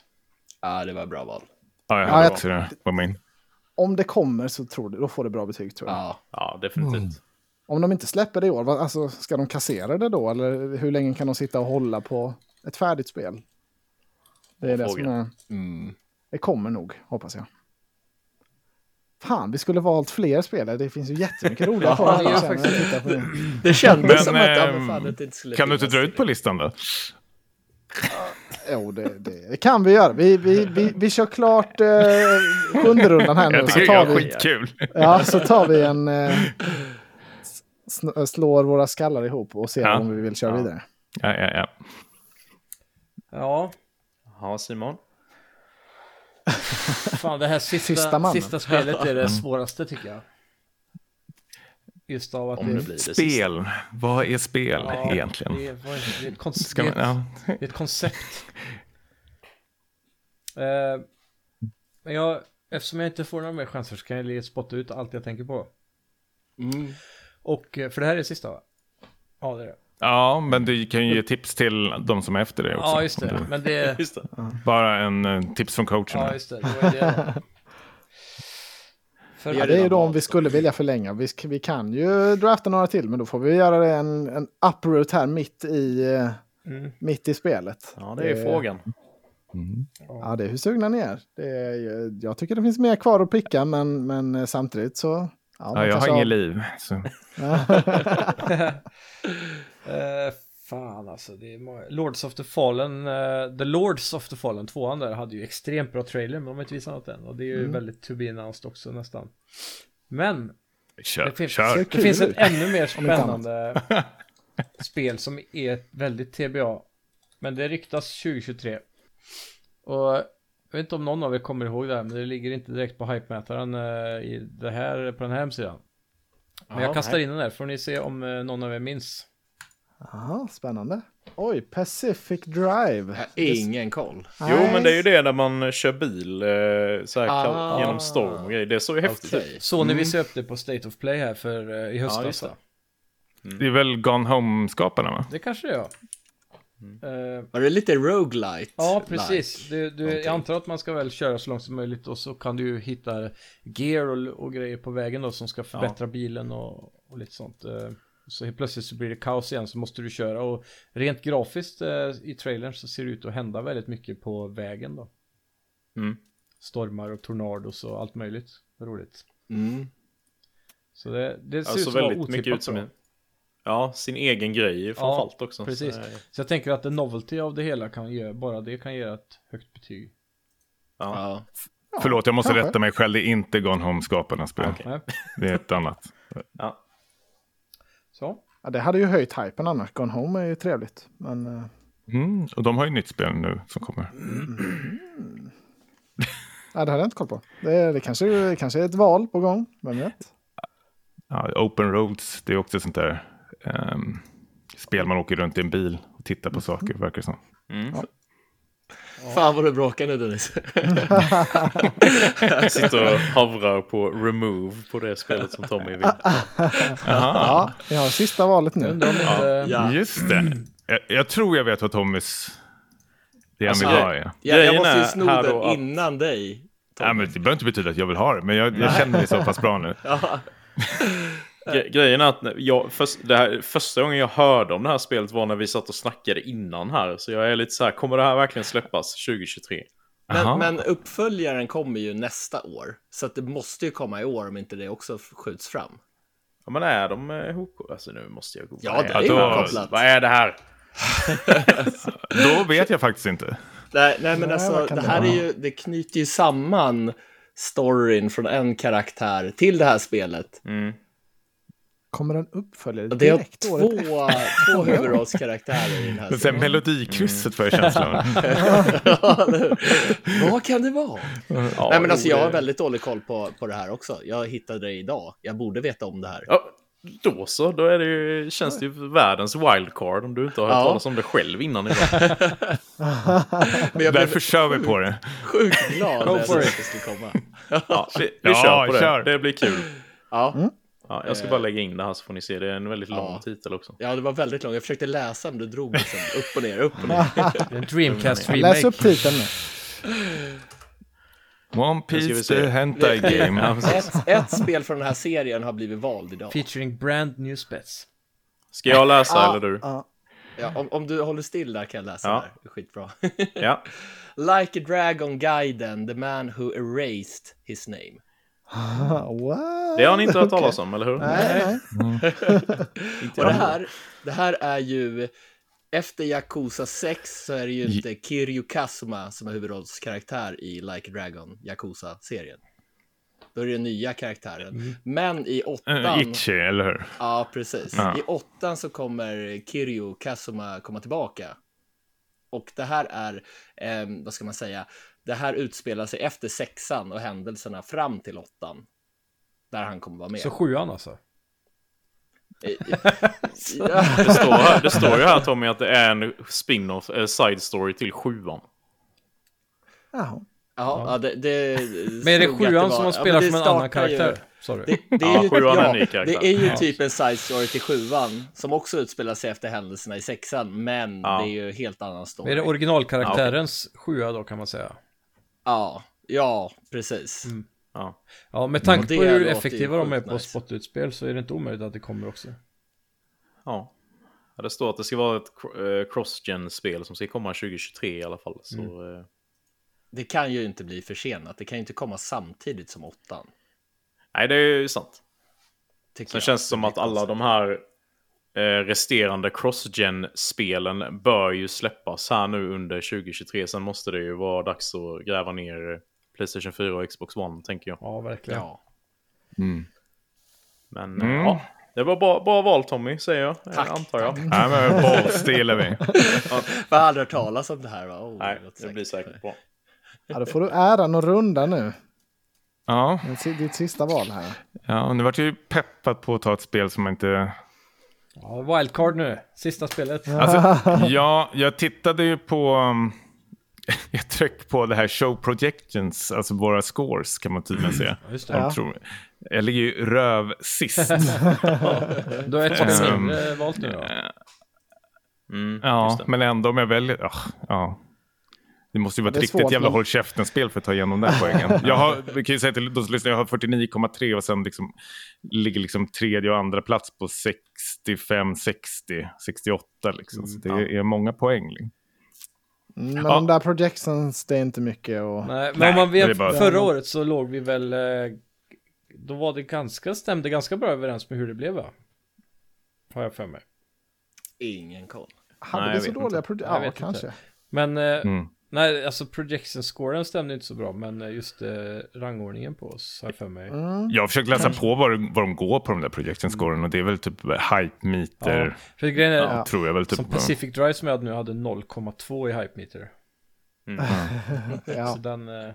Speaker 3: Ja, det var bra val.
Speaker 4: Ja, jag
Speaker 1: Ja,
Speaker 4: hade
Speaker 1: jag-
Speaker 4: också det på min.
Speaker 1: Om det kommer så tror det, då får det bra betyg tror jag.
Speaker 3: Ja,
Speaker 5: Ja, definitivt.
Speaker 2: Mm.
Speaker 1: Om de inte släpper det i år, vad- alltså, ska de kassera det då? Eller hur länge kan de sitta och hålla på ett färdigt spel? Det är
Speaker 5: Bra
Speaker 1: det som
Speaker 5: fråga.
Speaker 1: är...
Speaker 4: Mm.
Speaker 1: Det kommer nog, hoppas jag. Fan, vi skulle valt fler spelare. Det finns ju jättemycket roliga kvar.
Speaker 2: det gör
Speaker 1: här, känner jag,
Speaker 2: faktiskt
Speaker 1: när jag tittar på det.
Speaker 3: det kändes
Speaker 4: Men,
Speaker 3: som att ja, men
Speaker 4: ehm,
Speaker 3: fan, att det inte skulle
Speaker 4: Kan du inte
Speaker 3: finnas.
Speaker 4: dra ut på listan då?
Speaker 1: Jo, det, det, det kan vi göra. Vi, vi, vi, vi kör klart eh, sjunde rundan här nu.
Speaker 4: Jag
Speaker 1: Så
Speaker 4: tycker det
Speaker 1: tar
Speaker 4: är
Speaker 1: vi,
Speaker 4: skitkul.
Speaker 1: ja, så tar vi en... Eh, sn- slår våra skallar ihop och ser
Speaker 4: Ja.
Speaker 1: om vi vill köra vidare.
Speaker 4: Ja, ja, ja.
Speaker 2: Ja,
Speaker 5: Jaha, Simon.
Speaker 2: fan det här sista,
Speaker 1: Sista
Speaker 2: sista,
Speaker 1: mannen.
Speaker 2: spelet är
Speaker 4: Mm.
Speaker 2: det svåraste tycker jag. Just av att
Speaker 5: Om det blir det sista.
Speaker 4: Spel. Vad är spel
Speaker 2: Ja,
Speaker 4: egentligen?
Speaker 2: Det är, vad är det? Det är ett, kon-
Speaker 4: Ska man,
Speaker 2: det är ett,
Speaker 4: ja.
Speaker 2: det är ett koncept. Eh, men jag, eftersom jag inte får några mer chanser så kan jag li- spotta ut allt jag tänker på.
Speaker 1: Mm.
Speaker 2: Och, eh, för det här är sista va? Ja, det är det.
Speaker 4: ja, men du kan ju ge tips till de som är efter dig också. Mm.
Speaker 2: Ja, just
Speaker 4: Om
Speaker 2: det.
Speaker 4: du-
Speaker 2: Men det...
Speaker 5: Just det.
Speaker 4: Bara en eh, tips från coachen.
Speaker 2: Ja,
Speaker 4: här.
Speaker 2: just det. Det var ju det. då. För,
Speaker 1: Ja, det är ju då om vi skulle vilja förlänga. Vi, sk- vi kan ju drafta några till, men då får vi göra det en, en uproot här mitt i, eh, mitt i spelet.
Speaker 5: Mm. Ja, det är ju
Speaker 1: Eh,
Speaker 5: frågan.
Speaker 1: Ja, det är hur sugna ni är. Det är ju- jag tycker det finns mer kvar att picka, men, men eh, samtidigt så... Ja, man
Speaker 4: Ja, jag
Speaker 1: kanske
Speaker 4: har inget liv. Så.
Speaker 2: Eh, Fan alltså, det är många... Lords of the Fallen, eh, The Lords of the Fallen, tvåan där, hade ju extremt bra trailer, men de har inte visat något än. Och det är ju
Speaker 1: Mm.
Speaker 2: väldigt to be announced också nästan. Men
Speaker 4: Kör,
Speaker 2: det finns,
Speaker 4: kör.
Speaker 2: det finns ett ännu mer
Speaker 1: inte annat.
Speaker 2: spännande spel som är ett väldigt TBA. Men det ryktas 2023. Och jag vet inte om någon av er kommer ihåg det här, men det ligger inte direkt på hypemätaren eh, i det här, på den här hemsidan. Men jag kastar in den här, får ni se om eh, någon av er minns.
Speaker 1: Aha, spännande. Oj, Pacific Drive.
Speaker 3: Jag har ingen koll.
Speaker 5: Eh, Jo, men det är ju det när man kör bil eh, så här,
Speaker 3: Ah.
Speaker 5: genom storm och grejer. Det såg ju häftigt ut.
Speaker 3: Okej.
Speaker 2: Så när vi ser upp det på State of Play här för eh, i
Speaker 3: Ja,
Speaker 2: höstas.
Speaker 3: just
Speaker 2: då.
Speaker 3: det.
Speaker 4: Det är väl Gone Home-skaparna, va?
Speaker 2: det kanske det är. Eh,
Speaker 3: Var det lite roguelite?
Speaker 2: ja, precis. Du, du, jag
Speaker 3: någonting.
Speaker 2: antar att man ska väl köra så långt som möjligt och så kan du ju hitta gear och, och grejer på vägen då som ska förbättra bilen och, och lite sånt. Eh, Så helt plötsligt så blir det kaos igen så måste du köra och rent grafiskt eh, i trailern så ser det ut att hända väldigt mycket på vägen då.
Speaker 5: Mm.
Speaker 2: Stormar och tornados och allt möjligt. Roligt.
Speaker 3: Mm.
Speaker 2: Så det, det ser
Speaker 5: Alltså
Speaker 2: ut som att vara
Speaker 5: väldigt mycket
Speaker 2: otippat
Speaker 5: ut som
Speaker 2: bra.
Speaker 5: en, ja, sin egen grej framförallt också.
Speaker 2: Precis.
Speaker 5: Så,
Speaker 2: Så,
Speaker 5: eh,
Speaker 2: jag tänker att the novelty av det hela kan ge, bara det kan ge ett högt betyg.
Speaker 3: Ja.
Speaker 4: Förlåt, jag måste
Speaker 1: kanske.
Speaker 4: rätta mig själv. Det är inte Gone Home-skaparnas spel.
Speaker 2: Nej.
Speaker 4: Det är ett annat.
Speaker 5: ja.
Speaker 2: Så.
Speaker 1: Ja, det hade ju höjt hypen annars. Gone Home är ju trevligt. Men eh,
Speaker 4: Mm, och de har ju nytt spel nu som kommer.
Speaker 1: ja, det hade jag inte koll på. Det, det, kanske, det kanske är ett val på gång. Vem vet?
Speaker 4: Ja, Open Roads, det är också sånt där ehm, spel man åker runt i en bil och tittar
Speaker 2: Mhm.
Speaker 4: på saker, verkar det som.
Speaker 3: Fan vad du bråkar nu Dennis.
Speaker 1: Ehm,
Speaker 5: Jag sitter och havrar på remove på det spelet som Tommy vill.
Speaker 1: Ja, vi har sista valet nu.
Speaker 2: Undrar om inte...
Speaker 3: Ja.
Speaker 4: Just
Speaker 2: Mm.
Speaker 4: det. Jag, jag tror jag vet vad Tommys... Det han
Speaker 5: Alltså,
Speaker 4: vill
Speaker 5: det-
Speaker 4: ha är.
Speaker 3: Ja, jag
Speaker 5: Grejen
Speaker 3: måste ju
Speaker 5: är
Speaker 3: sno
Speaker 5: här
Speaker 3: den
Speaker 5: då att-
Speaker 3: innan dig.
Speaker 4: Ja, men det behöver inte betyda att jag vill ha det, men jag, jag känner mig så pass bra nu.
Speaker 5: Gre- Grejen är att när jag, först, det här, första gången jag hörde om det här spelet var när vi satt och snackade innan här. Så jag är lite så här, kommer det här verkligen släppas 2023?
Speaker 4: Aha.
Speaker 3: Men, men uppföljaren kommer ju nästa år. Så att det måste ju komma i år om inte det också skjuts fram.
Speaker 5: Ja men är de eh, ihop? Alltså nu måste jag gå.
Speaker 3: Ja,
Speaker 5: Vad
Speaker 3: det
Speaker 4: är
Speaker 5: här?
Speaker 3: ihopkopplat.
Speaker 5: Vad är det här?
Speaker 4: Då vet jag faktiskt inte.
Speaker 3: Nej, nej men
Speaker 1: Nej,
Speaker 3: alltså
Speaker 1: vad kan
Speaker 3: det
Speaker 1: det
Speaker 3: här
Speaker 1: vara?
Speaker 3: är ju, det knyter ju samman storyn från en karaktär till det här spelet.
Speaker 4: Mm.
Speaker 1: Kommer en uppföljare
Speaker 3: Och det är
Speaker 1: direkt
Speaker 3: två,
Speaker 1: året efter?
Speaker 3: två huvudrollskaraktärer i den här
Speaker 4: Men sen
Speaker 3: serien.
Speaker 4: melodikrysset får jag känslan av.
Speaker 3: Ja, eller hur? Vad kan det vara?
Speaker 5: Ja,
Speaker 3: nej men alltså
Speaker 5: jo,
Speaker 3: jag har
Speaker 5: det-
Speaker 3: väldigt dålig koll på, på det här också. Jag hittade det idag. Jag borde veta om det här.
Speaker 5: Ja, då så, då är det ju, känns det ju världens wildcard om du inte har hört
Speaker 3: Ja.
Speaker 5: talas om det själv innan idag.
Speaker 3: Men jag blev
Speaker 4: Därför kör vi på det.
Speaker 3: sjukt glad när
Speaker 2: for
Speaker 3: jag såg
Speaker 2: it.
Speaker 3: att det skulle komma.
Speaker 5: Ja, vi, vi
Speaker 4: Ja,
Speaker 5: kör på det,
Speaker 4: kör.
Speaker 5: det blir kul.
Speaker 3: Ja.
Speaker 5: Ja, jag ska bara lägga in det här så får ni se, det är en väldigt lång titel också.
Speaker 3: ja, det var väldigt långt. Jag försökte läsa men du drog liksom upp och ner, upp och ner.
Speaker 2: Det är en Dreamcast
Speaker 1: Läs
Speaker 2: remake.
Speaker 1: upp titeln nu.
Speaker 4: One
Speaker 5: ska vi
Speaker 4: Piece
Speaker 5: se.
Speaker 4: the Hentai Game.
Speaker 3: Ett, ett spel från den här serien har blivit vald idag.
Speaker 2: Featuring brand new spets.
Speaker 5: Ska jag läsa eller du?
Speaker 3: Ja, om, om du håller still där kan jag läsa
Speaker 5: Ja.
Speaker 3: där. Det är Skitbra.
Speaker 5: Ja.
Speaker 3: like a dragon guiden, the man who erased his name.
Speaker 1: Ah, What?
Speaker 5: Det har ni inte hört talas om, eller hur?
Speaker 1: Nej, nej.
Speaker 5: inte
Speaker 3: Och det
Speaker 5: jag.
Speaker 3: här, det här är ju... Efter Yakuza 6 så är det ju inte Kiryu Kazuma som är huvudrollskaraktär i Like a Dragon Yakuza-serien. Då är det den nya karaktären. Men i
Speaker 4: Eh,
Speaker 3: åttan...
Speaker 4: Itchy, eller hur?
Speaker 3: Ja, precis.
Speaker 4: Ja.
Speaker 3: I åttan så kommer Kiryu Kazuma komma tillbaka. Och det här är, eh, vad ska man säga, det här utspelar sig efter sexan och händelserna fram till åttan. Där han kommer vara med.
Speaker 2: Så sjuan alltså.
Speaker 3: Ja.
Speaker 5: Det, står här, det står ju här Tommy att det är en spin-off, eh, side story till sjuan.
Speaker 1: Jaha.
Speaker 3: Ja, ja, det, det,
Speaker 2: Men är det
Speaker 3: slog att
Speaker 2: sjuan som
Speaker 3: var-
Speaker 2: man
Speaker 3: ja, men
Speaker 2: spelar
Speaker 3: det
Speaker 2: som en annan
Speaker 3: startar ju-
Speaker 2: karaktär? Sa du?
Speaker 3: Det, det, är
Speaker 5: Ja,
Speaker 3: ju,
Speaker 5: sjuan är en ny
Speaker 3: ja, det
Speaker 5: karaktär.
Speaker 3: är ju
Speaker 2: Ja.
Speaker 3: typ en side story till sjuan som också utspelar sig efter händelserna i sexan, men
Speaker 5: Ja.
Speaker 3: det är ju helt annan story.
Speaker 2: Är det originalkaraktärens sjua då kan man säga?
Speaker 3: Ja, ja, precis.
Speaker 2: Mm.
Speaker 5: Ja.
Speaker 2: Ja, med
Speaker 3: Och
Speaker 2: tanke
Speaker 3: det typ
Speaker 2: på hur
Speaker 3: låter ju
Speaker 2: effektiva de är
Speaker 3: sjukt
Speaker 2: på
Speaker 3: nice.
Speaker 2: spotutspel så är det inte omöjligt att det kommer också.
Speaker 5: ja. Ja, Det står att det ska vara ett cro- eh, cross-gen-spel som ska komma 2023 i alla fall. Så, eh,
Speaker 3: Det kan ju inte bli försenat. Det kan ju inte komma samtidigt som åttan.
Speaker 5: Nej, det är ju sant.
Speaker 3: tycker
Speaker 5: Sen
Speaker 3: jag.
Speaker 5: känns det som att alla de här eh, resterande cross-gen-spelen bör ju släppas här nu under 2023. Sen måste det ju vara dags att gräva ner Playstation 4 och Xbox One, tänker jag.
Speaker 2: Ja, verkligen. Ja.
Speaker 5: Men eh, ja, det var bra, bra val Tommy, säger jag. eh,
Speaker 3: Tack,
Speaker 5: antar jag.
Speaker 4: Nej, men balls, det gillar vi.
Speaker 3: Jag har aldrig hört talas om det här va? Oh,
Speaker 5: Nej,
Speaker 3: låter
Speaker 5: det blir säkert bra.
Speaker 1: Ja, då får du äran att runda nu.
Speaker 4: Ja,
Speaker 1: Din si- Ditt sista val här.
Speaker 4: ja och nu vart jag ju peppad på att ta ett spel som man inte...
Speaker 2: wildcard nu. Sista spelet.
Speaker 4: Alltså, ja, jag tittade ju på... um, Jag tryck på det här show projections, alltså våra scores kan man
Speaker 5: Mm.
Speaker 4: tydligen se.
Speaker 2: Just det.
Speaker 4: Jag, tror, jag ligger ju röv sist.
Speaker 2: Du har ett spel
Speaker 4: Ehm,
Speaker 2: mindre valt nu då.
Speaker 5: Mm, just
Speaker 4: Ja,
Speaker 5: det.
Speaker 4: men ändå om jag väljer... ah, ja. Det måste ju vara
Speaker 1: Det är
Speaker 4: ett riktigt
Speaker 1: svårt,
Speaker 4: jävla
Speaker 1: men-
Speaker 4: håll käften-spel för att ta igenom den poängen. Jag har, vi kan ju säga till de som lyssnar, jag har 49,3 och sen liksom, ligger liksom tredje och andra plats på 65, 60, 68 liksom. Så det är många poäng.
Speaker 1: Mm, Men
Speaker 4: Ja.
Speaker 1: de där projections, det är inte mycket och...
Speaker 2: Nej, men
Speaker 4: nej,
Speaker 2: om man
Speaker 4: det är
Speaker 2: vet,
Speaker 4: bara-
Speaker 2: förra året så låg vi väl... eh, Då var det ganska, stämde ganska bra överens med hur det blev va? Har jag för mig.
Speaker 3: Ingen koll.
Speaker 1: Hade
Speaker 5: Nej,
Speaker 1: vi
Speaker 5: jag
Speaker 1: så
Speaker 5: vet
Speaker 1: dåliga
Speaker 2: Jag
Speaker 1: projections? Ja,
Speaker 2: vet
Speaker 1: kanske.
Speaker 2: Men eh,
Speaker 4: Mm.
Speaker 2: nej, alltså projection scoren stämde inte så bra, men eh, just eh, rangordningen på oss har jag för mig.
Speaker 1: Mm.
Speaker 4: Jag har försökt läsa på vad, vad de går på de där projection scoren och det är väl typ hype-meter,
Speaker 2: För grejen är,
Speaker 4: ja. tror jag väl. Typ.
Speaker 2: som Pacific Drive som jag hade nu hade 0,2 i hype meter.
Speaker 4: Mm.
Speaker 1: Ja.
Speaker 2: Så den... Eh,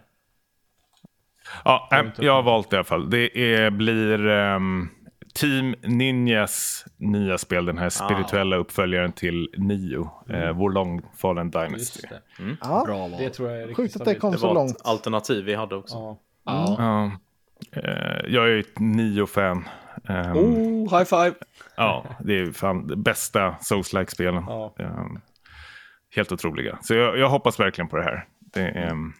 Speaker 4: Ja, nej, jag har valt det i alla fall. Det är, blir ehm, Team Ninjas nya spel,
Speaker 2: Ah.
Speaker 4: den här spirituella uppföljaren till Nio, eh, Vår långfallen Dynasty.
Speaker 2: Mm. just det.
Speaker 1: Ja.
Speaker 3: Bra val.
Speaker 2: det tror jag är riktigt
Speaker 1: Sjukt att det
Speaker 2: stabilt.
Speaker 1: kom
Speaker 5: Det
Speaker 1: så
Speaker 5: var
Speaker 1: långt.
Speaker 5: ett alternativ vi hade också.
Speaker 2: Ja.
Speaker 3: Ja.
Speaker 4: Ja. Eh, jag är ju ett Nio-fan. Ehm,
Speaker 1: Mm.
Speaker 3: Oh, high five!
Speaker 4: Ja, det är fan det bästa Souls-like-spelen.
Speaker 2: Ja.
Speaker 4: Ehm, helt otroliga. Så jag, jag hoppas verkligen på det här. Det är, ehm,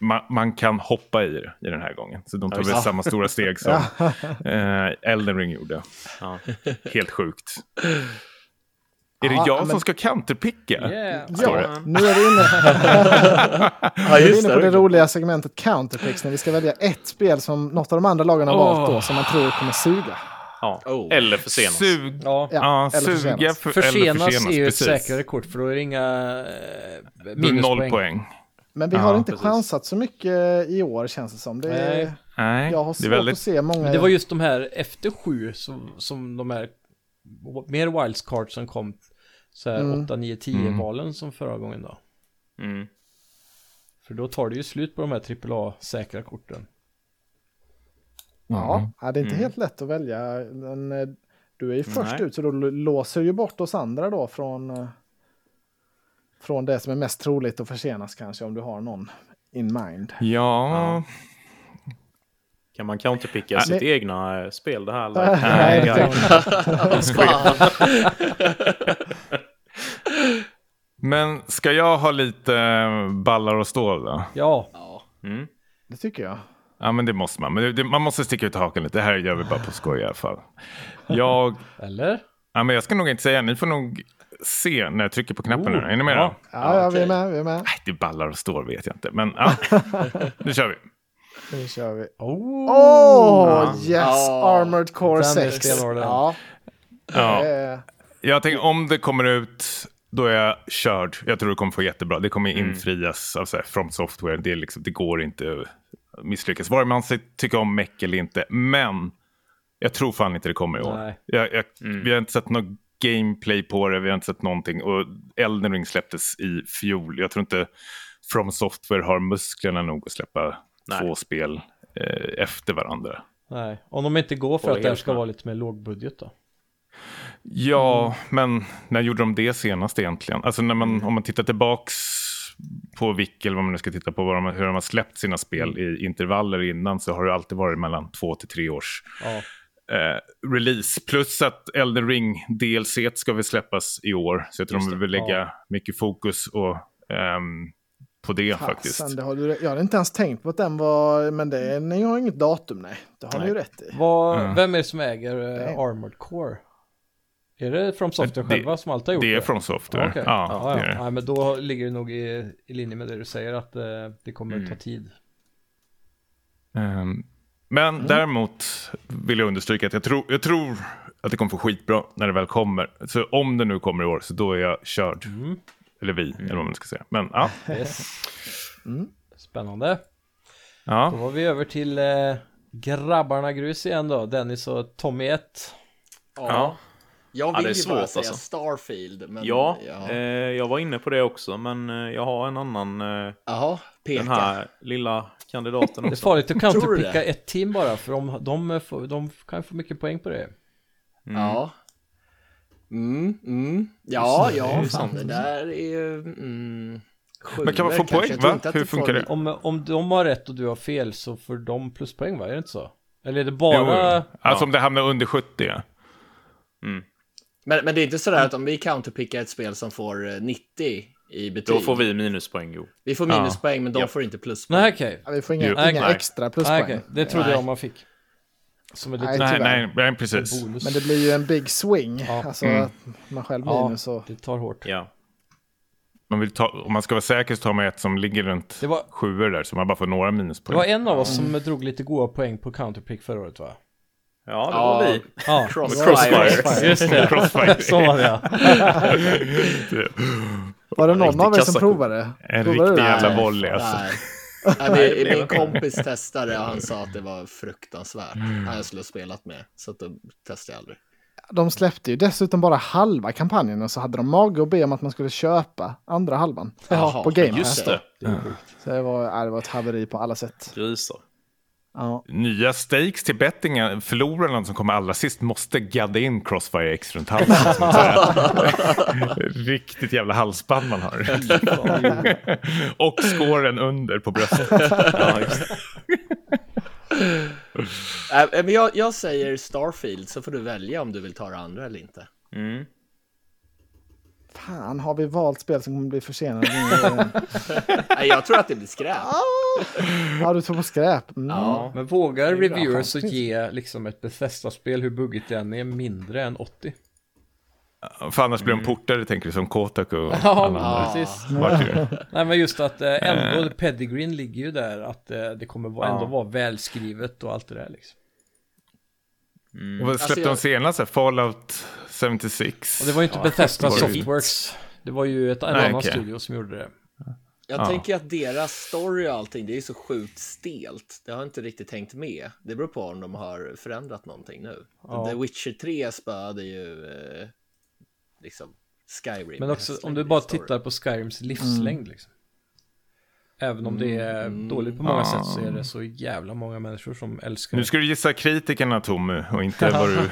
Speaker 4: ma man kan hoppa i det i den här gången. Så de tar väl samma stora steg som eh, Elden Ring gjorde.
Speaker 5: Ja.
Speaker 4: Helt sjukt. Är det
Speaker 1: Ja,
Speaker 4: jag
Speaker 1: men-
Speaker 4: som ska counterpicka?
Speaker 2: Yeah.
Speaker 4: Står
Speaker 1: Ja,
Speaker 4: det.
Speaker 1: nu är vi inne,
Speaker 3: Ja,
Speaker 1: nu är vi inne på det roliga segmentet Counterpicks när vi ska välja ett spel som något av de andra lagen har valt då som man tror kommer suga.
Speaker 5: Ja.
Speaker 3: Oh.
Speaker 5: Eller försenas.
Speaker 4: Sug...
Speaker 2: Ja.
Speaker 4: Ja,
Speaker 1: eller
Speaker 4: suga
Speaker 1: försenas.
Speaker 4: för, eller
Speaker 2: Försenas
Speaker 4: försenas
Speaker 2: är ju ett
Speaker 4: precis.
Speaker 2: säkrare kort för då är det inga eh,
Speaker 4: Du
Speaker 2: minuspoäng.
Speaker 4: noll poäng.
Speaker 1: Men vi
Speaker 4: Ja,
Speaker 1: har inte
Speaker 5: precis.
Speaker 1: chansat så mycket i år känns det som. Det
Speaker 2: Nej.
Speaker 1: är,
Speaker 4: Nej,
Speaker 1: jag har
Speaker 4: det är
Speaker 1: svårt
Speaker 4: väldigt
Speaker 1: att se många.
Speaker 2: Men det var just de här efter sju som, som de här mer wildcards som kom så här 8, 9, 10 valen som förra gången då.
Speaker 5: Mm.
Speaker 2: För då tar det ju slut på de här AAA säkra korten.
Speaker 1: ja, ja, det är inte helt lätt att välja. Men, eh, du är ju först
Speaker 5: Nej.
Speaker 1: ut så då l- låser ju bort oss andra då från, eh, från det som är mest troligt att försenas kanske om du har någon in mind.
Speaker 4: Ja,
Speaker 5: Kan man counterpicka sitt
Speaker 1: det-
Speaker 5: egna eh, spel det här? Eller?
Speaker 1: Nej, det
Speaker 4: jag-
Speaker 1: kan man inte.
Speaker 4: men ska jag ha lite eh, ballar och stål då?
Speaker 2: Ja,
Speaker 1: det tycker jag.
Speaker 4: Ja, men det måste man. Men det, det, man måste sticka ut hakan lite. Det här gör vi bara på skoj i alla fall. Jag,
Speaker 2: eller?
Speaker 4: ja, men jag ska nog inte säga. Ni får nog se när jag trycker på knappen nu. Är ni med? då?
Speaker 1: Ja, ja vi är med, vi är med.
Speaker 4: Nej, det ballar och står vet jag inte. Men ja, nu kör vi.
Speaker 1: Nu kör vi.
Speaker 2: Oh,
Speaker 1: Åh, yes!
Speaker 3: Ja.
Speaker 1: Armored Core
Speaker 2: Den är
Speaker 1: 6.
Speaker 2: stenhård, den.
Speaker 1: Ja, Eh,
Speaker 4: Ja,
Speaker 1: det är-
Speaker 4: jag tänker om det kommer ut, då är jag körd. Jag tror det kommer få jättebra. Det kommer infrias av så här, From Software. Det, är liksom, det går inte att misslyckas. Vare man sig tycker om meck eller inte. Men jag tror fan inte det kommer i år.
Speaker 2: Nej.
Speaker 4: Jag, jag, Vi har inte sett något gameplay på det. Vi har inte sett någonting. Och Elden Ring släpptes i fjol. Jag tror inte From Software har musklerna nog att släppa
Speaker 5: Nej.
Speaker 4: två spel eh, efter varandra.
Speaker 2: nej. Om de inte går för
Speaker 5: Håller
Speaker 2: att det här
Speaker 5: helt
Speaker 2: ska
Speaker 5: med.
Speaker 2: vara lite mer lågbudget då. Mm.
Speaker 4: Ja, men när gjorde de det senast egentligen? Alltså när man, om man tittar tillbaks på Wick eller vad man nu ska titta på, vad de, hur de har släppt sina spel
Speaker 2: Mm.
Speaker 4: i intervaller innan så har det alltid varit mellan två till tre års
Speaker 2: Ja,
Speaker 4: eh, release. Plus att Elden Ring DLC t ska väl släppas i år, så jag tror de vill lägga mycket fokus och, ehm, på det
Speaker 1: Fasen,
Speaker 4: faktiskt.
Speaker 1: det har du, jag hade inte ens tänkt på att den var, men det, ni har inget datum nej. Det har ni ju rätt i.
Speaker 2: Vad, Vem är det som äger eh,
Speaker 1: Nej.
Speaker 2: Armored Core? Är det From Software
Speaker 4: Det-
Speaker 2: själva som alltid har gjort det?
Speaker 4: Det är från Software.
Speaker 2: Okej.
Speaker 4: Ja,
Speaker 2: ja,
Speaker 4: Det är
Speaker 2: ja.
Speaker 4: det.
Speaker 2: Nej, men då ligger det nog i, i linje med det du säger att eh, det kommer ta tid. Mm.
Speaker 4: Ehm, Men däremot vill jag understryka att jag tror, jag tror Att det kommer få skitbra när det väl kommer. Så om det nu kommer i år, så då är jag körd.
Speaker 2: Mm.
Speaker 4: Eller vi, eller vad man ska säga. Men ja.
Speaker 2: Yes. Mm. Spännande. Då
Speaker 4: ja.
Speaker 2: var vi över till eh, grabbarna grus igen då. Dennis och Tommy 1.
Speaker 5: Ja.
Speaker 3: Jag vill
Speaker 5: Ja, det är
Speaker 3: ju bara
Speaker 5: svårt,
Speaker 3: säga
Speaker 5: alltså.
Speaker 3: Starfield, men...
Speaker 5: Ja,
Speaker 3: ja.
Speaker 5: Eh, jag var inne på det också, men eh, jag har en annan, eh,
Speaker 3: Jaha, peka.
Speaker 5: den här lilla kandidaten
Speaker 2: Det är
Speaker 5: också.
Speaker 2: farligt att
Speaker 3: Tror du
Speaker 2: counterpicka
Speaker 3: det?
Speaker 2: ett team bara för de, de, får- de kan ju få mycket poäng på det.
Speaker 3: Ja. Mm, mm. Ja,
Speaker 5: det, det är
Speaker 3: ja,
Speaker 5: ju
Speaker 3: fan
Speaker 5: sant.
Speaker 3: det där är ju...
Speaker 4: Men
Speaker 3: Mm,
Speaker 4: kan man
Speaker 3: sjuor
Speaker 4: få
Speaker 3: kanske.
Speaker 4: poäng,
Speaker 3: Jag tror
Speaker 4: va?
Speaker 3: inte att
Speaker 4: Hur
Speaker 3: du får-
Speaker 4: funkar det?
Speaker 2: Om, om de har rätt och du har fel så får de pluspoäng va? Är det inte så? Eller är det bara...
Speaker 4: Jo. Alltså om det hamnar under 70. ja.
Speaker 3: Men, men det är inte
Speaker 5: Mm.
Speaker 3: sådär att om vi counterpickar ett spel som får eh, 90 i betyg.
Speaker 5: Då får vi minuspoäng, jo.
Speaker 3: Vi får minuspoäng, men de får inte pluspoäng.
Speaker 2: Nej okej.
Speaker 1: Ja, Vi får inga,
Speaker 4: Jo.
Speaker 1: inga
Speaker 2: Nej.
Speaker 1: extra
Speaker 2: Nej,
Speaker 1: pluspoäng.
Speaker 2: okej. Det trodde
Speaker 3: Nej.
Speaker 2: jag man fick. Som ett
Speaker 1: Nej,
Speaker 2: litet
Speaker 4: Nej,
Speaker 1: tyvärr.
Speaker 4: nej, nej, precis.
Speaker 2: bonus.
Speaker 1: Men det blir ju en big swing.
Speaker 2: Ja.
Speaker 1: Alltså
Speaker 4: Mm.
Speaker 1: att man själv
Speaker 2: Ja,
Speaker 1: minus och...
Speaker 2: det tar hårt.
Speaker 5: Ja.
Speaker 4: Man vill ta, om man ska vara säker så tar man ett som ligger runt
Speaker 2: Det var-
Speaker 4: sjuor där. Så man bara får några
Speaker 2: Det
Speaker 4: minuspoäng.
Speaker 2: var en av oss som drog lite goda poäng på counterpick förra året va?
Speaker 5: Ja, det
Speaker 3: Ja.
Speaker 5: var vi.
Speaker 2: Ja,
Speaker 3: Crossfire.
Speaker 5: Crossfire.
Speaker 2: just det.
Speaker 4: Crossfire.
Speaker 2: Så var det ja.
Speaker 1: Var det någon
Speaker 5: riktig
Speaker 1: av er som
Speaker 5: kassako.
Speaker 1: provade?
Speaker 4: En
Speaker 1: Provade du
Speaker 4: riktig
Speaker 1: det?
Speaker 4: jävla
Speaker 3: Nej.
Speaker 4: volley alltså.
Speaker 3: Nej. Nej,
Speaker 5: det
Speaker 3: min,
Speaker 5: blev
Speaker 3: min
Speaker 5: okej.
Speaker 3: kompis testade och han sa att det var fruktansvärt.
Speaker 5: Mm.
Speaker 3: Han jag skulle ha spelat med, så att då testade jag aldrig.
Speaker 1: De släppte ju dessutom bara halva kampanjen och så hade de mage att be om att man skulle köpa andra halvan.
Speaker 3: Jaha,
Speaker 1: på Game Pass.
Speaker 3: just det.
Speaker 1: Så det var, ja, det var ett haveri på alla sätt.
Speaker 5: Grisar.
Speaker 1: Ja.
Speaker 4: Nya stakes till bettingen. Förlorarna som kommer allra sist måste gadda in Crossfire X runt halsen. som ett så här- Riktigt jävla halsband man har. Och skåren under på bröstet.
Speaker 5: Ja, just det.
Speaker 3: Äh, men jag, jag säger Starfield, så får du välja om du vill ta det andra eller inte.
Speaker 5: Mm.
Speaker 1: Fan, har vi valt spel som kommer bli försenade? Mm.
Speaker 3: Nej, jag tror att det blir skräp.
Speaker 1: ja, du tror på skräp. Mm.
Speaker 3: Ja.
Speaker 2: Men vågar
Speaker 1: Det är bra
Speaker 2: reviewers att
Speaker 1: chanser.
Speaker 2: ge liksom ett Bethesda-spel, hur buggigt det än är, mindre än 80?
Speaker 4: För annars blir de portade tänker vi som Kotaku. och
Speaker 2: Ja,
Speaker 4: alla andra.
Speaker 2: precis.
Speaker 4: Vart är-
Speaker 2: Nej, men just att eh, ändå pedigreen ligger ju där, att eh, det kommer vara, ändå
Speaker 5: Ja.
Speaker 2: vara välskrivet och allt det där liksom. Mm.
Speaker 4: Och vad släppte de
Speaker 3: jag-
Speaker 4: senast? Fallout 76?
Speaker 2: Alltså, Och det var ju inte Bethesda
Speaker 4: det var det.
Speaker 2: Softworks, det var ju ett, en
Speaker 4: Nej,
Speaker 2: annan
Speaker 4: okej.
Speaker 2: studio som gjorde det.
Speaker 3: Jag tänker att deras story och allting, det är så sjukt stelt. Det har jag inte riktigt tänkt med. Det beror på om de har förändrat någonting nu. The Witcher 3 spöade ju eh, liksom Skyrim.
Speaker 2: Men också
Speaker 3: Hästlängd
Speaker 2: om du
Speaker 3: i
Speaker 2: bara
Speaker 3: story.
Speaker 2: tittar på Skyrims livslängd liksom. Även om det är dåligt på många sätt så är det så jävla många människor som älskar
Speaker 4: Nu
Speaker 2: det.
Speaker 4: ska du gissa kritikerna, Tommy, och inte vad du...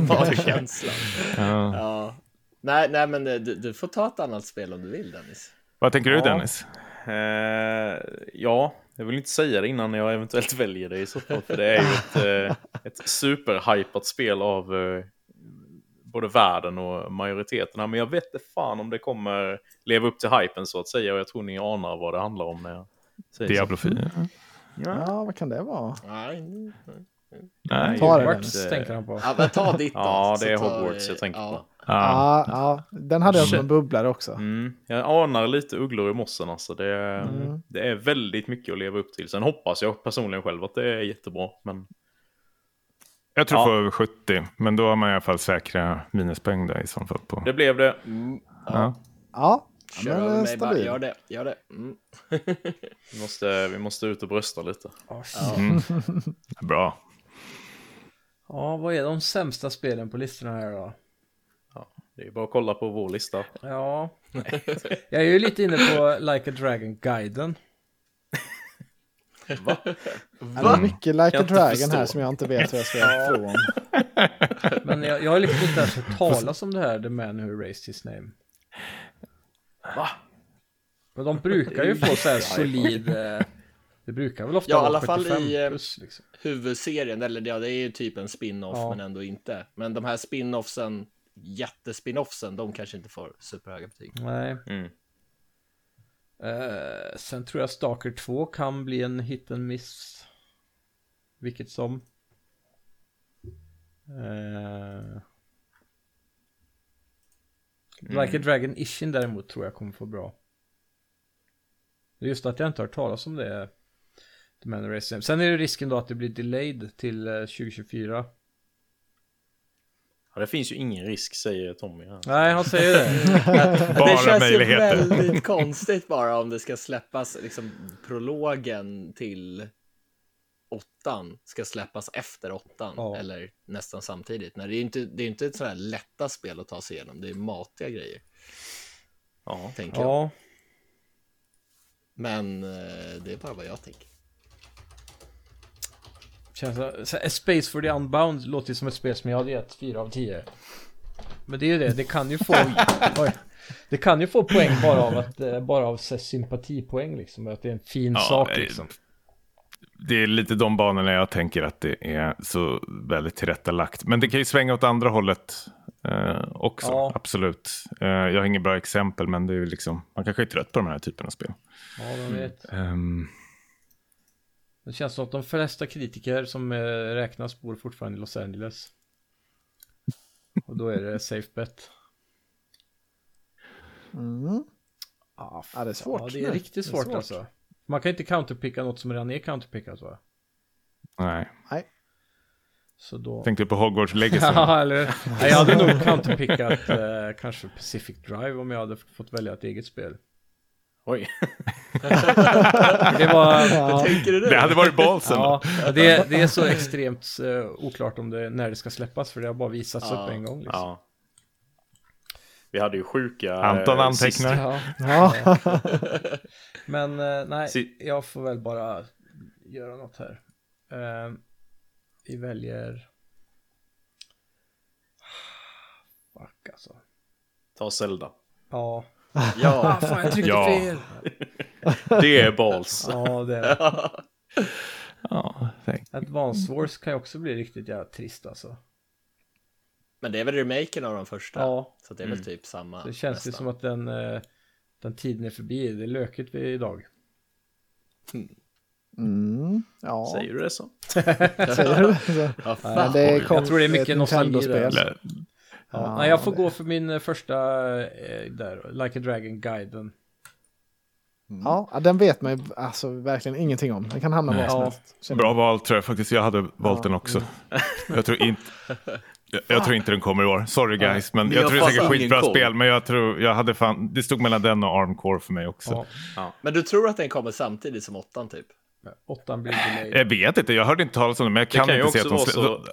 Speaker 3: Bara känslan. ja. Nej, nej, men eh, du, du får ta ett annat spel om du vill Dennis.
Speaker 4: Vad tänker du,
Speaker 5: Ja.
Speaker 4: Dennis?
Speaker 5: Eh, ja, jag vill inte säga det innan jag eventuellt väljer det i så fall. För det är ju ett, eh, ett superhypat spel av eh, både världen och majoriteten. här. Men jag vet inte fan om det kommer leva upp till hypen så att säga. Och jag tror ni anar vad det handlar om när jag säger så.
Speaker 4: Diablo
Speaker 2: Mm.
Speaker 4: 4?
Speaker 1: ja, vad kan det vara?
Speaker 3: Nej. nej.
Speaker 4: Nej.
Speaker 1: Ta det,
Speaker 2: Hogwarts
Speaker 5: Dennis.
Speaker 2: tänker han på.
Speaker 3: Ja, men ta ditt då.
Speaker 5: Ja, det
Speaker 3: så
Speaker 5: är
Speaker 3: tar
Speaker 5: Hogwarts
Speaker 3: vi-
Speaker 5: jag tänker på.
Speaker 4: Ja.
Speaker 1: Ja, ja, den hade jag som en bubblare också.
Speaker 5: Mm. Jag anar lite ugglor i mossen alltså. Det, det är väldigt mycket att leva upp till. Sen hoppas jag personligen själv att det är jättebra. Men
Speaker 4: Jag tror
Speaker 5: Ja.
Speaker 4: på över 70, men då har man i alla fall säkra minuspoäng där i så fall. På.
Speaker 5: det blev det.
Speaker 3: Mm.
Speaker 4: Ja.
Speaker 1: Ja,
Speaker 3: Kör
Speaker 1: men
Speaker 3: över
Speaker 1: eh,
Speaker 3: mig bara,
Speaker 1: stabil.
Speaker 3: gör det, gör det. Mm.
Speaker 5: Vi måste, vi måste ut och brösta lite.
Speaker 2: Ja, shit.
Speaker 4: Mm. Bra.
Speaker 2: ja, vad är de sämsta spelen på listorna här då?
Speaker 5: Det är bara att kolla på vår lista.
Speaker 2: Ja, jag är ju lite inne på Like a Dragon-guiden.
Speaker 1: Det är mycket Like a
Speaker 5: Kan inte
Speaker 1: Dragon
Speaker 5: förstå.
Speaker 1: här som jag inte vet hur jag ska tro om.
Speaker 2: Men jag, jag har liksom inte ens hört talas om det här The Man Who Raised His Name. Va? Men de brukar ju få så här solid... eh, Det brukar väl ofta
Speaker 3: Ja, i
Speaker 2: vara
Speaker 3: alla fall
Speaker 2: 75
Speaker 3: i, eh,
Speaker 2: plus liksom.
Speaker 3: Huvudserien, eller ja, det är ju typ en spin-off, men ändå inte. Men de här spin-offsen, jättespin-offsen, de kanske inte får superhöga betyg.
Speaker 2: Nej.
Speaker 5: Mm.
Speaker 2: Eh, sen tror jag Stalker 2 kan bli en hit and miss. Vilket som. Eh, Like a Dragon Ishin däremot tror jag kommer få bra. Det är just att jag inte har hört talas om det. The Man Who Raised His Name. Sen är det risken då att det blir delayed till eh, 2024.
Speaker 5: Ja, det finns ju ingen risk, säger Tommy. Här.
Speaker 2: Nej, han säger det.
Speaker 4: Bara
Speaker 3: det känns
Speaker 4: möjligheter.
Speaker 3: ju väldigt konstigt bara om det ska släppas, liksom prologen till åttan ska släppas efter åttan
Speaker 2: Ja.
Speaker 3: eller nästan samtidigt. Nej, det är ju inte, det är inte ett sådär lätta spel att ta sig igenom, det är matiga grejer.
Speaker 5: Ja.
Speaker 3: Tänker jag.
Speaker 2: ja.
Speaker 3: Men eh, det är bara vad jag tänker.
Speaker 2: Känns, så här, A Space for the Unbound låter ju som ett spel som jag hade gett 4 av 10. Men det är ju det, det kan ju få... oj, det kan ju få poäng bara av att... eh, Bara av så här, sympatipoäng liksom. Att det är en fin
Speaker 4: Ja,
Speaker 2: sak
Speaker 4: eh,
Speaker 2: liksom.
Speaker 4: Det är lite de banorna jag tänker att det är så väldigt tillrättalagt. Men det kan ju svänga åt andra hållet eh, också,
Speaker 2: Ja.
Speaker 4: absolut. Eh, jag har inget bra exempel, men det är ju liksom, man kanske är trött på de här typen av spel.
Speaker 2: Ja, man vet.
Speaker 4: Ehm,
Speaker 2: Det känns som att de flesta kritiker som eh, räknas bor fortfarande i Los Angeles. Och då är det safe bet.
Speaker 1: Mm. Ja, det är svårt.
Speaker 2: Ah, ja, det
Speaker 1: nu.
Speaker 2: är riktigt svårt, alltså. Man kan inte counterpicka något som redan är counterpickat va?
Speaker 4: nej,
Speaker 2: Så då...
Speaker 4: tänkte du på Hogwarts Legacy?
Speaker 2: Ja, eller Nej, jag hade nog counterpickat eh, kanske Pacific Drive om jag hade f- fått välja ett eget spel.
Speaker 5: Oj.
Speaker 2: Det var...
Speaker 3: Tänker du
Speaker 4: det hade varit ballsen.
Speaker 2: Ja, det, det är så extremt eh, oklart om det, när det ska släppas för det har bara visats upp en gång liksom.
Speaker 5: Ja. Vi hade ju sjuka... eh,
Speaker 4: Anton
Speaker 5: sist-
Speaker 4: antecknar.
Speaker 2: Ja.
Speaker 1: Ja.
Speaker 2: Men eh, nej,
Speaker 5: Si-
Speaker 2: jag får väl bara göra något här. Eh, vi väljer... Fuck alltså.
Speaker 5: Ta Zelda.
Speaker 2: Ja.
Speaker 3: Ja,
Speaker 2: Ah, fan, jag tryckte
Speaker 4: Ja.
Speaker 2: fel!
Speaker 5: Det är balls.
Speaker 2: Ja, det är det.
Speaker 4: Ja, tänk.
Speaker 2: Advance Wars kan ju också bli riktigt jävla trist alltså.
Speaker 3: men det är väl remaken av de första?
Speaker 2: Ja.
Speaker 3: Så det är väl typ samma.
Speaker 2: Det känns ju
Speaker 3: nästan.
Speaker 2: som att den, eh, den tiden är förbi. Det är lökigt vi är idag.
Speaker 1: Mm, ja.
Speaker 5: Säger du det så?
Speaker 3: Ja,
Speaker 1: Men
Speaker 3: fan.
Speaker 1: det är
Speaker 2: Jag tror det är mycket
Speaker 1: ett
Speaker 2: nostalgi
Speaker 1: Nintendo-spel.
Speaker 2: där, alltså.
Speaker 4: Eller-
Speaker 2: Ja,
Speaker 1: Ja,
Speaker 2: nej, jag får
Speaker 1: det-
Speaker 2: gå för min eh, första eh, där, Like a Dragon-guiden. Mm.
Speaker 1: Ja, ja, den vet man ju alltså, verkligen ingenting om. Den kan hamna var som
Speaker 2: Ja.
Speaker 1: helst. känner
Speaker 4: Bra val tror jag faktiskt. Jag hade valt den också. Jag tror inte... Jag, jag tror inte den kommer i år. Sorry guys, men,
Speaker 3: Men
Speaker 4: jag
Speaker 3: jag
Speaker 4: tror det är säkert
Speaker 3: fattar ingen
Speaker 4: skitbra
Speaker 3: koll.
Speaker 4: spel. Men jag tror, jag hade fan, det stod mellan den och Armcore för mig också.
Speaker 2: Ja,
Speaker 3: Men du tror att den kommer samtidigt som åttan typ?
Speaker 2: åttan blir delayed.
Speaker 4: Jag vet inte, jag hörde inte talas om det, men jag
Speaker 5: Det
Speaker 4: kan,
Speaker 5: kan, ju
Speaker 4: inte se
Speaker 5: också
Speaker 4: att de...
Speaker 5: vara
Speaker 4: slä-
Speaker 5: så...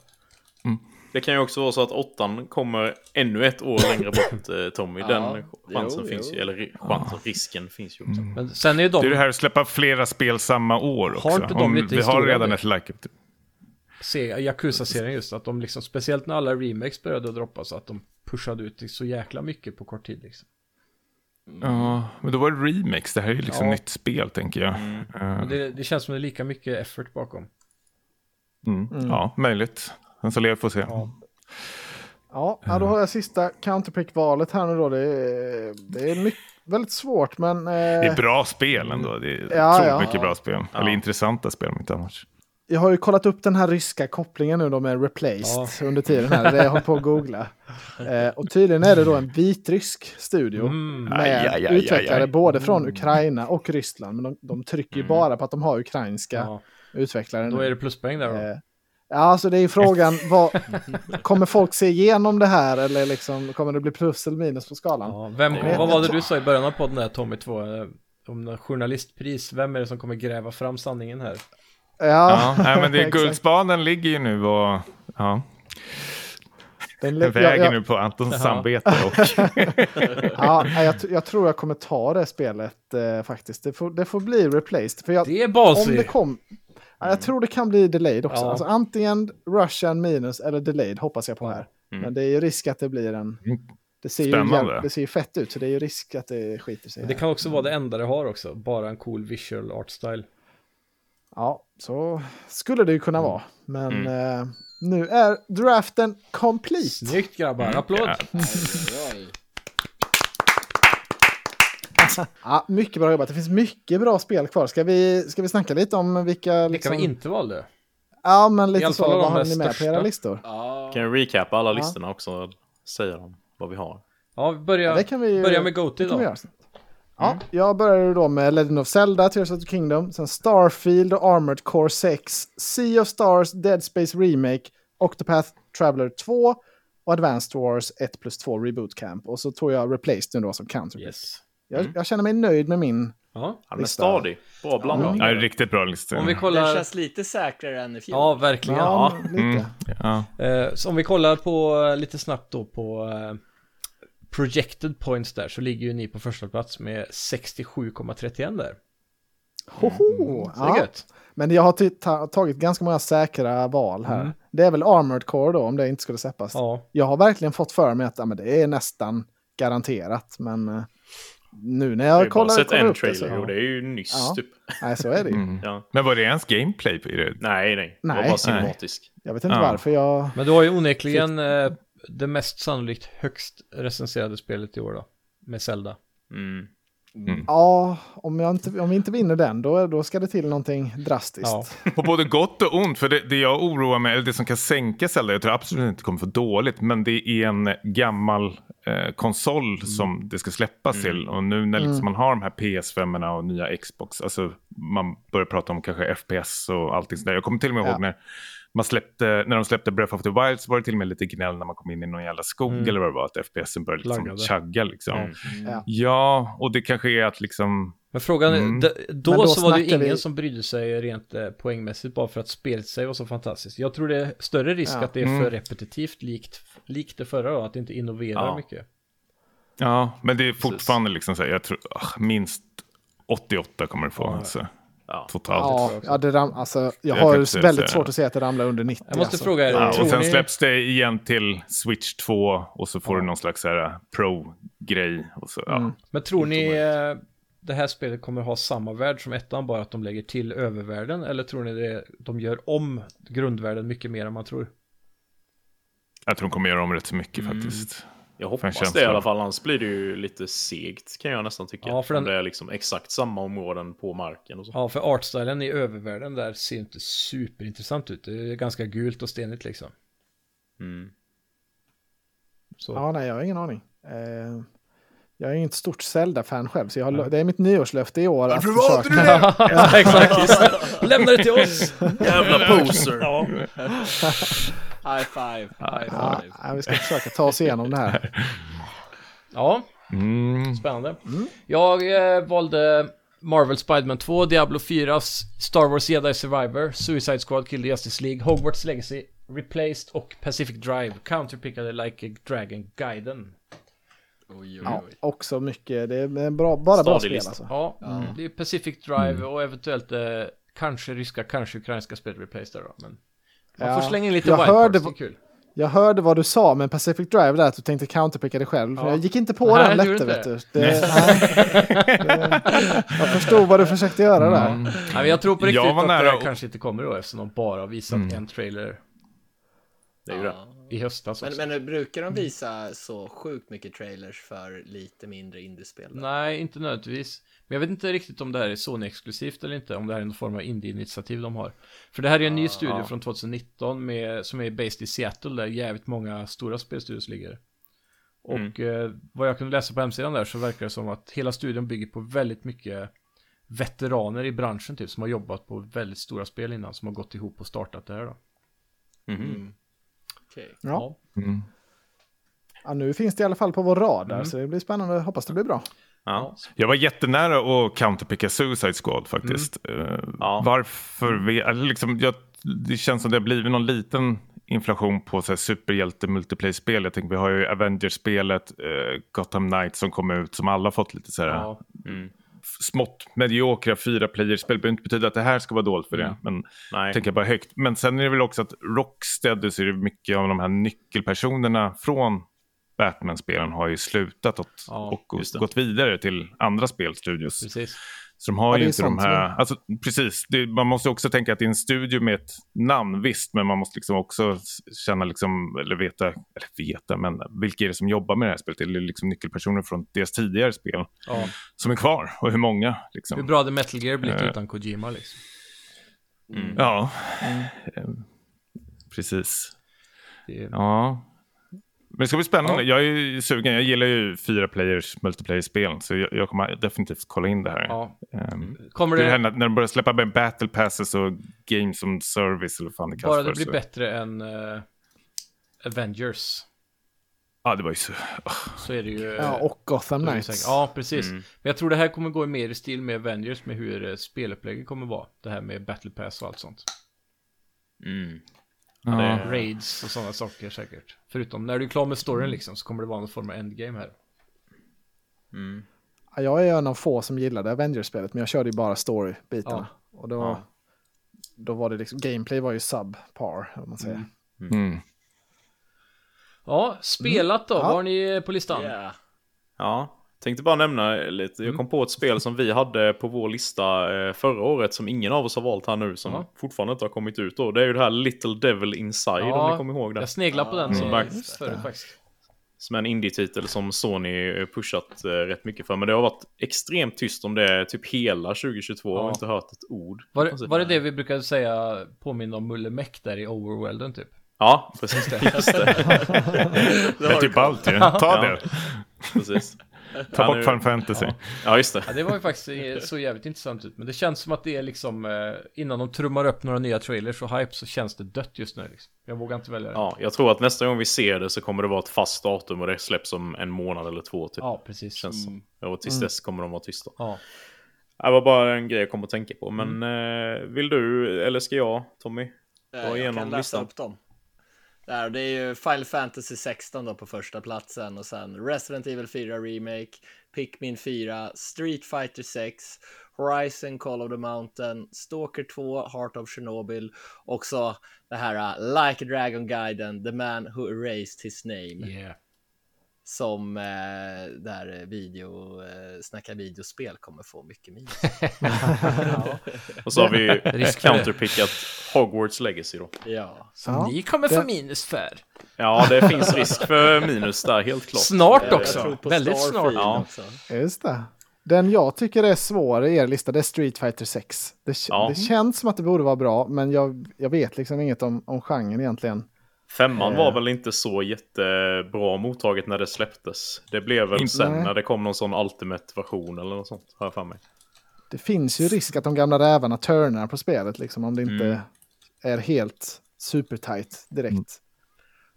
Speaker 5: Det kan ju också vara så att åttan kommer ännu ett år längre bort, eh, Tommy. Den
Speaker 3: Ja,
Speaker 5: chansen
Speaker 3: jo,
Speaker 5: finns
Speaker 3: jo.
Speaker 5: ju, eller ri- chansen, risken finns ju också.
Speaker 2: Men sen är ju de...
Speaker 4: Det är det här att släppa flera spel samma år också.
Speaker 2: inte de
Speaker 4: Om
Speaker 2: lite
Speaker 4: vi har
Speaker 2: historia
Speaker 4: redan
Speaker 2: nu?
Speaker 4: ett like typ. it.
Speaker 2: se Yakuza-serien just, att de liksom, speciellt när alla remakes började droppa, så att de pushade ut så jäkla mycket på kort tid liksom.
Speaker 4: Ja, men då var det remix. Det här är ju liksom
Speaker 2: Ja.
Speaker 4: nytt spel, tänker jag. Eh,
Speaker 2: Och det, det känns som det är lika mycket effort bakom.
Speaker 4: Mm. Ja, möjligt. Den som lever får se.
Speaker 1: Ja, ja, då har jag sista counterpick-valet här nu då. Det är, det är mycket, väldigt svårt, men...
Speaker 4: Det
Speaker 1: Eh,
Speaker 4: är bra spel ändå. Det är
Speaker 1: Ja,
Speaker 4: otroligt
Speaker 1: ja.
Speaker 4: mycket bra spel. Eller intressanta spel om inte annars.
Speaker 1: jag har ju kollat upp den här ryska kopplingen nu då med replaced under tiden här. Det har jag hållit på att googla. Eh, och tydligen är det då en vitrysk studio med
Speaker 4: Mm. Aj, aj, aj, aj,
Speaker 1: utvecklare
Speaker 4: aj. Mm.
Speaker 1: både från Ukraina och Ryssland. Men de, de trycker ju bara på att de har ukrainska
Speaker 2: Ja,
Speaker 1: utvecklare
Speaker 2: då
Speaker 1: nu.
Speaker 2: är det pluspoäng där då.
Speaker 1: Eh, Ja, alltså det är ju frågan, vad, kommer folk se igenom det här eller liksom, kommer det bli plus eller minus på skalan?
Speaker 2: Ja, vem,
Speaker 1: det-
Speaker 2: vad var det du sa i början av podden där, Tommy 2? eh, Om något journalistpris, vem är det som kommer gräva fram sanningen här?
Speaker 1: Ja,
Speaker 4: Ja, nej, men det är
Speaker 1: exakt.
Speaker 4: Guldspaden ligger ju nu och... Ja,
Speaker 1: Den le-
Speaker 4: den väger
Speaker 1: jag,
Speaker 4: nu på Antons samvete. Och,
Speaker 1: jag, ja, nej, jag, t- jag tror jag kommer ta det spelet eh, faktiskt. Det får, det får bli replaced. För jag,
Speaker 2: Det är
Speaker 1: om det
Speaker 2: Balsi!
Speaker 1: kom, ja, jag tror det kan bli delayed också.
Speaker 2: Ja.
Speaker 1: Alltså, antingen Russian minus eller delayed hoppas jag på här.
Speaker 2: Mm.
Speaker 1: Men det är ju risk att det blir en... Det ser, ju,
Speaker 4: Spännande.
Speaker 1: jäv- det ser ju fett ut, så det är ju risk att det skiter sig.
Speaker 2: Det
Speaker 1: här.
Speaker 2: kan också vara det enda det har också, bara en cool visual art style.
Speaker 1: Ja, så skulle det ju
Speaker 2: Mm.
Speaker 1: kunna vara. Men eh, nu är draften complete.
Speaker 2: Snyggt
Speaker 1: Mm.
Speaker 2: grabbar, applåd!
Speaker 1: Ja, mycket bra jobbat. Det finns mycket bra spel kvar. Ska vi, ska vi snacka lite om vilka...
Speaker 2: Vilka
Speaker 1: Liksom,
Speaker 2: vi inte valde.
Speaker 1: Ja, men
Speaker 2: I
Speaker 1: lite
Speaker 2: alla
Speaker 1: så.
Speaker 2: fall de
Speaker 1: Vad
Speaker 2: här
Speaker 1: har ni med på
Speaker 2: största.
Speaker 1: era listor?
Speaker 5: Kan jag recapa alla listorna också? Säga dem vad vi har.
Speaker 2: Ja, vi börjar,
Speaker 1: Ja, det kan vi ju-
Speaker 2: börjar med Mm. Goaty
Speaker 1: Det kan vi
Speaker 2: då.
Speaker 1: göra. Ja, jag börjar ju då med Legend of Zelda, Tears of the Kingdom, sen Starfield och Armored Core 6, Sea of Stars, Dead Space Remake, Octopath Traveler 2, och Advanced Wars 1 plus 2 Reboot Camp. Och så tog jag Replaced nu då som counter.
Speaker 2: Yes. Mm.
Speaker 1: Jag, jag känner mig nöjd med min.
Speaker 2: Ja.
Speaker 5: Han är
Speaker 1: Lista.
Speaker 5: stadig. Bra blandning.
Speaker 4: Ja, riktigt bra listor.
Speaker 2: Om vi
Speaker 3: Den
Speaker 2: kollar...
Speaker 3: känns lite säkrare än i fjol.
Speaker 2: Ja, verkligen.
Speaker 1: Mm. Ja, lite.
Speaker 4: Mm. Ja.
Speaker 2: Eh, så om vi kollar på eh, lite snabbt då på eh, projected points där så ligger ju ni på första plats med 67,31 där.
Speaker 1: Hoho!
Speaker 2: Mm. Så det är
Speaker 1: Ja.
Speaker 2: gött.
Speaker 1: Men jag har ty- ta- tagit ganska många säkra val här. Det är väl Armored Core då, om det inte skulle släppas.
Speaker 2: Mm. Ja.
Speaker 1: Jag har verkligen fått för mig att ja, men det är nästan garanterat, men eh, nu när
Speaker 5: Jag har
Speaker 1: jag
Speaker 5: ju bara
Speaker 1: kollar,
Speaker 5: sett
Speaker 1: kollar
Speaker 5: en
Speaker 1: upp det så...
Speaker 5: trailer och det är ju nyss
Speaker 1: Ja.
Speaker 5: typ.
Speaker 1: Nej, så är det ju.
Speaker 2: Mm.
Speaker 5: Ja.
Speaker 4: Men var det ens gameplay? i det?
Speaker 5: Nej, nej. Det var
Speaker 1: Nej.
Speaker 5: bara cinematisk.
Speaker 1: Jag vet inte
Speaker 4: Ja.
Speaker 1: varför jag...
Speaker 2: Men du har ju onekligen eh, det mest sannolikt högst recenserade spelet i år då. Med Zelda.
Speaker 5: Mm.
Speaker 1: Ja, om, jag inte, om vi inte vinner den, då, då ska det till någonting drastiskt.
Speaker 2: Ja.
Speaker 4: På både gott och ont. För det, det jag oroar mig, eller det som kan sänka Zelda, jag tror absolut inte det kommer få dåligt, men det är en gammal eh, konsol
Speaker 2: Mm.
Speaker 4: som det ska släppas till. Och nu när liksom man har de här PS5 erna och nya Xbox, alltså man börjar prata om kanske FPS och allting sådär. Jag kommer till och med
Speaker 1: Ja.
Speaker 4: ihåg när man släppte, när de släppte Breath of the Wild så var det till och med lite gnäll när man kom in i någon jävla skog eller vad det var, att FPSen började liksom
Speaker 2: Mm. Laggade.
Speaker 4: chagga liksom.
Speaker 2: Mm.
Speaker 1: Ja.
Speaker 4: Ja, och det kanske är att liksom
Speaker 2: Men frågan är,
Speaker 4: Mm.
Speaker 2: d- då,
Speaker 1: Men då
Speaker 2: så var det ju
Speaker 1: snackar
Speaker 2: ingen
Speaker 1: vi-
Speaker 2: som brydde sig rent eh, poängmässigt bara för att spelet sig var så fantastiskt. Jag tror det är större risk
Speaker 1: Ja.
Speaker 2: att det är
Speaker 4: Mm.
Speaker 2: för repetitivt likt, likt det förra då, att det inte innoverar
Speaker 5: Ja.
Speaker 2: mycket.
Speaker 4: Ja, men det är fortfarande liksom så här, jag tror ah, minst 88 kommer det få. Alltså.
Speaker 5: Ja.
Speaker 4: Totalt.
Speaker 1: Ja, ja, det ram, alltså, jag
Speaker 4: Jag kan
Speaker 1: har
Speaker 4: inte
Speaker 1: väldigt
Speaker 4: säga.
Speaker 1: svårt att se att det ramlar under 90.
Speaker 2: Jag måste
Speaker 1: alltså.
Speaker 2: fråga er,
Speaker 4: Ja,
Speaker 2: tror
Speaker 4: och sen
Speaker 2: ni...
Speaker 4: släpps det igen till Switch 2 och så får du någon slags så här pro-grej. Och så, ja.
Speaker 2: Men tror ni eh, det här spelet kommer ha samma värld som ettan, bara att de lägger till övervärlden? Eller tror ni det, de gör om grundvärlden mycket mer än man tror?
Speaker 4: Jag tror de kommer göra om rätt så mycket
Speaker 5: Mm.
Speaker 4: faktiskt.
Speaker 5: Jag
Speaker 4: Fan,
Speaker 5: hoppas det
Speaker 4: känslan.
Speaker 5: i alla fall, annars blir det ju lite segt kan jag nästan tycka.
Speaker 2: Ja, för
Speaker 5: Om
Speaker 2: den-
Speaker 5: det är liksom exakt samma områden på marken och så.
Speaker 2: Ja, för artstylen i övervärlden där ser inte superintressant ut. Det är ganska gult och stenigt liksom.
Speaker 5: Mm.
Speaker 2: Så.
Speaker 1: Ja, nej, jag har ingen aning. Eh, jag är inget stort Zelda-fan själv, så jag har, lo- det är mitt nyårslöfte i år att försöka...
Speaker 2: Ja, exakt. Lämna det till oss.
Speaker 5: Jävla poser! ja.
Speaker 3: High five. High
Speaker 1: Ja,
Speaker 3: five.
Speaker 1: nej, vi ska försöka ta oss igenom det här.
Speaker 2: Ja,
Speaker 4: Mm.
Speaker 2: spännande. Jag eh, valde Marvel Spiderman 2, Diablo 4, S- Star Wars Jedi Survivor, Suicide Squad, Kill the Justice League, Hogwarts Legacy, Replaced och Pacific Drive. Counterpickade Like a Dragon Guiden.
Speaker 3: Oj, oj,
Speaker 1: Ja,
Speaker 3: oj.
Speaker 1: också mycket, det är bra, bara bra
Speaker 5: Stadig
Speaker 1: spel
Speaker 5: lista.
Speaker 1: alltså.
Speaker 2: Ja, det är Pacific Drive och eventuellt eh, kanske ryska, kanske ukrainska spelet Replaced där då. Men man
Speaker 1: Ja.
Speaker 2: får slänga in lite
Speaker 1: Jag
Speaker 2: wildcards,
Speaker 1: hörde
Speaker 2: det är kul.
Speaker 1: Jag hörde vad du sa, men Pacific Drive där, att du tänkte counterpicka dig själv.
Speaker 2: Ja.
Speaker 1: Jag gick inte på den
Speaker 2: Nej, du gjorde
Speaker 1: lätte, vet du.
Speaker 2: inte
Speaker 1: Det, nej, det, jag förstod vad du försökte göra där.
Speaker 2: Nej, men jag tror på riktigt
Speaker 4: Mm. Jag var
Speaker 2: att det
Speaker 4: nära
Speaker 2: här
Speaker 4: och- Mm.
Speaker 2: kanske inte kommer då eftersom de bara har visat en trailer
Speaker 5: Det är ju det.
Speaker 2: i höstas också.
Speaker 3: Men, men nu brukar de visa så sjukt mycket trailers för lite mindre indiespel? då?
Speaker 2: Nej, inte nödvändigtvis. Men jag vet inte riktigt om det här är Sony-exklusivt eller inte, om det här är någon form av indie-initiativ de har. För det här är en
Speaker 3: Ah,
Speaker 2: ny studio från 2019 med, som är based i Seattle där jävligt många stora spelstudios ligger.
Speaker 4: Mm.
Speaker 2: Och eh, vad jag kunde läsa på hemsidan där så verkar det som att hela studion bygger på väldigt mycket veteraner i branschen typ som har jobbat på väldigt stora spel innan som har gått ihop och startat det här då.
Speaker 3: Okej.
Speaker 1: Ja. Ja, nu finns det i alla fall på vår rad
Speaker 2: Mm.
Speaker 1: där, så det blir spännande. Hoppas det blir bra.
Speaker 5: Ja.
Speaker 4: Jag var jättenära att counterpicka Suicide Squad faktiskt. Eh,
Speaker 5: Mm. Ja.
Speaker 4: Varför? Vi, eller liksom, jag, det känns som det har blivit någon liten inflation på så här superhjälte-multiplayer-spel. Jag tänker, vi har ju Avengers-spelet, eh, Gotham Knights som kom ut som alla fått lite så här eh,
Speaker 2: Ja.
Speaker 5: Mm.
Speaker 4: smått mediokra fyra player-spel. Det behöver inte betyda att det här ska vara dåligt för
Speaker 5: Mm.
Speaker 4: det. Men
Speaker 5: Nej.
Speaker 4: tänker jag bara högt. Men sen är det väl också att Rocksteady så är det mycket av de här nyckelpersonerna från Batman-spelen har ju slutat och,
Speaker 2: Ja,
Speaker 4: och,
Speaker 5: just det.
Speaker 4: gått vidare till andra spelstudios.
Speaker 2: Precis.
Speaker 4: Så de har
Speaker 1: Ja, det
Speaker 4: ju
Speaker 1: är
Speaker 4: inte de
Speaker 1: sånt som
Speaker 4: här... Alltså, precis, det, man måste också tänka att det är en studio med ett namn, visst, men man måste liksom också s- känna, liksom, eller veta, eller veta, men vilka är det som jobbar med det här spelet? Eller liksom nyckelpersoner från deras tidigare spel
Speaker 2: Ja.
Speaker 4: som är kvar och hur många? Liksom.
Speaker 2: Hur bra hade Metal Gear blivit
Speaker 5: Eh.
Speaker 2: utan Kojima liksom?
Speaker 4: Ja,
Speaker 2: Mm.
Speaker 4: Ehm, precis.
Speaker 2: Det är...
Speaker 4: Ja. Men det ska bli spännande. Jag är ju sugen. Jag gillar ju fyra players multiplayer-spel, så jag, jag kommer definitivt kolla in det här.
Speaker 2: Ja. Mm.
Speaker 4: Ehm,
Speaker 2: Kommer
Speaker 4: det är det
Speaker 2: det...
Speaker 4: här när, när de börjar släppa med battle passes och games som service eller vad fan det kallas
Speaker 2: Bara det
Speaker 4: för,
Speaker 2: blir
Speaker 4: så-
Speaker 2: bättre än eh, Avengers.
Speaker 4: Ja, det var ju så... ah,
Speaker 2: så är det ju...
Speaker 1: Ja, och Gotham
Speaker 2: så är Eh, det
Speaker 1: Knights.
Speaker 2: säkert- Ja, precis.
Speaker 5: Mm.
Speaker 2: Men jag tror det här kommer gå mer i stil med Avengers med hur eh, spelupplägget kommer vara. Det här med Battle Pass och allt sånt.
Speaker 5: Mm.
Speaker 4: Ja.
Speaker 2: Raids och sådana saker säkert. Förutom när du är klar med storyn liksom så kommer det vara någon form av endgame här.
Speaker 1: Ja, Jag är en av få som gillade Avengers-spelet, men jag körde ju bara story-bitarna. Och då,
Speaker 5: Ja.
Speaker 1: då var det liksom, gameplay var ju subpar, om man säger.
Speaker 4: Mm.
Speaker 2: Ja, spelat då. Vad har ni eh, på listan?
Speaker 3: Yeah.
Speaker 5: Ja, tänkte bara nämna lite.
Speaker 2: Mm.
Speaker 5: Jag kom på ett spel som vi hade på vår lista eh, förra året som ingen av oss har valt här nu som
Speaker 2: Ja.
Speaker 5: fortfarande inte har kommit ut då. Det är ju det här Little Devil Inside om ni kommer ihåg det.
Speaker 2: Jag sneglar på den
Speaker 5: Mm.
Speaker 2: som
Speaker 5: Faktiskt.
Speaker 2: förut faktiskt.
Speaker 5: Som är en indie-titel som Sony eh, pushat eh, rätt mycket för. Men det har varit extremt tyst om det typ hela 2022 och
Speaker 2: Ja.
Speaker 5: inte hört ett ord.
Speaker 2: Var det, var det det vi brukade säga påminna om Mulle Meck där i Overwhelden typ?
Speaker 5: Ja, precis det. Just det.
Speaker 4: Det är typ allt ju. Ta det.
Speaker 5: precis.
Speaker 4: Ta
Speaker 5: Ja,
Speaker 4: bort
Speaker 5: nu-
Speaker 4: Final Fantasy.
Speaker 5: Ja, just det.
Speaker 2: Ja, det var ju faktiskt eh, så jävligt intressant ut. Men det känns som att det är liksom eh, innan de trummar upp några nya trailers och hype så känns det dött just nu. Liksom. Jag vågar inte välja det.
Speaker 5: Ja, jag tror att nästa gång vi ser det så kommer det vara ett fast datum och det släpps om en månad eller två typ.
Speaker 2: Ja, Mm. precis.
Speaker 5: Känns som. Och tills dess kommer de vara tysta.
Speaker 2: Ja.
Speaker 5: Det var bara en grej jag kom att tänka på. Men
Speaker 2: Mm.
Speaker 5: eh, vill du, eller ska jag, Tommy?
Speaker 3: Eh,
Speaker 5: Dra
Speaker 3: Jag
Speaker 5: igenom
Speaker 3: kan läsa
Speaker 5: listan.
Speaker 3: upp dem. Där, det är ju Final Fantasy 16 då på första platsen och sen Resident Evil 4 Remake, Pikmin 4, Street Fighter 6, Horizon Call of the Mountain, Stalker 2, Heart of Chernobyl, också det här uh, Like a Dragon Gaiden, The Man Who Erased His Name,
Speaker 2: Yeah.
Speaker 3: som eh, där eh, video, eh, Snacka videospel kommer få mycket minus.
Speaker 5: Och så har vi
Speaker 2: Risk för det.
Speaker 5: counterpickat Hogwarts Legacy då.
Speaker 3: ja.
Speaker 2: Som
Speaker 1: Ja.
Speaker 2: ni kommer få
Speaker 1: Det-
Speaker 2: minus för.
Speaker 5: Ja, det finns risk för minus där, helt klart.
Speaker 2: Snart
Speaker 3: Jag tror
Speaker 2: också.
Speaker 3: på
Speaker 2: Väldigt snart.
Speaker 3: Starfield
Speaker 5: Ja.
Speaker 3: också.
Speaker 1: Just det. Den jag tycker är svår i er lista det är Street Fighter 6. Det, k-
Speaker 5: Ja. Mm.
Speaker 1: det känns som att det borde vara bra, men jag, jag vet liksom inget om, om genren egentligen.
Speaker 5: Femman
Speaker 1: Eh.
Speaker 5: var väl inte så jättebra mottaget när det släpptes. Det blev väl
Speaker 4: Inte.
Speaker 5: sen
Speaker 1: Nej.
Speaker 5: när det kom någon sån Ultimate-version eller något sånt, har jag för mig.
Speaker 1: Det finns ju risk att de gamla rävarna turnar på spelet, liksom, om det inte
Speaker 5: Mm.
Speaker 1: är helt supertight direkt.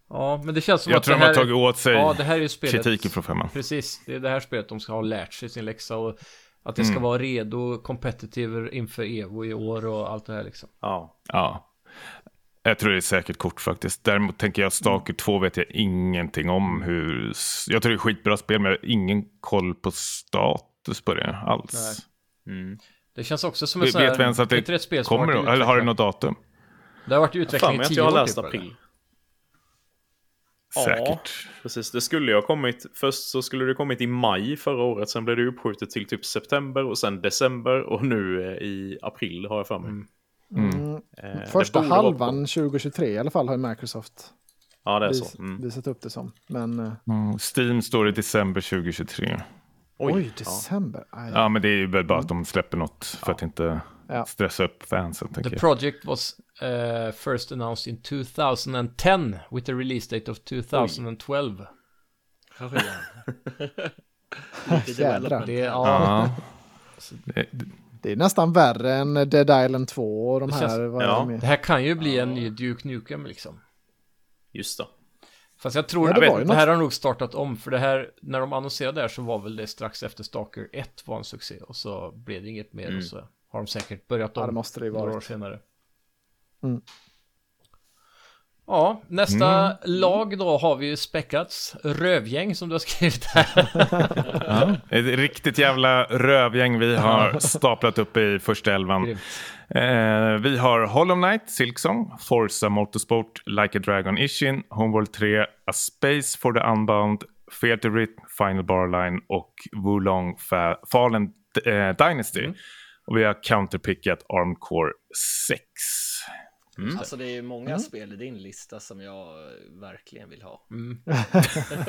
Speaker 2: Ja, men det känns som
Speaker 4: Jag
Speaker 2: att
Speaker 4: tror
Speaker 2: det
Speaker 4: de
Speaker 2: här...
Speaker 4: har tagit åt sig
Speaker 2: Ja, det här är ju spelet...
Speaker 4: kritiken från femman.
Speaker 2: Precis, det är det här spelet de ska ha lärt sig sin läxa och att det ska
Speaker 4: Mm.
Speaker 2: vara redo, competitive inför Evo i år och allt det här liksom.
Speaker 5: Ja,
Speaker 4: Ja. Jag tror det är säkert kort faktiskt. Däremot tänker jag Stalker 2 vet jag ingenting om hur... Jag tror det är skitbra spel men jag har ingen koll på status på det alls.
Speaker 2: Det känns också som en
Speaker 4: Vi
Speaker 2: sån här...
Speaker 4: vet vi ens att
Speaker 2: är inte ett spel
Speaker 4: det
Speaker 2: som
Speaker 4: kommer
Speaker 2: varit
Speaker 4: då?
Speaker 2: i
Speaker 4: Eller har det
Speaker 2: utveckling?
Speaker 4: något datum?
Speaker 2: Det har varit i
Speaker 5: Fan,
Speaker 2: utveckling
Speaker 5: men
Speaker 2: i
Speaker 5: att
Speaker 2: tio
Speaker 5: jag har
Speaker 2: år
Speaker 5: läst
Speaker 2: typ, eller?
Speaker 5: april.
Speaker 4: Säkert.
Speaker 5: Ja, precis. Det skulle ju ha kommit. Först så skulle det kommit i maj förra året. Sen blev det uppskjutet till typ september och sen december och nu eh, i april har jag för mig. Eh, det
Speaker 1: Mm. Första
Speaker 5: borde vara på-
Speaker 1: halvan 2023 i alla fall har Microsoft
Speaker 5: Ja, det är
Speaker 1: vis,
Speaker 5: så. Mm.
Speaker 1: visat upp det som. Men eh,
Speaker 4: Mm. Steam står i december 2023.
Speaker 1: oj,
Speaker 5: ja.
Speaker 1: december. Aj.
Speaker 4: Ja, men det är ju väl bara att de släpper något för att inte
Speaker 1: Ja.
Speaker 4: stressa upp fansen. Tänker
Speaker 2: The
Speaker 4: jag.
Speaker 2: project was eh, first announced in 2010 with a release date of 2012.
Speaker 1: Jädrar.
Speaker 2: Det, är- ja,
Speaker 4: Ja. Det- det-
Speaker 1: Det är nästan värre än Dead Island 2 och de
Speaker 2: Det
Speaker 1: här.
Speaker 2: känns-
Speaker 1: vad är
Speaker 5: ja.
Speaker 1: de är?
Speaker 2: det här kan ju bli en ny Duke Nukem liksom.
Speaker 5: Just det.
Speaker 2: Fast jag tror
Speaker 1: Ja, det
Speaker 2: jag vet,
Speaker 1: var ju
Speaker 2: inte, det här har nog startat om för det här, när de annonserade det här så var väl det strax efter Stalker 1 var en succé och så blev det inget mer och så har de säkert börjat om
Speaker 1: Ja, det måste det ju
Speaker 2: några år
Speaker 1: varit.
Speaker 2: senare.
Speaker 1: Mm.
Speaker 2: Ja, nästa lag då har vi ju späckats. Rövgäng som du har skrivit här.
Speaker 4: Ett riktigt jävla rövgäng vi har staplat upp i första elvan.
Speaker 2: Grymt.
Speaker 4: Eh, vi har Hollow Knight, Silksong, Forza Motorsport, Like a Dragon Ishin, Homeworld 3, A Space for the Unbound, Theater Rhythm, Final Barline och Wulong Fa- Fallen eh, Dynasty. Och vi har counterpickat Armed Core 6.
Speaker 1: Mm.
Speaker 3: Alltså det är ju många spel i din lista som jag eh, verkligen vill ha.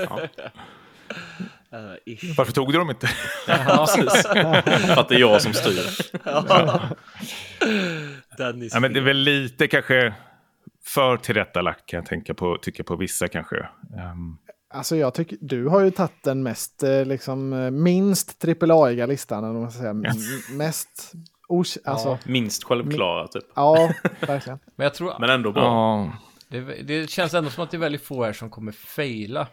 Speaker 3: Eh, ish.
Speaker 4: Varför tog du dem inte?
Speaker 5: För att det är jag som styr.
Speaker 3: Dennis.
Speaker 4: Ja, men det är väl lite kanske för tillrättalagt kan jag tänka på, tycka på vissa kanske. Ehm,
Speaker 1: Alltså jag tycker du har ju tagit den mest eh, liksom eh, minst AAA-iga listan. Eller vad man ska säga. M- mest os- alltså,
Speaker 5: Minst självklara typ.
Speaker 1: ja. verkligen.
Speaker 2: Men jag tror
Speaker 5: Men ändå bra.
Speaker 4: ja.
Speaker 2: det, det känns ändå som att det är väldigt få här som kommer faila.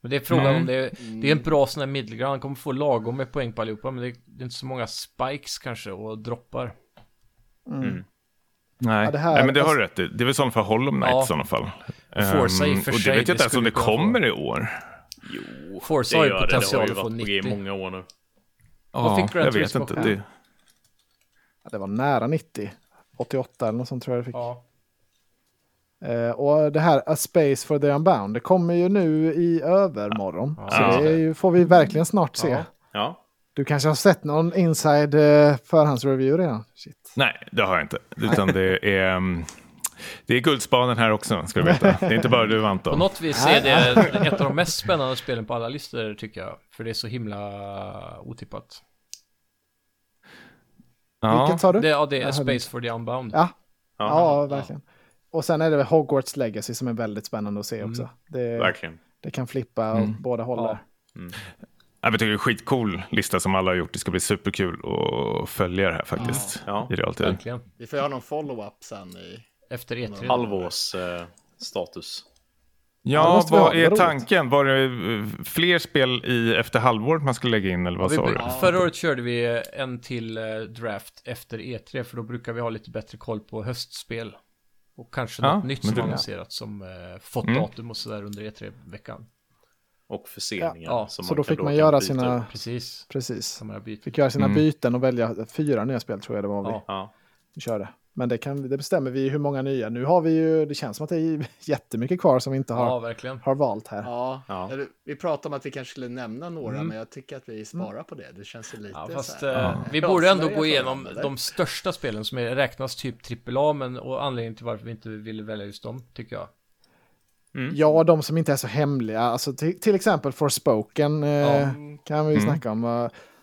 Speaker 2: Men det är frågan om det är, det är
Speaker 5: Mm.
Speaker 2: en bra sån här middle Han kommer få lagom med poäng på allihopa, men det är, det är inte så många spikes kanske och droppar.
Speaker 5: Oh,
Speaker 4: Nej.
Speaker 1: Ja, det här-
Speaker 4: Nej, men det har du rätt i. Det är väl i sådana fall Hollow Knight
Speaker 2: Ja.
Speaker 4: i sådana fall.
Speaker 2: Forza i och
Speaker 4: Ehm,
Speaker 2: för sig,
Speaker 4: och det vet
Speaker 2: det
Speaker 4: jag inte ens om
Speaker 2: skulle
Speaker 4: det
Speaker 2: kunna få-
Speaker 4: kommer i år.
Speaker 2: Forza har ju
Speaker 5: gör det.
Speaker 2: potential att
Speaker 5: Det
Speaker 2: få
Speaker 5: har ju varit på G i
Speaker 2: 90.
Speaker 5: många år nu.
Speaker 2: Vad fick Gran
Speaker 4: jag vet
Speaker 2: Turismo?
Speaker 4: inte. Det,
Speaker 1: Ja, Det var nära 90. 88 eller något sånt tror jag det fick.
Speaker 2: Ja.
Speaker 1: Eh, och det här A Space for the Unbound, det kommer ju nu i övermorgon. Så
Speaker 4: Ja.
Speaker 1: det är ju, får vi verkligen snart se.
Speaker 2: Ja.
Speaker 5: Ja,
Speaker 1: Du kanske har sett någon inside eh, förhandsreview redan? Shit.
Speaker 4: nej, det har jag inte. Utan det är... ehm, det är Guldspanen här också, ska du veta. Det är inte bara du,
Speaker 2: På
Speaker 4: Anton.
Speaker 2: något vis är det ett av de mest spännande spelen på alla listor tycker jag. För det är så himla otippat.
Speaker 4: Ja.
Speaker 1: Vilket sa du?
Speaker 2: Det, ja, det är
Speaker 1: Jag hörde
Speaker 2: Space for the Unbound.
Speaker 1: Ja, ja, verkligen. Och sen är det väl Hogwarts Legacy som är väldigt spännande att se också. Det,
Speaker 5: verkligen.
Speaker 1: det kan flippa åt
Speaker 5: Mm.
Speaker 1: båda håll där.
Speaker 4: Jag tycker det är en skitcool lista som alla har gjort. Det ska bli superkul att följa det här faktiskt.
Speaker 5: Ja.
Speaker 4: I realtid.
Speaker 2: Verkligen.
Speaker 3: Vi får ju ha någon follow-up sen i...
Speaker 2: Efter E E3.
Speaker 5: Halvårs eh, status.
Speaker 1: Ja, det
Speaker 4: Ja,
Speaker 1: måste vi
Speaker 4: vad
Speaker 1: ha. Vad
Speaker 4: är
Speaker 1: roligt.
Speaker 4: tanken? Var det eh, fler spel i efter halvåret man skulle lägga in, eller vad
Speaker 2: Vi,
Speaker 4: sa du?
Speaker 2: förra året körde vi en till eh, draft efter E3 för då brukar vi ha lite bättre koll på höstspel. Och kanske
Speaker 4: Ja,
Speaker 2: något nytt
Speaker 4: men
Speaker 2: som
Speaker 4: det- Mm.
Speaker 2: annonserat som eh, fått datum och sådär under E E3-veckan.
Speaker 5: Och förseningar.
Speaker 2: Ja, ja,
Speaker 5: som
Speaker 1: Så då
Speaker 5: kan
Speaker 1: fick man
Speaker 5: kan
Speaker 1: göra
Speaker 5: byta
Speaker 1: sina...
Speaker 5: ut.
Speaker 2: Precis.
Speaker 1: Precis.
Speaker 2: Som jag byter.
Speaker 1: Fick göra sina
Speaker 5: Mm.
Speaker 1: byten och välja fyra nya spel tror jag det var
Speaker 2: Ja.
Speaker 5: Ja.
Speaker 1: vi körde. Men det, kan, det bestämmer vi ju hur många nya. Nu har vi ju, det känns som att det är jättemycket kvar som vi inte har,
Speaker 2: Ja, verkligen.
Speaker 1: har valt här.
Speaker 3: Ja,
Speaker 5: Ja.
Speaker 3: eller vi pratade om att vi kanske skulle nämna några,
Speaker 1: Mm.
Speaker 3: men jag tycker att vi sparar på det. Det känns ju lite
Speaker 2: Ja,
Speaker 3: så
Speaker 2: fast
Speaker 3: här.
Speaker 2: eh, vi
Speaker 3: Ja,
Speaker 2: borde ändå
Speaker 3: Sverige
Speaker 2: gå
Speaker 3: för
Speaker 2: igenom
Speaker 3: varandra, eller?
Speaker 2: de största spelen som är, räknas typ AAA, men och anledningen till varför vi inte ville välja just dem, tycker jag.
Speaker 5: Mm.
Speaker 1: Ja, de som inte är så hemliga. Alltså, till, till exempel Forspoken eh, kan vi ju
Speaker 5: Mm.
Speaker 1: snacka om. Eh,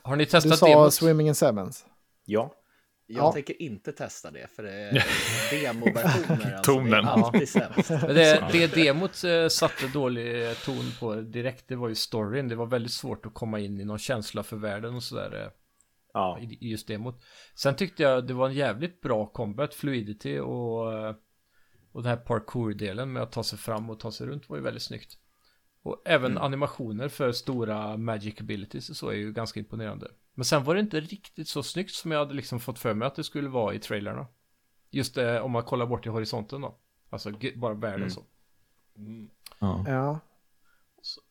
Speaker 2: Har ni
Speaker 1: Du
Speaker 2: testat
Speaker 1: sa
Speaker 2: demot?
Speaker 1: Swimming in Sevens.
Speaker 5: ja.
Speaker 3: Jag
Speaker 1: Ja.
Speaker 3: tänker inte testa det, för det är demoversioner. Alltså,
Speaker 4: Tonen.
Speaker 3: Det är alltid sämst.
Speaker 2: Men det, det demot eh, satte dålig eh, ton på direkt, det var ju storyn. Det var väldigt svårt att komma in i någon känsla för världen och sådär
Speaker 5: ja.
Speaker 2: eh, i i just demot. Sen tyckte jag det var en jävligt bra combat, fluidity och, eh, och den här parkour-delen med att ta sig fram och ta sig runt var ju väldigt snyggt. Och även animationer för stora magic abilities och så är ju ganska imponerande. Men sen var det inte riktigt så snyggt som jag hade liksom fått för mig att det skulle vara i trailerna. Just eh, om man kollar bort i horisonten då. Alltså gu- bara världen så.
Speaker 1: Ja.
Speaker 4: Ja,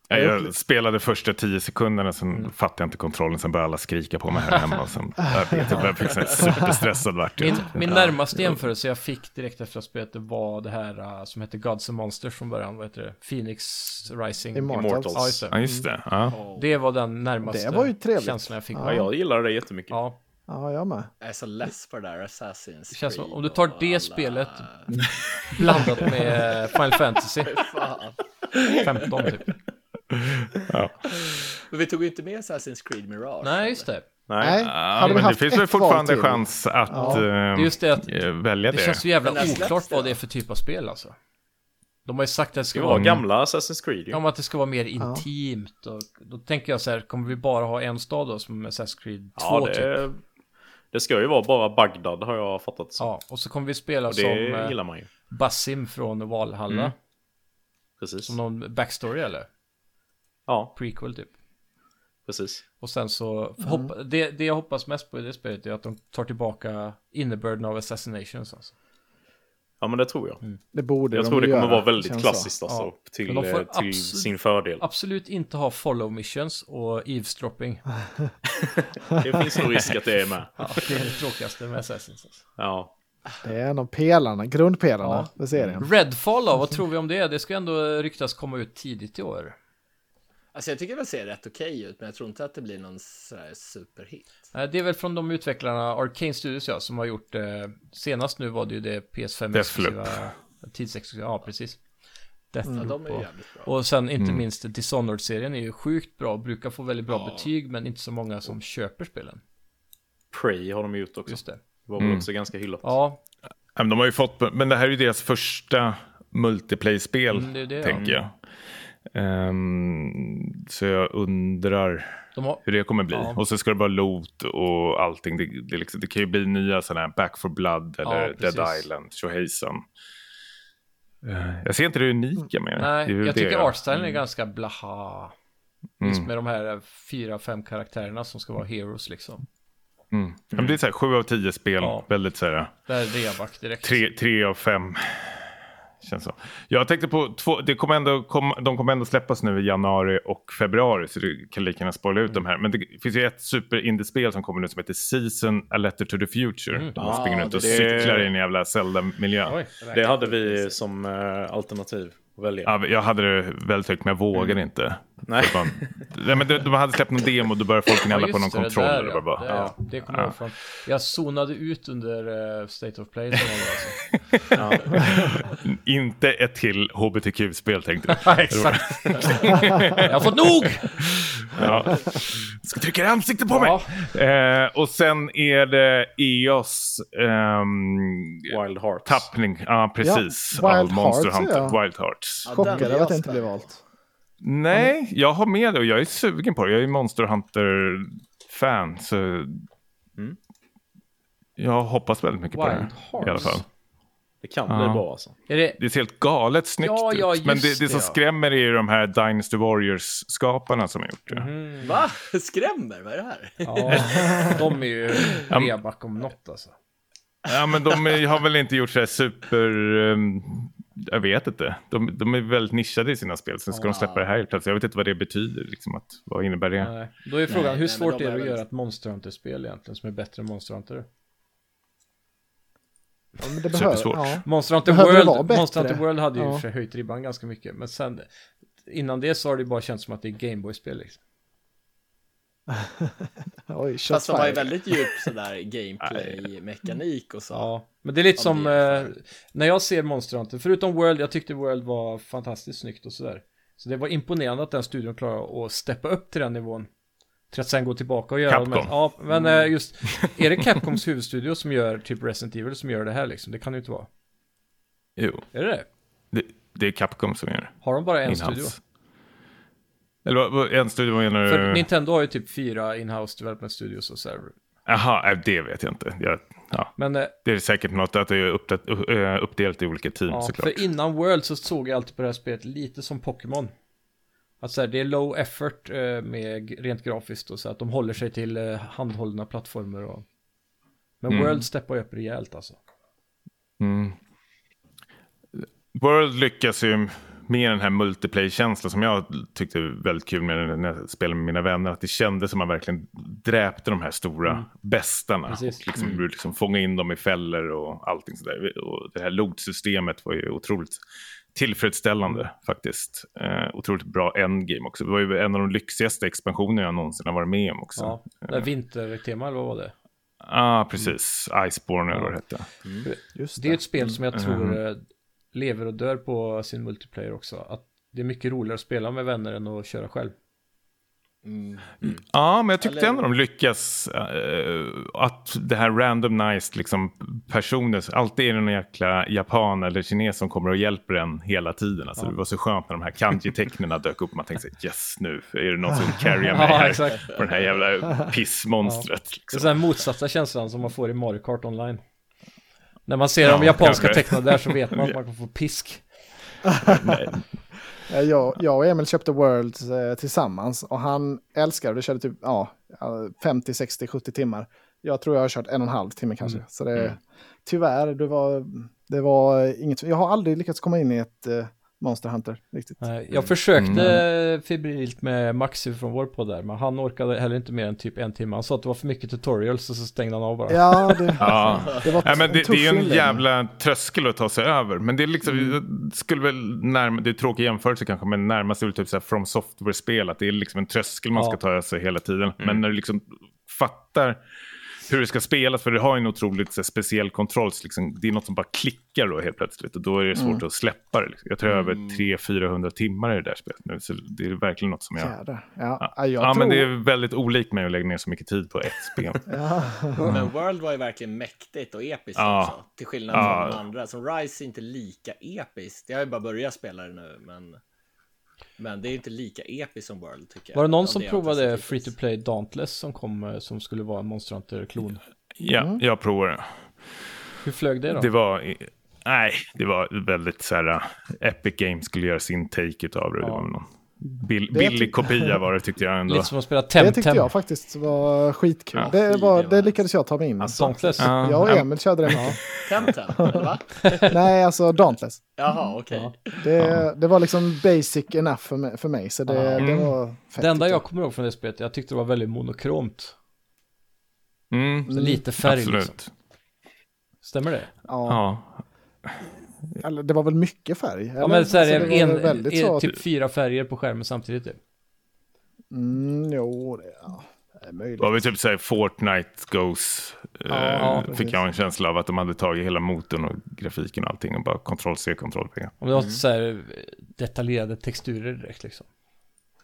Speaker 4: Jag spelade första tio sekunderna, sen
Speaker 2: Mm.
Speaker 4: fattade jag inte kontrollen, sen började alla skrika på mig här hemma. Och sen,
Speaker 2: Ah,
Speaker 4: jag vet inte, jag fick sån här superstressad vart.
Speaker 2: Min,
Speaker 4: jag.
Speaker 2: min närmaste jämförelse jag fick direkt efter att spelet var det här eh, som hette Gods and Monsters från början. Vad heter det? Phoenix Rising.
Speaker 1: Immortals.
Speaker 2: Ja, just
Speaker 4: Ja,
Speaker 2: det.
Speaker 4: just det. Ja.
Speaker 2: det var den närmaste
Speaker 1: Det var ju trevligt.
Speaker 2: känslan jag fick.
Speaker 5: ja, jag gillar det jättemycket.
Speaker 2: Ja,
Speaker 1: ja, jag med.
Speaker 3: Jag är så less på det där Assassin's
Speaker 2: det känns som
Speaker 3: Creed
Speaker 2: om du tar
Speaker 3: och
Speaker 2: det
Speaker 3: alla-
Speaker 2: spelet blandat med eh, Final Fantasy
Speaker 3: Fan.
Speaker 2: 15 typ.
Speaker 3: Men vi tog ju inte med Assassin's Creed Mirage.
Speaker 2: Nej, just det.
Speaker 1: Nej,
Speaker 4: Ja,
Speaker 1: hade vi
Speaker 4: men det
Speaker 1: haft
Speaker 4: finns
Speaker 1: ett
Speaker 4: väl
Speaker 1: val
Speaker 4: fortfarande
Speaker 1: till?
Speaker 4: chans att eh,
Speaker 2: Det är just det att
Speaker 4: eh, välja det.
Speaker 2: det känns så jävla
Speaker 3: Men när släpps
Speaker 2: oklart vad
Speaker 3: det?
Speaker 2: det är för typ av spel alltså. De har ju sagt att det
Speaker 5: Det
Speaker 2: ska
Speaker 5: var
Speaker 2: vara
Speaker 5: gamla Assassin's Creed ju.
Speaker 2: Ja, men att det ska vara mer intimt. Och då tänker jag så här, kommer vi bara ha en stad då som Assassin's Creed 2
Speaker 5: Ja,
Speaker 2: typ?
Speaker 5: det, det ska ju vara bara Bagdad har jag fattat som.
Speaker 2: Ja, och så kommer vi spela
Speaker 5: och det
Speaker 2: som eh,
Speaker 5: gillar man ju.
Speaker 2: Basim från Valhalla.
Speaker 5: Precis.
Speaker 2: Som någon backstory eller?
Speaker 5: Ja,
Speaker 2: Prequel typ.
Speaker 5: precis.
Speaker 2: Och sen så, hoppa, det, det jag hoppas mest på i det spelet är att de tar tillbaka innebörden av Assassinations. Alltså.
Speaker 5: Ja, men det tror jag.
Speaker 2: Mm.
Speaker 1: Det borde
Speaker 5: Jag
Speaker 1: de
Speaker 5: tror det
Speaker 1: ju
Speaker 5: kommer
Speaker 1: göra,
Speaker 5: vara väldigt
Speaker 1: känns
Speaker 5: klassiskt alltså.
Speaker 2: Ja.
Speaker 5: Till,
Speaker 2: Men de får
Speaker 5: eh, till
Speaker 2: absolut-
Speaker 5: sin fördel.
Speaker 2: Absolut inte ha follow missions och eavesdropping.
Speaker 5: Det finns nog risk att det är med.
Speaker 2: Ja, det är det tråkigaste med Assassins. Alltså.
Speaker 5: Ja,
Speaker 1: Så. Det är en av pelarna, grundpelarna
Speaker 2: Ja.
Speaker 1: för
Speaker 3: Mm.
Speaker 1: serien.
Speaker 2: Redfall då, vad tror vi om det? Det ska ändå ryktas komma ut tidigt i år.
Speaker 3: Alltså jag tycker det ser rätt okej ut, men jag tror inte att det blir någon sådär superhit.
Speaker 2: Eh, Det är väl från de utvecklarna, Arcane Studios ja, som har gjort eh, senast nu var det ju det PS5 exklusiva eh, tidsexklusiva, ja precis.
Speaker 3: Ja,
Speaker 2: Deathloop
Speaker 3: Mm, de är ju
Speaker 2: och,
Speaker 3: jävligt bra.
Speaker 2: och sen
Speaker 4: Mm.
Speaker 2: inte minst Dishonored-serien är ju sjukt bra, brukar få väldigt bra betyg men inte så många som köper spelen.
Speaker 5: Prey har de gjort också.
Speaker 2: Just det. Mm.
Speaker 5: Det var väl också ganska hyllat.
Speaker 2: Ja,
Speaker 4: Ja, men de har ju fått, men det här är ju deras första multiplayer-spel,
Speaker 2: Mm, det är det, ja.
Speaker 4: tänker jag. Ehm, så jag undrar
Speaker 2: de har,
Speaker 4: hur det kommer bli.
Speaker 2: Ja.
Speaker 4: Och så ska det vara loot och allting. Det, det, är liksom, det kan ju bli nya sådana här Back for Blood eller
Speaker 2: Ja,
Speaker 4: Dead
Speaker 2: precis.
Speaker 4: Island, tjohejsan. Eh, Jag ser inte det unika med det. det är
Speaker 2: Nej,
Speaker 4: väl
Speaker 2: jag
Speaker 4: det Mm.
Speaker 2: tycker artstylen är ganska blaha. Just med de här eh, fyra, fem karaktärerna som ska vara heroes liksom.
Speaker 4: Mm. Ja, men det är så här, sju av tio spel,
Speaker 2: Ja.
Speaker 4: väldigt så här,
Speaker 2: Det här är reback direkt.
Speaker 4: tre, tre av fem. Känns så. Jag tänkte på två, det kommer ändå, kom, de kommer ändå släppas nu i januari och februari så det kan lika gärna spoila ut de här. Men det finns ju ett superindiespel som kommer nu som heter Season A Letter to the Future. Där man
Speaker 5: Ah,
Speaker 4: springer runt och
Speaker 5: det-
Speaker 4: cyklar i en jävla Zelda-miljö.
Speaker 2: Mm. Oj,
Speaker 5: Det hade vi som eh, alternativ att välja.
Speaker 4: Ja, jag hade det väldigt högt, men jag vågade
Speaker 2: Mm.
Speaker 4: inte.
Speaker 5: Nej.
Speaker 4: För att Man, nej men de, de hade släppt någon demo, då började folk gnälla
Speaker 2: Ja,
Speaker 4: på någon
Speaker 2: just det, det
Speaker 4: kontroll.
Speaker 2: där,
Speaker 4: och det var bara,
Speaker 2: Det, ja. det kommer jag ihåg från. Jag zonade ut under eh, State of Play. Som var alltså.
Speaker 4: Inte ett till hbtq-spel tänkte jag.
Speaker 2: ja, exakt. jag har fått nog!
Speaker 4: Ja. Ska trycka i ansiktet på mig!
Speaker 2: Ja.
Speaker 4: Eh, och sen är det EOS ehm,
Speaker 5: Wild Hearts.
Speaker 4: tappning. Ja, precis.
Speaker 1: Ja, Wild
Speaker 4: All Monster
Speaker 1: Hearts,
Speaker 4: Hunter.
Speaker 1: ja.
Speaker 4: Wild Hearts.
Speaker 3: Ja, den
Speaker 1: Chockad
Speaker 3: vill
Speaker 1: över att
Speaker 3: jag
Speaker 1: det inte blev
Speaker 3: spela.
Speaker 1: valt.
Speaker 4: Nej, jag har med det och jag är sugen på det. Jag är Monster Hunter-fan. Så... Jag hoppas väldigt mycket på
Speaker 2: Mm. Wild
Speaker 4: det. I alla
Speaker 2: Hearts.
Speaker 4: fall.
Speaker 5: Det kan bli
Speaker 4: Ja.
Speaker 5: bra alltså.
Speaker 2: Är det,
Speaker 4: Det ser helt galet snyggt
Speaker 2: Ja, ja,
Speaker 4: ut. Men
Speaker 2: just
Speaker 4: det, det som
Speaker 2: det, ja.
Speaker 4: skrämmer är ju de här Dynasty Warriors-skaparna som har gjort
Speaker 2: Mm-hmm.
Speaker 4: det.
Speaker 3: Va? Skrämmer? Vad är det här?
Speaker 2: Mm, ja, de är ju reback om något alltså.
Speaker 4: Ja, men de är, har väl inte gjort så här super... ehm, jag vet inte. De, de är väldigt nischade i sina spel. Sen ska de släppa det här helt plötsligt. Jag vet inte vad det betyder. Liksom, att, vad innebär det?
Speaker 2: Nej. Då är frågan,
Speaker 3: Nej,
Speaker 2: hur
Speaker 3: nej, men
Speaker 2: svårt
Speaker 3: de
Speaker 2: är det
Speaker 3: är
Speaker 2: att
Speaker 3: väl-
Speaker 2: göra ett Monster Hunter-spel egentligen som är bättre än Monster Hunter?
Speaker 1: Ja, men det behöver,
Speaker 4: Supersvårt.
Speaker 1: Ja.
Speaker 2: Monster Hunter,
Speaker 1: Behöver det vara
Speaker 2: World,
Speaker 1: bättre?
Speaker 2: Monster Hunter World hade ju i och
Speaker 1: Ja.
Speaker 2: för sig höjt ribban ganska mycket. Men sen, innan det så har det bara känts som att det är Gameboy-spel liksom.
Speaker 1: Oj, shots
Speaker 3: Fast de har ju
Speaker 1: fired.
Speaker 3: väldigt djup sådär gameplay-mekanik och så.
Speaker 2: Ja, men det är lite
Speaker 3: Ja,
Speaker 2: som
Speaker 3: det är
Speaker 2: eh, när jag ser Monster Hunter, förutom World, jag tyckte World var fantastiskt snyggt och sådär. Så det var imponerande att den studion klarade att steppa upp till den nivån. Till att sen gå tillbaka och göra
Speaker 4: Capcom.
Speaker 2: Men, ja, men
Speaker 3: Mm.
Speaker 2: eh, just, är det Capcoms huvudstudio som gör typ Resident Evil som gör det här liksom? Det kan det ju inte vara.
Speaker 4: Jo,
Speaker 2: Är det det?
Speaker 4: det, det är Capcom som gör det.
Speaker 2: Har de bara en
Speaker 4: In-house. Eh.
Speaker 2: studio?
Speaker 4: Eller vad- vad- en studio, vad menar
Speaker 2: För
Speaker 4: du?
Speaker 2: Nintendo har ju typ fyra in-house development studios och sådär.
Speaker 4: Jaha, nej, det vet jag inte. Jag, ja.
Speaker 2: Men eh,
Speaker 4: Det är säkert något att det är uppdat, ö, uppdelat i olika team
Speaker 2: Ja,
Speaker 4: såklart.
Speaker 2: för innan World så såg jag alltid på det här spelet lite som Pokémon. Att så här, det är low effort eh, med g- rent grafiskt och så att de håller sig till eh, handhållna plattformar och... Men World steppar ju upp rejält alltså.
Speaker 4: World lyckas ju med den här multiplayer-känslan som jag tyckte var väldigt kul med när jag spelade med mina vänner. Att det kändes som man verkligen dräpte de här stora bästarna.
Speaker 2: Mm. Precis. Mm.
Speaker 4: Och liksom, liksom fånga in dem i fällor och allting sådär. Och det här loot-systemet var ju otroligt
Speaker 2: Mm.
Speaker 4: tillfredsställande faktiskt. Eh, otroligt bra endgame också. Det var ju en av de lyxigaste expansioner jag någonsin har varit med om också. Eh,
Speaker 2: Ja, det här vintertema eller vad var det?
Speaker 4: Ah, precis. Iceborne eller vad det hette.
Speaker 1: Just
Speaker 2: Mm. Det är ett spel som jag tror eh, lever och dör på sin multiplayer också. Att det är mycket roligare att spela med vänner än att köra själv.
Speaker 3: Mm.
Speaker 4: Ja, men jag tyckte
Speaker 3: Eller-
Speaker 4: ändå de lyckas. eh, att det här randomized liksom, personer, alltid är det någon jäkla japan eller kines som kommer och hjälper en hela tiden. Alltså, Det var så skönt när de här kanji-tecknen dök upp. Man tänkte så här, yes nu är det någon som carryar mig
Speaker 2: Ja,
Speaker 4: här
Speaker 2: exakt.
Speaker 4: på det här jävla pissmonstret.
Speaker 2: Det är
Speaker 4: Liksom.
Speaker 2: den motsatta känslan som man får i Mario Kart online. När man ser de
Speaker 4: Ja,
Speaker 2: japanska
Speaker 4: kanske.
Speaker 2: tecknen där så vet man att man kan få pisk.
Speaker 1: Ja, Eh, Jag, jag och Emil köpte World eh, tillsammans och han älskade det. körde typ ja, eh, 50, 60, 70 timmar. Jag tror jag har kört en och en halv timme
Speaker 4: Mm.
Speaker 1: kanske. Så det, Tyvärr, det var, det var inget. Jag har aldrig lyckats komma in i ett eh, Monster Hunter riktigt.
Speaker 2: Nej, Jag försökte
Speaker 4: Mm.
Speaker 2: febrilt med Maxi från vår podd där, men han orkade heller inte mer än typ en timme. Han sa att det var för mycket tutorials och så stängde han av bara.
Speaker 1: Ja, det,
Speaker 4: Ja.
Speaker 1: det var
Speaker 4: Nej, men det,
Speaker 1: tuff
Speaker 4: det är ju en
Speaker 1: inledning.
Speaker 4: jävla tröskel att ta sig över. Men det är liksom,
Speaker 1: Mm.
Speaker 4: jag skulle väl närma, det är tråkig jämförelse kanske, men närmast är väl typ så här from software-spel, att det är liksom en tröskel man
Speaker 2: Ja.
Speaker 4: ska ta sig hela tiden.
Speaker 1: Mm.
Speaker 4: Men när du liksom fattar hur det ska spelas, för du har ju en otroligt så här, speciell kontroll, så liksom, det är något som bara klickar då helt plötsligt och då är det svårt
Speaker 1: Mm.
Speaker 4: att släppa det. Liksom. Jag tror jag har över 300-400 timmar i det där spelet nu, så det är verkligen något som jag... Ja,
Speaker 1: Jädrar. Ja,
Speaker 4: ja,
Speaker 1: jag tror...
Speaker 4: men det är väldigt olikt mig att lägga ner så mycket tid på ett spel.
Speaker 3: Men World var ju verkligen mäktigt och episkt
Speaker 4: Ja.
Speaker 3: också. Till skillnad
Speaker 4: Ja.
Speaker 3: från de andra. Som Rise är inte lika episkt. Jag har ju bara börjat spela det nu, men... Men det är inte lika episkt som World tycker jag.
Speaker 2: Var det någon
Speaker 3: Av
Speaker 2: som
Speaker 3: jag
Speaker 2: provade
Speaker 3: testat
Speaker 2: Free to
Speaker 3: hittills.
Speaker 2: Play Dauntless som kom, eh, som skulle
Speaker 1: Mm.
Speaker 2: vara en Monster Hunter-klon?
Speaker 4: Ja, jag provar det.
Speaker 2: Hur flög det då?
Speaker 4: Det var... Nej, det var väldigt så här, äh, Epic Games skulle göra sin take utav det. det var någon bill,
Speaker 1: Det
Speaker 4: billig
Speaker 1: tyck-
Speaker 4: kopia var det tyckte jag ändå.
Speaker 2: typ- Lite som att spela
Speaker 1: Det tyckte
Speaker 2: Temtem.
Speaker 1: jag faktiskt var skitkul.
Speaker 4: Ja.
Speaker 1: Det, var, det
Speaker 3: Skivor.
Speaker 1: lyckades jag ta mig in i.
Speaker 2: Dauntless.
Speaker 4: Ja,
Speaker 1: alltså. Jag och
Speaker 4: ja,
Speaker 1: Emil körde den.
Speaker 3: Temtem, eller va?
Speaker 1: Nej, alltså Dauntless.
Speaker 3: Jaha, okej.
Speaker 1: Det, det var liksom basic enough för mig. För mig så det, det var fett.
Speaker 2: Mm.
Speaker 1: typ.
Speaker 2: Det enda
Speaker 1: tyckte
Speaker 2: jag kommer ihåg från det spelet, jag tyckte det var väldigt monokromt.
Speaker 4: mm,
Speaker 2: Så lite färg liksom.
Speaker 4: absolut.
Speaker 2: Stämmer det?
Speaker 1: Ja.
Speaker 4: Ja.
Speaker 1: Eller, det var väl mycket färg? Eller? Alltså,
Speaker 2: Ja men så här,
Speaker 1: det var
Speaker 2: en,
Speaker 1: väl väldigt
Speaker 2: en-
Speaker 1: så. att-
Speaker 2: typ fyra färger på skärmen samtidigt typ.
Speaker 1: Mm, jo, det, ja, det är möjligt.
Speaker 4: Det var väl typ såhär Fortnite Goes.
Speaker 2: Ja,
Speaker 4: eh, fick
Speaker 1: precis.
Speaker 4: jag en känsla av att de hade tagit hela motorn och grafiken och allting och bara kontroll C, kontroll P.
Speaker 2: Om det var så här eh, detaljerade texturer direkt liksom.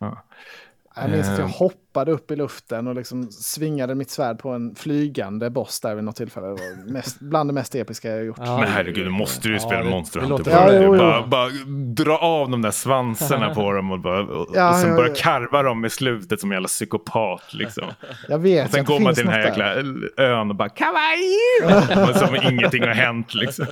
Speaker 1: Jag minns att jag
Speaker 4: Eh.
Speaker 1: hoppade upp i luften och liksom svingade mitt svärd på en flygande boss där vid något tillfälle. Det var mest, bland det mest episka jag har gjort.
Speaker 2: Ja.
Speaker 4: Men herregud, då måste du ju
Speaker 2: Ja,
Speaker 4: spela
Speaker 2: det-
Speaker 4: Monster
Speaker 2: det
Speaker 4: Hunter
Speaker 2: låter-
Speaker 4: för
Speaker 1: Ja,
Speaker 4: det.
Speaker 1: jo, jo.
Speaker 4: Bara, bara dra av de där svansarna på dem och, bara, och,
Speaker 1: Ja,
Speaker 4: och sen
Speaker 1: ja,
Speaker 4: börja
Speaker 1: ja.
Speaker 4: karva dem i slutet som en jävla psykopat liksom.
Speaker 1: Jag vet
Speaker 4: Och sen
Speaker 1: att Alltså, det
Speaker 4: går man
Speaker 1: finns
Speaker 4: till den här
Speaker 1: något där.
Speaker 4: jäkla ön och bara kawaii! och som ingenting har hänt liksom.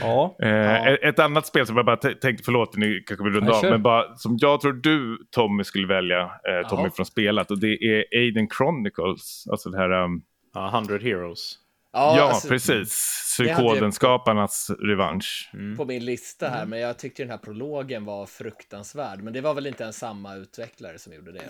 Speaker 2: Ja.
Speaker 4: Eh, ett- Ett annat spel som jag bara t- tänkte, förlåt nu kanske vi
Speaker 2: Ja,
Speaker 4: rundar av,
Speaker 2: kör.
Speaker 4: men bara som jag tror du Tommy skulle välja, eh, Tommy
Speaker 3: Jaha.
Speaker 4: från spelet, och det är Aiden Chronicles, alltså det här, ehm,
Speaker 5: Ja, 100 Heroes.
Speaker 4: ja,
Speaker 3: alltså,
Speaker 4: precis,
Speaker 3: det hade Mm. ju-
Speaker 4: psykodenskaparnas revansch.
Speaker 2: Mm.
Speaker 3: På min lista här, men jag tyckte den här prologen var fruktansvärd. Men det var väl inte ens samma utvecklare som gjorde det?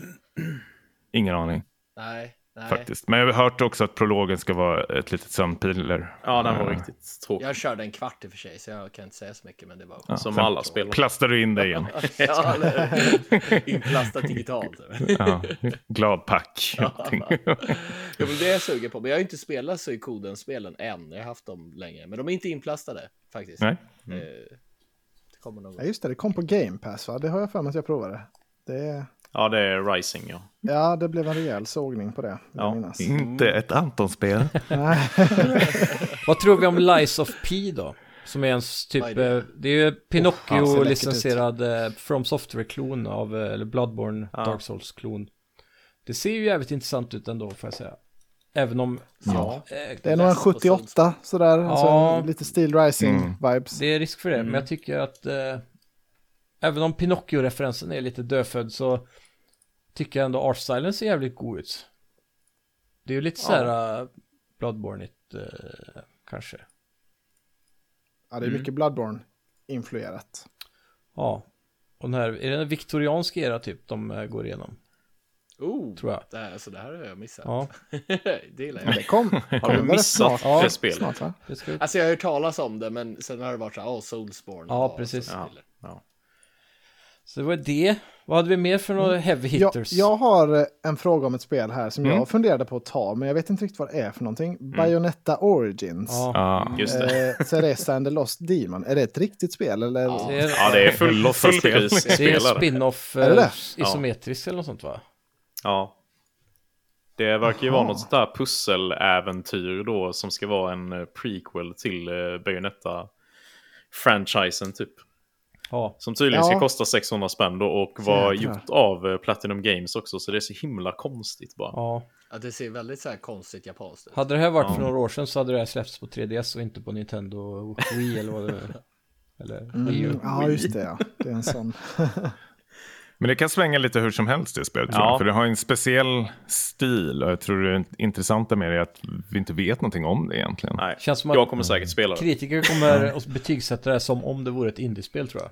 Speaker 4: Ingen aning
Speaker 3: Nej, nej.
Speaker 4: faktiskt, men jag har hört också att prologen ska vara ett litet sömnpiller.
Speaker 5: Ja, den var
Speaker 4: Eh,
Speaker 5: riktigt tråkig.
Speaker 3: Jag körde en kvart i och för sig, så jag kan inte säga så mycket, men det var...
Speaker 5: Som
Speaker 4: sen
Speaker 5: alla spel.
Speaker 4: Plastar du in dig igen?
Speaker 3: Ja, eller- Inplastat digitalt.
Speaker 4: ja. Glad pack.
Speaker 3: Ja, men det är jag sugen på, men jag har ju inte spelat så i koden-spelen än. Jag har haft dem länge, men de är inte inplastade faktiskt.
Speaker 4: Nej.
Speaker 3: Eh, Det kommer någon
Speaker 1: Ja,
Speaker 3: gång.
Speaker 1: just det, det kom på Game Pass va? Det har jag för mig att jag provade. Det,
Speaker 5: Ja, det är Rising, ja.
Speaker 1: ja, det blev en rejäl sågning på det. vill jag
Speaker 5: Ja.
Speaker 1: minnas.
Speaker 4: Inte ett Anton-spel.
Speaker 2: Vad tror vi om Lies of P då? Som är ens typ,
Speaker 3: Vad är det?
Speaker 2: det? det är ju
Speaker 1: fan, ser läckert
Speaker 2: Pinocchio-licensierad eh, From Software-klon av, eh, eller Bloodborne Dark Souls-klon. Det ser ju jävligt intressant ut ändå får jag säga. Även om... Ja. eh,
Speaker 1: Det är nog en
Speaker 3: Läst på
Speaker 1: 78 sådär.
Speaker 2: Ja.
Speaker 1: Alltså, lite Steel
Speaker 5: Mm.
Speaker 1: Rising-vibes.
Speaker 2: Det är risk för det, men jag tycker att eh, även om Pinocchio-referensen är lite dödfödd så tycker jag ändå artstylen ser jävligt god ut. Det är ju lite så här eh, bloodborne eh, kanske.
Speaker 1: Ja, det är mycket Bloodborne-influerat.
Speaker 2: Ja. Och den här, är det en viktoriansk era typ de eh, går igenom?
Speaker 3: Oh,
Speaker 2: Tror jag.
Speaker 3: Det här, alltså, det här har jag missat.
Speaker 2: Ja,
Speaker 3: det gillar jag.
Speaker 1: Det kom.
Speaker 5: Har du
Speaker 1: var det
Speaker 5: missat
Speaker 1: snart?
Speaker 5: det
Speaker 2: Ja.
Speaker 5: spelet?
Speaker 1: Snart, va?
Speaker 2: det ska vi...
Speaker 3: Alltså jag har hört talas om det, men sen har det varit så här, oh, Soulsborne.
Speaker 2: Ja,
Speaker 3: och
Speaker 2: precis.
Speaker 3: sådana
Speaker 5: Ja.
Speaker 3: grejer.
Speaker 2: Så det var det. Vad hade vi mer för några heavy
Speaker 1: Jag,
Speaker 2: hitters?
Speaker 1: jag har eh, en fråga om ett spel här som
Speaker 5: Mm.
Speaker 1: jag funderade på att ta, men jag vet inte riktigt vad det är för någonting. Bayonetta Origins.
Speaker 2: Ja.
Speaker 4: Ja.
Speaker 5: Just det.
Speaker 1: Eh, Ceresa and the Lost Demon. Är det ett riktigt spel? Eller?
Speaker 2: Det är,
Speaker 5: Ja, det är full,
Speaker 4: Låtsas
Speaker 5: fullt
Speaker 4: spel.
Speaker 5: pris
Speaker 2: det är
Speaker 5: spelare.
Speaker 2: spin-off
Speaker 1: Är det
Speaker 2: eh,
Speaker 1: det?
Speaker 2: isometriskt eller något sånt va?
Speaker 5: Ja. Det verkar ju vara något sånt där pusseläventyr då som ska vara en eh, prequel till eh, Bayonetta-franchisen typ.
Speaker 2: Ja.
Speaker 5: Som tydligen
Speaker 1: Ja.
Speaker 5: ska kosta 600 spänn då och var
Speaker 1: Jäklar.
Speaker 5: gjort av eh, Platinum Games också så det är så himla konstigt bara.
Speaker 2: ja.
Speaker 3: Ja, det ser väldigt så här konstigt japanskt ut.
Speaker 2: Hade det här varit för några år sedan så hade det här släppts på 3DS och inte på Nintendo Wii eller vad det är. Eller
Speaker 1: Mm,
Speaker 2: EU.
Speaker 1: ja, just det. Ja. Det är en sån.
Speaker 4: Men det kan svänga lite hur som helst det spelet. tror
Speaker 5: Ja.
Speaker 4: jag, För det har en speciell stil. Och jag tror det intressanta med det är att vi inte vet någonting om det egentligen.
Speaker 5: Nej,
Speaker 2: Känns som att-
Speaker 5: jag kommer säkert spela det.
Speaker 2: Kritiker kommer att betygsätta det här som om det vore ett indiespel tror jag.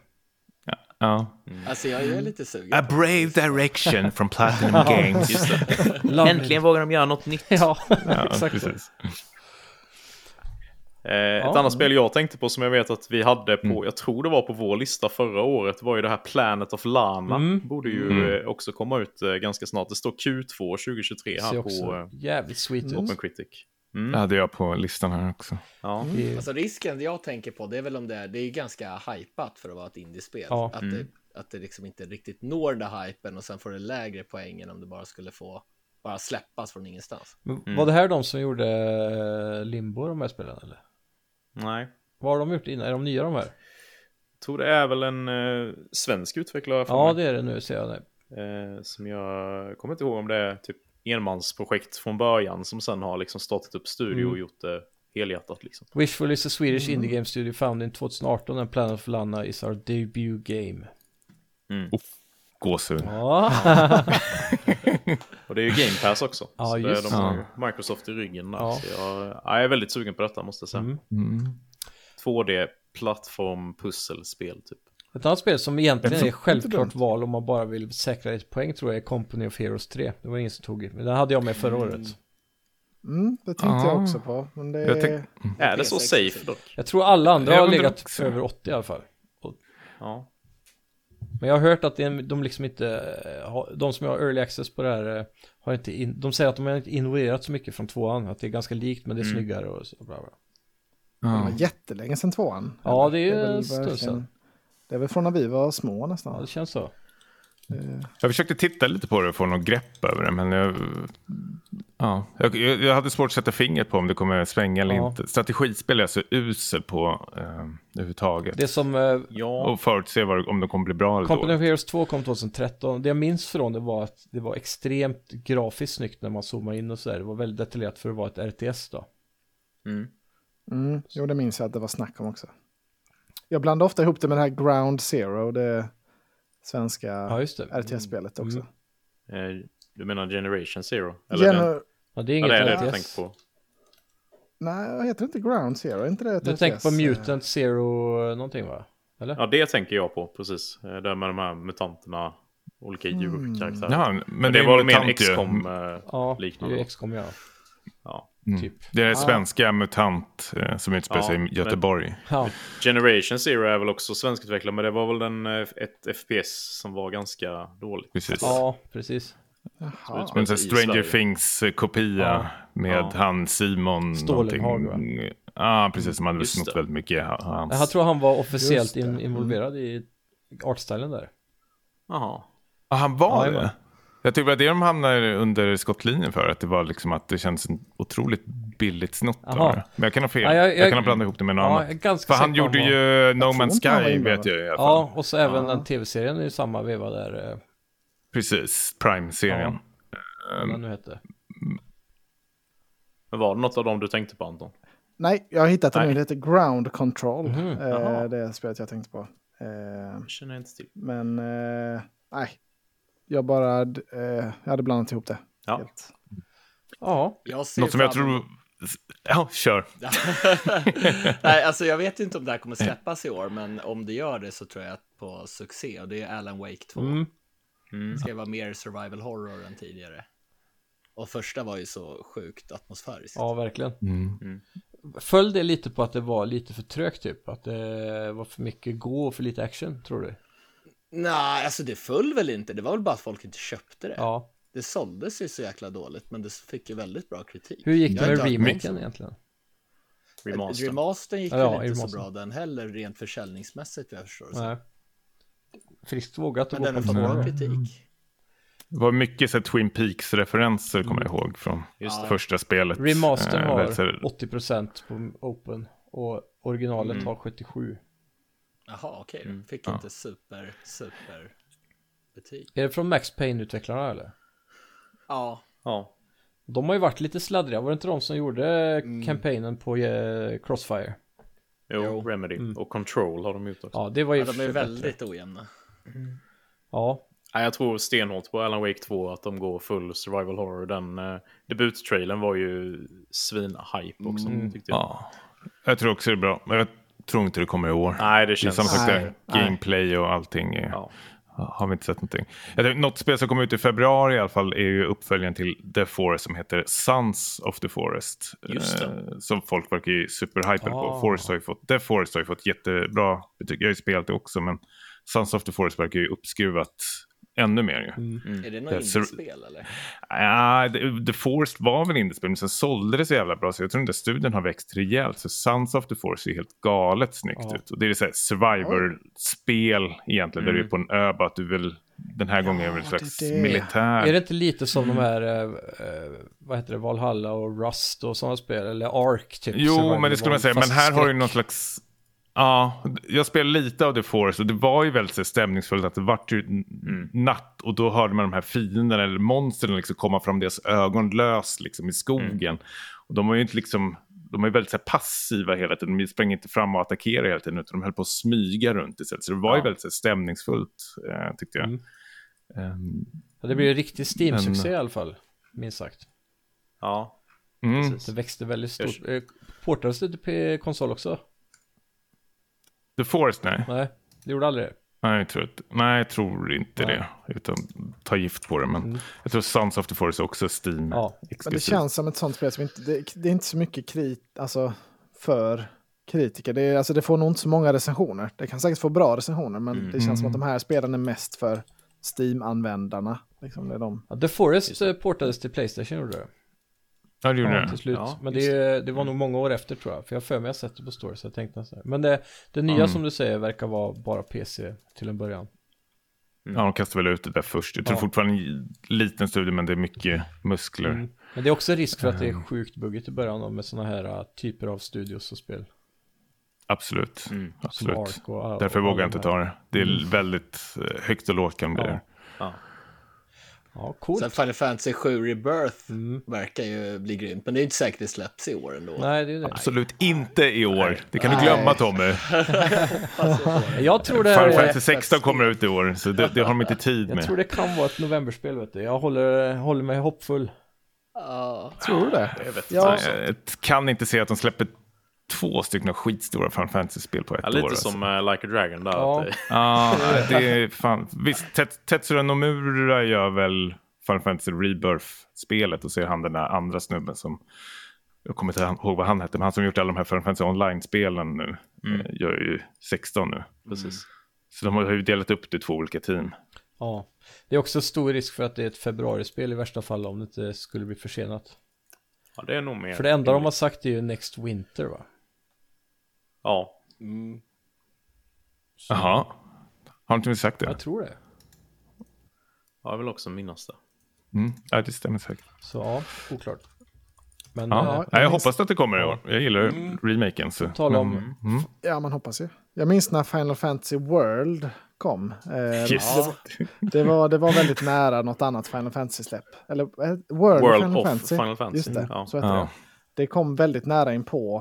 Speaker 4: Ja.
Speaker 3: Alltså jag är lite sugen.
Speaker 2: Mm.
Speaker 6: A brave direction from Platinum Games.
Speaker 2: Love it.
Speaker 5: vågar de göra något nytt.
Speaker 2: Ja,
Speaker 4: Ja,
Speaker 2: exakt. så.
Speaker 4: precis.
Speaker 5: Eh, ett annat spel jag tänkte på som jag vet att vi hade på,
Speaker 2: Mm.
Speaker 5: jag tror det var på vår lista förra året, var ju det här Planet of Lana.
Speaker 2: Mm.
Speaker 5: Borde ju eh, också komma ut eh, ganska snart. Det står Q2 2023
Speaker 2: Ser
Speaker 5: här på
Speaker 2: också
Speaker 5: eh,
Speaker 2: jävligt sweet ut.
Speaker 5: Open Critic.
Speaker 4: Det hade jag på listan här också.
Speaker 5: Ja.
Speaker 2: Det är-
Speaker 3: Alltså risken jag tänker på, det är väl om det är, det är ju ganska hypat för att vara ett indiespel.
Speaker 2: Ja.
Speaker 3: Att,
Speaker 4: Mm.
Speaker 3: det, att det liksom inte riktigt når den där hypen och sen får det lägre poäng än om det bara skulle få bara släppas från ingenstans.
Speaker 2: Men Var det här de som gjorde eh, Limbo, de här spelen eller?
Speaker 5: Nej.
Speaker 2: Vad har de gjort innan? Är de nya de här?
Speaker 5: Jag tror det är väl en eh, svensk utvecklare för
Speaker 2: Ja,
Speaker 5: mig,
Speaker 2: det är det nu ser jag det.
Speaker 5: eh, som jag kommer
Speaker 2: Mm.
Speaker 5: inte ihåg om det är typ enmansprojekt från början som sen har liksom startat upp studio och gjort det helhjärtat. Liksom.
Speaker 2: Wishful is a Swedish indie game studio founded in 2018 and Planet of Lana is our debut game.
Speaker 4: Gåshud.
Speaker 2: Ja,
Speaker 5: Och det är ju Game Pass också.
Speaker 2: Ja,
Speaker 5: så det,
Speaker 2: just det.
Speaker 5: de har ju Microsoft i ryggen. Där,
Speaker 2: Ja.
Speaker 5: så jag, ja, jag är väldigt sugen på detta måste jag säga.
Speaker 2: Mm.
Speaker 5: 2D-plattform-pusselspel typ.
Speaker 2: ett annat spel som egentligen är
Speaker 4: Inte
Speaker 2: självklart val om man bara vill säkra ett poäng tror jag är Company of Heroes 3. Det var ingen som tog det, men den hade jag med förra året.
Speaker 1: Mm, det tänkte
Speaker 4: Ja.
Speaker 1: jag också på. Men det
Speaker 4: Jag
Speaker 1: är...
Speaker 4: tänk-
Speaker 5: Är det så safe dock?
Speaker 2: Jag tror alla andra
Speaker 4: Jag
Speaker 2: har
Speaker 4: undrar
Speaker 2: legat
Speaker 4: också.
Speaker 2: över 80 i alla fall.
Speaker 5: Ja.
Speaker 2: Men jag har hört att det är, de liksom inte, eh, har- de som har early access på det här eh, har inte, in, de säger att de har inte innoverat så mycket från tvåan, att det är ganska likt men det är
Speaker 4: Mm.
Speaker 2: snyggare och så. Bla bla.
Speaker 1: Det var
Speaker 4: Ja.
Speaker 1: jättelänge sedan tvåan.
Speaker 2: Ja, det är ju
Speaker 1: väl
Speaker 2: en stund
Speaker 1: verkligen-
Speaker 2: sedan.
Speaker 1: Det är väl från när vi var små
Speaker 2: Ja,
Speaker 1: nästan.
Speaker 2: det känns så.
Speaker 4: Jag försökte titta lite på det och få något grepp över det, men jag, ja. jag, jag jag hade svårt att sätta fingret på om det kommer svänga eller
Speaker 2: Ja.
Speaker 4: inte. Strategispel är jag så usel på eh, överhuvudtaget.
Speaker 2: Det som eh,
Speaker 5: Ja,
Speaker 4: Och förutse vad, om det kommer bli bra eller
Speaker 2: Company
Speaker 4: dåligt.
Speaker 2: of Heroes 2 kom 2013. Det jag minns från det var att det var extremt grafiskt snyggt när man zoomade in och sådär. Det var väldigt detaljerat för att vara ett RTS då.
Speaker 1: Mm, jo, det minns jag att det var snack om också. Jag blandar ofta ihop det med det här Ground Zero, det svenska
Speaker 2: Ja, just det.
Speaker 1: RTS-spelet också.
Speaker 2: Mm.
Speaker 5: eh, du menar Generation Zero?
Speaker 1: Gener-
Speaker 5: den-
Speaker 2: Ja, det är
Speaker 5: ja,
Speaker 2: inget
Speaker 5: det är det du
Speaker 2: RTS.
Speaker 5: tänker på.
Speaker 1: Nej, vad heter det inte Ground Zero? Är Inte det ett
Speaker 2: Du
Speaker 1: RTS?
Speaker 2: tänker på Mutant Zero eh, någonting va? Eller?
Speaker 5: Ja, det tänker jag på, precis. Eh, Där med de här mutanterna, olika
Speaker 2: Mm.
Speaker 5: djurkaraktärer.
Speaker 4: Ja, men,
Speaker 5: Men
Speaker 4: det,
Speaker 5: det,
Speaker 4: är
Speaker 5: var väl
Speaker 4: en
Speaker 5: mer en
Speaker 4: mutant ju.
Speaker 5: XCOM
Speaker 2: Ja,
Speaker 5: eh,
Speaker 2: det är
Speaker 5: liknande.
Speaker 2: ju XCOM ja.
Speaker 5: Ja.
Speaker 2: Typ.
Speaker 4: Det är det svenska MUTANT eh, som utspelar
Speaker 5: Ja,
Speaker 4: sig i
Speaker 5: men-
Speaker 4: Göteborg.
Speaker 2: Ja.
Speaker 5: Generation Zero är väl också svenskutvecklad, men det var väl den, eh, ett FPS som var ganska dåligt.
Speaker 4: Precis.
Speaker 2: ja, precis.
Speaker 1: Jaha.
Speaker 4: Men så här
Speaker 5: I
Speaker 4: Stranger
Speaker 5: Sverige.
Speaker 4: Things-kopia
Speaker 2: Ja.
Speaker 4: med
Speaker 5: Ja.
Speaker 4: han Simon.
Speaker 2: Stålenhag,
Speaker 4: någonting. Ja, precis. Som hade
Speaker 5: Just
Speaker 4: snott
Speaker 5: det.
Speaker 4: väldigt mycket. ha- Hans.
Speaker 2: Jag tror han var officiellt
Speaker 1: Just det.
Speaker 2: in, involverad i artstylen där.
Speaker 5: Jaha.
Speaker 4: Ah, han var
Speaker 2: Ja, det var.
Speaker 4: det? Jag tycker att det de hamnade under skottlinjen för. Att det var liksom att det kändes en otroligt billigt snott. av
Speaker 2: Aha.
Speaker 4: det. Men jag kan ha fel.
Speaker 2: Ja,
Speaker 4: jag,
Speaker 2: jag- jag-
Speaker 4: kan ha blandat ihop det med något
Speaker 2: Ja, jag är
Speaker 4: annat.
Speaker 2: ganska
Speaker 4: För
Speaker 2: säker
Speaker 4: han
Speaker 2: på
Speaker 4: gjorde
Speaker 2: han
Speaker 4: ju No
Speaker 1: tror inte han
Speaker 4: Man's
Speaker 1: var
Speaker 4: Sky
Speaker 1: inblandad.
Speaker 4: vet jag i alla fall.
Speaker 2: Ja, och så även den tv-serien i samma veva där, eh,
Speaker 4: Precis, Prime-serien. Ehm.
Speaker 2: vad den nu hette.
Speaker 5: Men var det något av dem du tänkte på Anton?
Speaker 1: Nej, jag har hittat det nu.
Speaker 5: Nej.
Speaker 1: Det heter Ground Control.
Speaker 2: Mhm.
Speaker 5: jaha.
Speaker 1: eh, det spelet jag tänkte på. Eh,
Speaker 5: Känner jag inte till.
Speaker 1: men eh, nej, jag bara d- eh, jag hade blandat ihop det.
Speaker 5: Ja.
Speaker 1: Helt.
Speaker 2: Ja,
Speaker 3: Jag ser
Speaker 4: Något som jag
Speaker 3: fram
Speaker 4: tror... Ja, kör.
Speaker 3: Nej, alltså jag vet inte om det här kommer släppas i år, men om det gör det så tror jag att på succé och det är Alan Wake 2.
Speaker 2: Mm.
Speaker 3: Det ska ju vara mer survival horror än tidigare. Och första var ju så sjukt atmosfäriskt.
Speaker 2: ja verkligen.
Speaker 1: Mm.
Speaker 4: Mm.
Speaker 2: Föll det lite på att det var lite för trögt typ? Att det var för mycket gå och för lite action, tror du?
Speaker 3: Nej, alltså det föll väl inte. Det var väl bara att folk inte köpte det.
Speaker 2: Ja.
Speaker 3: Det såldes ju så jäkla dåligt, men det fick ju väldigt bra kritik.
Speaker 2: Hur gick
Speaker 3: Jag
Speaker 2: det
Speaker 3: har
Speaker 2: med
Speaker 3: inte hört
Speaker 2: remaken egentligen?
Speaker 5: Remaster.
Speaker 3: Remastern gick
Speaker 2: Ja,
Speaker 3: väl
Speaker 2: ja,
Speaker 3: inte så
Speaker 2: remastern.
Speaker 3: bra den heller, rent försäljningsmässigt vad jag förstår. det som.
Speaker 2: Nej. Mm. Friskt vågat att
Speaker 3: Men
Speaker 2: gå
Speaker 3: den har
Speaker 2: på
Speaker 3: fått
Speaker 2: två
Speaker 3: bra
Speaker 2: år.
Speaker 3: kritik.
Speaker 4: Det var mycket så här, Twin Peaks-referenser kommer jag ihåg från
Speaker 3: Just det.
Speaker 4: första spelet.
Speaker 2: Remastern
Speaker 4: Eh,
Speaker 2: har
Speaker 4: väldigt så här-
Speaker 2: 80% på open och originalet
Speaker 3: Mm.
Speaker 2: har 77.
Speaker 3: Jaha, okej.
Speaker 2: Mm.
Speaker 3: då. Fick inte super, super betyg.
Speaker 2: Är det från Max Payne-utvecklarna eller?
Speaker 3: Ja,
Speaker 5: Ja.
Speaker 2: De har ju varit lite sladdriga, var det inte de som gjorde
Speaker 3: Mm.
Speaker 2: kampanjen på eh, Crossfire?
Speaker 5: Jo,
Speaker 3: Jo.
Speaker 5: Remedy. Och Control har de gjort också.
Speaker 2: Ja, det var ju
Speaker 3: ja, de
Speaker 2: för
Speaker 3: är
Speaker 2: sig bättre.
Speaker 3: väldigt ojämna.
Speaker 2: Ja,
Speaker 5: Nej, jag tror stenhårt på Alan Wake 2 att de går full survival horror. Den eh, debuttrailern var ju svin-hype också. Tyckte jag.
Speaker 4: Ja. Jag tror också det är bra. Men jag tror inte det kommer i år.
Speaker 5: Nej, det
Speaker 4: Det är
Speaker 5: känns...
Speaker 4: som sagt
Speaker 1: Nej,
Speaker 4: där, gameplay och allting. eh,
Speaker 5: Ja.
Speaker 4: Har vi inte sett någonting. Jag tänkte, något spel som kom ut i februari i alla fall är ju uppföljaren till The Forest som heter Sons of the Forest.
Speaker 5: Just det.
Speaker 4: Eh, som folk verkar ju superhypade
Speaker 2: Ah.
Speaker 4: på. Forest har ju fått, The Forest har ju fått jättebra betyg. Jag har ju spelat det också men Sons of the Forest verkar ju uppskruvat ännu mer. Ju.
Speaker 2: Mm.
Speaker 3: Är det något
Speaker 4: Det är sur-
Speaker 3: indiespel eller?
Speaker 4: Ja, The- The Forest var väl indiespel, men sen sålde det så jävla bra så jag tror inte studion har växt rejält. Så Sons of the Forest ser helt galet snyggt
Speaker 2: Ja.
Speaker 4: ut. Och det är så här survivor-spel egentligen, där du är på en ö bara att du vill, den här gången är du en slags
Speaker 1: det är det.
Speaker 4: militär.
Speaker 2: är det inte lite som
Speaker 3: Mm.
Speaker 2: de här, eh, eh, vad heter det, Valhalla och Rust och sådana spel? Eller Ark typ?
Speaker 4: Jo,
Speaker 2: survival
Speaker 4: men det skulle man säga.
Speaker 2: fast
Speaker 4: Men här har du
Speaker 2: skräck.
Speaker 4: någon slags... Ja, jag spelade lite av The Forest och det var ju väldigt så här stämningsfullt att det vart ju n-
Speaker 2: Mm.
Speaker 4: natt och då hörde man de här fienderna
Speaker 2: Mm.
Speaker 4: eller monstren liksom komma fram deras ögon lös liksom i skogen. Och de var ju inte liksom de är väldigt så här, passiva hela tiden. De sprang inte fram och attackerade hela tiden, utan de höll på att smyga runt istället. Så det var ju väldigt så här, stämningsfullt, eh, tyckte jag.
Speaker 2: Mm.
Speaker 4: Ehm,
Speaker 2: Ja, det blev ju riktigt Steam-succé
Speaker 4: Men-
Speaker 2: i alla fall, minst sagt.
Speaker 5: Ja,
Speaker 4: mm.
Speaker 2: Det växte väldigt
Speaker 5: Jag-
Speaker 2: stort. Eh, Portades det till P- konsol också?
Speaker 4: The Forest, nej.
Speaker 2: Nej, det gjorde aldrig det.
Speaker 4: Nej, jag tror, att- nej, jag tror inte
Speaker 2: Nej. Mm.
Speaker 4: det. Utan ta gift på det. Men jag tror Sons of the Forest är också Steam.
Speaker 2: Ja,
Speaker 1: Men det
Speaker 4: exklusivt.
Speaker 1: känns som ett sånt spel som inte, det, det är inte så mycket krit, alltså, för kritiker. Det, är, alltså, det får nog inte så många recensioner. Det kan säkert få bra recensioner, men det känns som att de här spelen är mest för Steam-användarna. Liksom, det är de.
Speaker 2: Ja, The Forest eh, portades till Playstation gjorde det.
Speaker 4: Ja, det gjorde
Speaker 2: Ja,
Speaker 4: det.
Speaker 2: till slut.
Speaker 5: Ja,
Speaker 2: men det, det var nog många år efter tror jag. För jag har för mig att jag sett det på story så jag tänkte nästan. Men det, det
Speaker 4: Mm.
Speaker 2: nya som du säger verkar vara bara PC till en början.
Speaker 4: Mm. Ja, de kastade väl ut det där först. Jag tror
Speaker 2: Ja.
Speaker 4: fortfarande en liten studie, men det är mycket muskler.
Speaker 2: Mm. Men det är också risk för att det
Speaker 4: Eh.
Speaker 2: är sjukt buggigt i början då, med sådana här eh, typer av studios och spel.
Speaker 4: Absolut.
Speaker 5: Mm.
Speaker 2: Som
Speaker 4: Absolut.
Speaker 2: Ark och,
Speaker 4: Därför
Speaker 2: och
Speaker 4: vågar jag
Speaker 2: alla
Speaker 4: inte
Speaker 2: de här.
Speaker 4: ta det. Det är väldigt eh, högt och lågt kan det bli.
Speaker 2: Mm. Ja.
Speaker 4: där.
Speaker 2: Ja, Mm. coolt.
Speaker 3: Sen Final Fantasy 7 Rebirth verkar ju bli grymt, men det är inte säkert det släpps i år ändå.
Speaker 2: Nej, det är det.
Speaker 4: Absolut inte i år. Det kan du glömma Tommy.
Speaker 2: Jag tror det
Speaker 4: Final
Speaker 2: är...
Speaker 4: Fantasy 16 kommer ut i år, så det, det har de inte tid
Speaker 2: Jag
Speaker 4: med.
Speaker 2: tror det kan vara ett novemberspel vet du. Jag håller, håller mig hoppfull.
Speaker 3: Ja.
Speaker 1: Tror du det? Ja,
Speaker 4: Nej, jag kan inte se att de släpper två stycken sskitstora Final Fantasy-spel på ett
Speaker 5: ja
Speaker 4: år.
Speaker 5: lite
Speaker 4: alltså.
Speaker 5: som eh, Like a Dragon där.
Speaker 2: Ja.
Speaker 5: Att, eh,
Speaker 4: Ja, nej, det är fan. Visst, Tet- Tetsuro Nomura gör väl Final Fantasy Rebirth-spelet och så är han den där andra snubben som... Jag kommer inte ihåg vad han hette, men han som gjort alla de här Final Fantasy Online-spelen nu. eh, Gör ju 16 nu.
Speaker 5: precis.
Speaker 4: Så de har ju delat upp det i två olika team.
Speaker 2: Ja. Det är också stor risk för att det är ett februarispel i värsta fall om det inte skulle bli försenat.
Speaker 5: Ja, det är nog mer.
Speaker 2: För det enda de har sagt är ju Next Winter va?
Speaker 5: Ja,
Speaker 4: Jaha. Har inte vi sagt det?
Speaker 2: Jag tror det.
Speaker 5: jag vill också minnas det.
Speaker 4: Mm. Ja, det stämmer säkert.
Speaker 2: Så ja, oklart. Men
Speaker 4: Ja.
Speaker 2: ja. eh,
Speaker 4: Nej, jag hoppas att det kommer i år. Jag gillar ju remaken. Så. Mm.
Speaker 2: tala om...
Speaker 1: ja, man hoppas ju. Jag minns när Final Fantasy World kom. Eh,
Speaker 4: Yes.
Speaker 1: det, var, det var väldigt nära något annat Final Fantasy-släpp. Eller eh, World,
Speaker 5: World
Speaker 1: Final
Speaker 5: of
Speaker 1: Fantasy.
Speaker 5: Final Fantasy,
Speaker 1: Just det,
Speaker 5: ja.
Speaker 1: så heter
Speaker 4: Ja.
Speaker 1: det. Det kom väldigt nära in på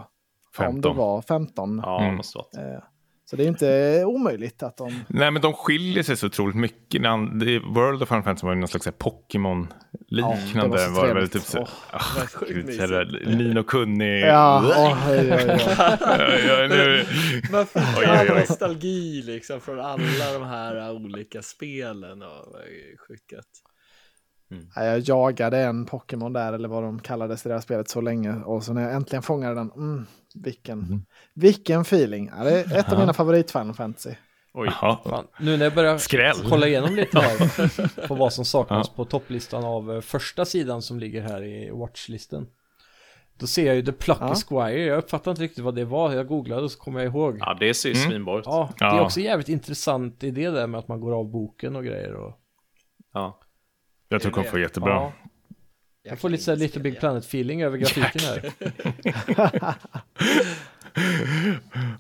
Speaker 1: om det
Speaker 4: 15.
Speaker 1: var 15.
Speaker 5: Ja, det måste vara.
Speaker 1: Eh, Så det är inte omöjligt att de...
Speaker 4: Nej, men de skiljer sig så otroligt mycket. Den an- det- World of Final Fantasy var ju någon slags så här
Speaker 1: Ja, det var
Speaker 4: Pokémon-liknande.
Speaker 1: så
Speaker 4: var det väl
Speaker 1: trevligt.
Speaker 4: typ så...
Speaker 1: Åh,
Speaker 4: Ah, gud, så här, Nino Kunni.
Speaker 1: Ja, oj, oj, oj.
Speaker 4: Ja, nu-
Speaker 3: Man fick
Speaker 4: Oj,
Speaker 3: all
Speaker 4: oj, oj.
Speaker 3: nostalgi liksom från alla de här olika spelen och skickat.
Speaker 1: Nej, Jag jagade en Pokémon där, eller vad de kallades i det här spelet, så länge. Och så när jag äntligen fångade den, mm, vilken, vilken feeling. Ja, det är ett av mina favorit Final Fantasy.
Speaker 5: Oj,
Speaker 4: Jaha.
Speaker 2: Fan, nu när jag börjar
Speaker 4: Skräll.
Speaker 2: kolla igenom lite här på vad som saknas på topplistan av eh, första sidan som ligger här i watchlisten. Då ser jag ju The Plucky
Speaker 1: Ja.
Speaker 2: Squire, jag uppfattar inte riktigt vad det var, jag googlade och så kom jag ihåg. Ja,
Speaker 5: ja, det ser ju svinbra ut.
Speaker 2: det är
Speaker 4: Ja.
Speaker 2: också jävligt intressant idé där med att man går av boken och grejer och...
Speaker 5: Ja.
Speaker 4: Jag tror det kommer få jättebra.
Speaker 2: Ja. Jag får lite så här Little Big Planet-feeling över grafiken här.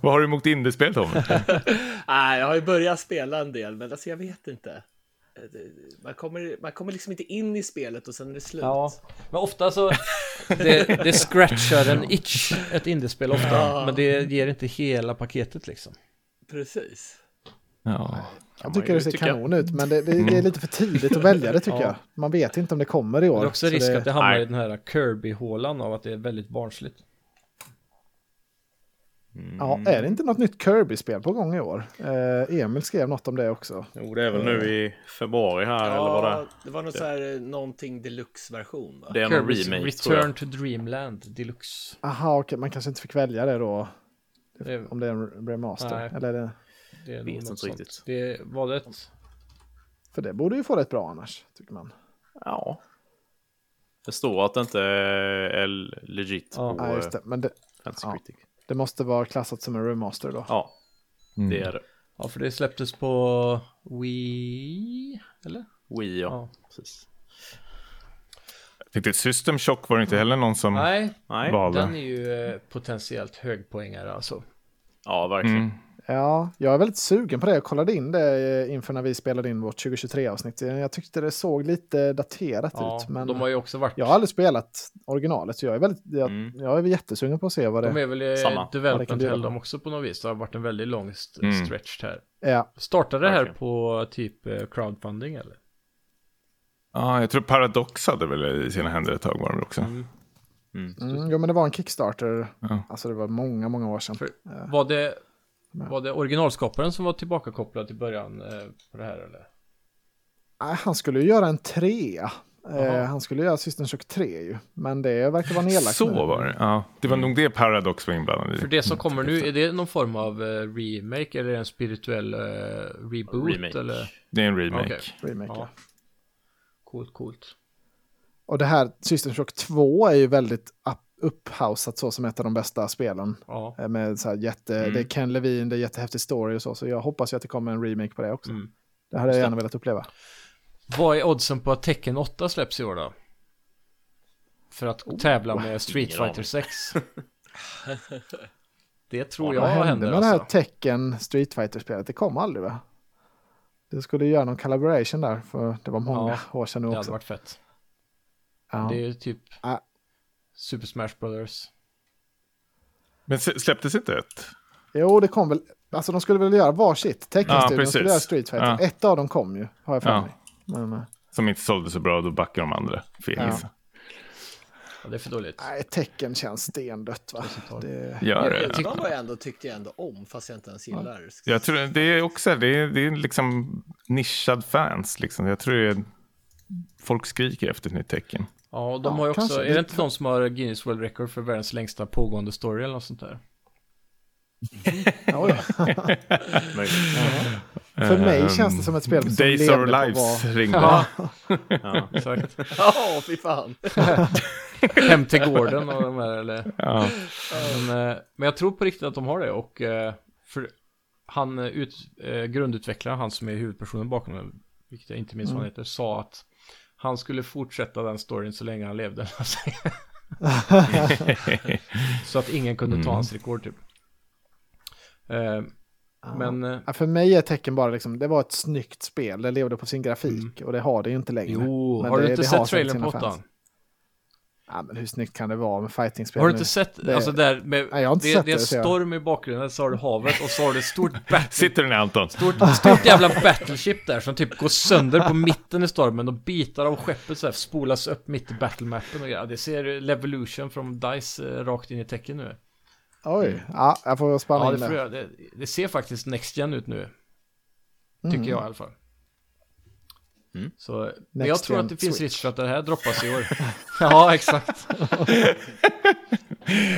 Speaker 4: Vad har du emot indiespel, Tom?
Speaker 3: Nej, jag har ju börjat spela en del, men alltså jag vet inte. Eh, Det- Man kommer, man kommer liksom inte in i spelet och sen är det slut.
Speaker 2: Ja, men ofta så... Det, det scratchar en itch, ett indiespel ofta. Men det ger inte hela paketet liksom.
Speaker 3: Precis.
Speaker 4: ja.
Speaker 1: Jag tycker det ser
Speaker 5: tycka.
Speaker 1: kanon ut, men det, det, det är lite för tidigt att välja det tycker jag. Man vet inte om det kommer i år.
Speaker 2: Det är också
Speaker 1: så
Speaker 2: risk
Speaker 1: det-
Speaker 2: att det hamnar
Speaker 5: nej.
Speaker 2: i den här Kirby-hålan av att det är väldigt barnsligt. Mm.
Speaker 1: Ja, är det inte något nytt Kirby-spel på gång i år? Eh, Emil skrev något om det också.
Speaker 5: Jo, det är väl nu i februari här, eller vad det
Speaker 3: Ja,
Speaker 5: är.
Speaker 3: det var någon så här eh, någonting deluxe-version va?
Speaker 5: Det är någon
Speaker 2: Kirby's
Speaker 5: remake, tror
Speaker 2: Return
Speaker 5: jag.
Speaker 2: to Dreamland Deluxe.
Speaker 1: Aha, okej, man kanske inte fick välja det då,
Speaker 2: Det, är-
Speaker 1: om det är en remaster.
Speaker 2: Nej.
Speaker 1: Eller är det,
Speaker 2: det är
Speaker 5: vet
Speaker 2: något
Speaker 5: inte
Speaker 2: sånt.
Speaker 5: riktigt.
Speaker 2: Det var det ett...
Speaker 1: för det borde ju få rätt bra annars, tycker man.
Speaker 5: Ja. Det står att det inte är legit
Speaker 2: Ja.
Speaker 5: på eh,
Speaker 1: Ja, just det. Men det,
Speaker 5: Fantasy
Speaker 1: Ja.
Speaker 5: Critic.
Speaker 1: det måste vara klassat som en remaster då.
Speaker 5: Ja,
Speaker 4: Mm.
Speaker 5: det är det.
Speaker 2: Ja, för det släpptes på Wii... Eller?
Speaker 5: Wii, ja.
Speaker 2: Ja.
Speaker 5: Precis.
Speaker 4: Jag Tänkte, System Shock var det inte heller någon som
Speaker 2: Nej,
Speaker 5: Nej,
Speaker 4: valde.
Speaker 2: den är ju eh, potentiellt högpoängare alltså.
Speaker 4: Mm.
Speaker 5: ja, verkligen.
Speaker 1: Ja, jag är väldigt sugen på det. Jag kollade in det eh, inför när vi spelade in vårt 2023-avsnitt. Jag tyckte det såg lite daterat
Speaker 2: Ja,
Speaker 1: ut. Men eh,
Speaker 2: de har ju också varit...
Speaker 1: Jag har aldrig spelat originalet, så jag är, väldigt, jag,
Speaker 5: Mm.
Speaker 1: jag är jättesugen på att se vad det
Speaker 2: De
Speaker 1: är.
Speaker 2: är väl i
Speaker 5: Samma.
Speaker 1: Ja, det kan
Speaker 2: development
Speaker 1: du
Speaker 2: hell
Speaker 1: göra.
Speaker 2: de också på något vis. Det har varit en väldigt lång st-
Speaker 4: Mm.
Speaker 2: stretch här.
Speaker 1: Ja,
Speaker 2: Startade det här
Speaker 5: Verkligen.
Speaker 2: på typ eh, crowdfunding eller?
Speaker 4: Ja, jag tror Paradox hade väl i sina händer ett tag var de också.
Speaker 1: mm, jo, men det var en Kickstarter.
Speaker 4: Ja.
Speaker 1: Alltså det var många, många år sedan.
Speaker 2: För- Var det, var det originalskaparen som var tillbakakopplad till början eh, på det här eller?
Speaker 1: Nej, Ah, han skulle ju göra en trea.
Speaker 2: Jaha.
Speaker 1: Eh, han skulle göra Systern Shock 3 ju. Men det verkar vara nedlagt nu.
Speaker 4: Så var det. Ja, det var nog det Paradox var inblandad i.
Speaker 2: För det som
Speaker 5: Mm.
Speaker 2: kommer nu, är det någon form av eh, remake eller en spirituell eh, reboot?
Speaker 5: Remake.
Speaker 2: Eller?
Speaker 4: Det är en remake.
Speaker 2: Okej.
Speaker 1: Remake, ja.
Speaker 2: Ja. Coolt, coolt.
Speaker 1: Och det här System Shock 2 är ju väldigt up- upphausat så som ett av de bästa spelen.
Speaker 2: Ja.
Speaker 1: Eh, Med så här jätte,
Speaker 2: Mm.
Speaker 1: Det är Ken Levine, det är jättehäftig story och så. Så jag hoppas ju att det kommer en remake på det också.
Speaker 2: Mm.
Speaker 1: Det hade jag gärna velat uppleva.
Speaker 2: Vad är oddsen på att Tekken 8 släpps i år då? För att tävla med Street
Speaker 5: Oh, ingen aning.
Speaker 2: Fighter 6. det tror jag
Speaker 1: Vad hände
Speaker 2: händer
Speaker 1: med det här
Speaker 2: alltså.
Speaker 1: tecken Street Fighter-spelet? Det kom aldrig va? Det skulle ju göra någon collaboration där, för det var många år sedan nu
Speaker 2: Det
Speaker 1: också.
Speaker 2: hade varit fett.
Speaker 1: ja.
Speaker 2: Det är ju typ
Speaker 1: Ah.
Speaker 2: Super Smash Brothers.
Speaker 4: Men s- släpptes inte ett?
Speaker 1: Jo, det kom väl. Alltså de skulle väl göra varsitt.
Speaker 4: Ja,
Speaker 1: Tekken-studion
Speaker 4: precis.
Speaker 1: skulle göra Street Fighter.
Speaker 4: Ja.
Speaker 1: Ett av dem kom ju, har jag för
Speaker 4: Ja.
Speaker 1: mig. Men, eh,
Speaker 4: Som inte sålde så bra, då backar de andra. För jag
Speaker 1: Ja.
Speaker 4: gissar.
Speaker 2: Ja, det är för dåligt.
Speaker 1: nej, tecken känns stendött va?
Speaker 2: Alltså,
Speaker 1: Det...
Speaker 4: Gör det.
Speaker 3: Elvan var jag ändå, tyckte jag ändå om, fast jag inte ens gillar.
Speaker 4: Jag tror det är också, det är, det är liksom nischad fans liksom. Jag tror det är, folk skriker efter ett nytt tecken.
Speaker 2: Ja, och de
Speaker 1: Ja,
Speaker 2: har ju också,
Speaker 1: kanske.
Speaker 2: är det inte någon som har Guinness World Record för världens längsta pågående story eller något sånt där?
Speaker 1: Oj. För mig känns det som ett spel som
Speaker 4: Ehm, Days
Speaker 1: levde
Speaker 4: of
Speaker 1: på
Speaker 4: Lives
Speaker 1: vad-
Speaker 4: ringde.
Speaker 5: Ja.
Speaker 2: exakt.
Speaker 3: Ja, fy fan.
Speaker 2: Hem till gården och de här eller.
Speaker 4: Ja.
Speaker 2: Men, eh, men jag tror på riktigt att de har det och eh, för han eh, ut, eh, grundutvecklaren, han som är huvudpersonen bakom den, vilket jag inte minns
Speaker 4: Mm.
Speaker 2: vad han heter, sa att han skulle fortsätta den storyn så länge han levde. så att ingen kunde
Speaker 4: Mm.
Speaker 2: ta hans rekord typ. Eh, Men eh,
Speaker 1: Ja, för mig är tecken bara liksom, det var ett snyggt spel. Det levde på sin
Speaker 4: Mm.
Speaker 1: grafik och det har det ju inte längre.
Speaker 2: jo,
Speaker 1: Men
Speaker 2: har
Speaker 1: det-
Speaker 2: du inte
Speaker 1: det har
Speaker 2: sett
Speaker 1: sina
Speaker 2: trailern på
Speaker 1: fans.
Speaker 2: åttan?
Speaker 1: Ja, men hur snyggt kan det vara med fightingspel
Speaker 2: Har du
Speaker 1: nu?
Speaker 2: inte sett,
Speaker 1: Det-
Speaker 2: alltså där med,
Speaker 1: Nej, jag har inte
Speaker 2: det,
Speaker 1: sett
Speaker 2: det är en
Speaker 1: det, så jag-
Speaker 2: storm i bakgrunden, så har du havet och så har du ett stort, bat-
Speaker 4: Sitter den här Anton?
Speaker 2: stort, stort jävla battleship där som typ går sönder på mitten i stormen och bitar av skeppet så här, spolas upp mitt i battlemappen och grejer. Det ser Levolution från DICE eh, rakt in i tecken nu.
Speaker 1: Oj, ja, jag får spana
Speaker 2: Ja, det,
Speaker 1: in
Speaker 2: får
Speaker 1: det.
Speaker 2: jag, det, det ser faktiskt Next Gen ut nu. Tycker jag i alla fall. Så, men jag
Speaker 1: Mm. Next
Speaker 2: tror
Speaker 1: Gen
Speaker 2: att det finns
Speaker 1: Switch.
Speaker 2: risk för att det här droppas i år. ja, exakt. jag,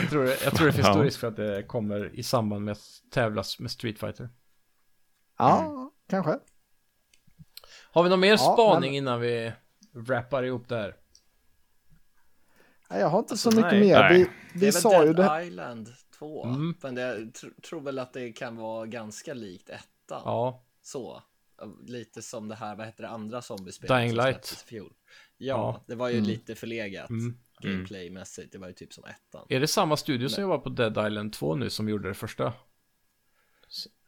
Speaker 2: tror det, jag tror det finns stor
Speaker 4: Ja.
Speaker 2: risk för att det kommer i samband med att tävlas med Street Fighter.
Speaker 1: Ja, kanske.
Speaker 2: Har vi någon mer
Speaker 1: Ja,
Speaker 2: spaning
Speaker 1: men-
Speaker 2: innan vi wrappar ihop det här?
Speaker 1: Nej, Jag har inte så mycket
Speaker 5: nej.
Speaker 1: mer. Vi,
Speaker 4: Nej.
Speaker 3: Det
Speaker 1: vi
Speaker 3: är väl
Speaker 1: sa ju
Speaker 3: Dead
Speaker 1: det.
Speaker 3: Island 2.
Speaker 2: Mm.
Speaker 3: Men jag tr tror väl att det kan vara ganska likt ettan.
Speaker 2: Ja,
Speaker 3: Så. eh, Lite som det här, vad heter det andra zombiespelet?
Speaker 2: Dying
Speaker 3: som
Speaker 2: Light.
Speaker 3: släpptes i fjol. Ja,
Speaker 2: Ja.
Speaker 3: det var ju lite förlegat gameplaymässigt. Det var ju typ som ettan.
Speaker 2: är det samma studio som jobbar på Dead Island 2 nu som gjorde det första?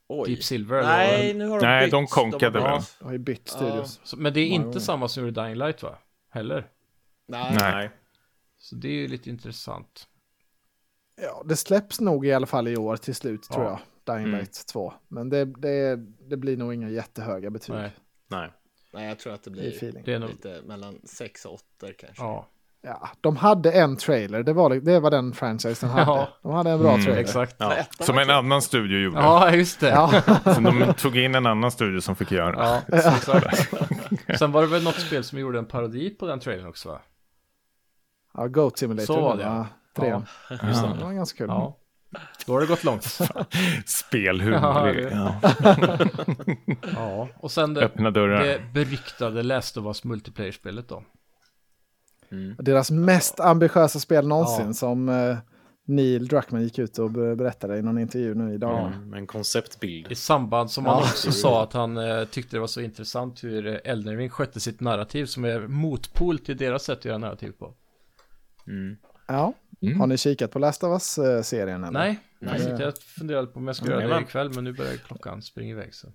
Speaker 3: Oj.
Speaker 2: Deep Silver? eller vad
Speaker 3: Nej,
Speaker 2: det var?
Speaker 3: nu har de
Speaker 4: Nej,
Speaker 3: bytt.
Speaker 4: de konkade
Speaker 3: har-
Speaker 4: väl.
Speaker 1: Jag har ju bytt studios.
Speaker 2: Så- Men det är inte samma som gjorde Dying Light va? Heller?
Speaker 3: Nej.
Speaker 4: Nej.
Speaker 2: Så det är ju lite intressant.
Speaker 1: Ja, det släpps nog i alla fall i år till slut tror jag. Dying
Speaker 4: Mm.
Speaker 1: Light 2. Men det, det, det blir nog inga jättehöga betyg.
Speaker 2: Nej.
Speaker 5: Nej.
Speaker 3: Nej, jag tror att det
Speaker 1: I
Speaker 3: blir
Speaker 1: feeling.
Speaker 2: Det är nog-
Speaker 3: lite mellan 6 och 8 kanske.
Speaker 2: Ja,
Speaker 1: Ja, de hade en trailer, det var, det var den franchisen hade.
Speaker 2: Ja.
Speaker 1: De hade en bra trailer.
Speaker 2: Mm, exakt.
Speaker 5: Ja.
Speaker 4: Som en annan studio gjorde.
Speaker 2: Ja, just det. Ja,
Speaker 4: Så de tog in en annan studio som fick göra.
Speaker 2: exakt. Sen var det väl något spel som gjorde en parodi på den trailern också va?
Speaker 1: Ja, Goat Simulator.
Speaker 2: Så var det,
Speaker 1: Ja, trean. Ja. Det var ganska kul.
Speaker 2: Ja. Då har det gått långt.
Speaker 4: Spelhumor.
Speaker 2: Ja,
Speaker 4: det-
Speaker 2: det-
Speaker 4: ja.
Speaker 2: Ja, och sen det,
Speaker 4: Öppna dörrar.
Speaker 2: det beryktade Last of Us multiplayer-spelet då.
Speaker 1: Deras mest ambitiösa spel någonsin
Speaker 2: Ja.
Speaker 1: som eh, Neil Druckmann gick ut och be- berättade i någon intervju nu i dagarna.
Speaker 5: Mm, En konceptbild.
Speaker 2: I samband som han också sa att han eh, tyckte det var så intressant hur eh, Elden Ring skötte sitt narrativ som är motpol till deras sätt att göra narrativ på.
Speaker 1: Ja. Har ni kikat på Last of Us-serien? Eller?
Speaker 2: Nej, faktiskt
Speaker 1: Nej.
Speaker 2: inte. jag funderade på om jag skulle
Speaker 5: Mm,
Speaker 2: göra det
Speaker 5: jajamän.
Speaker 2: ikväll, men nu börjar klockan springa iväg. Så.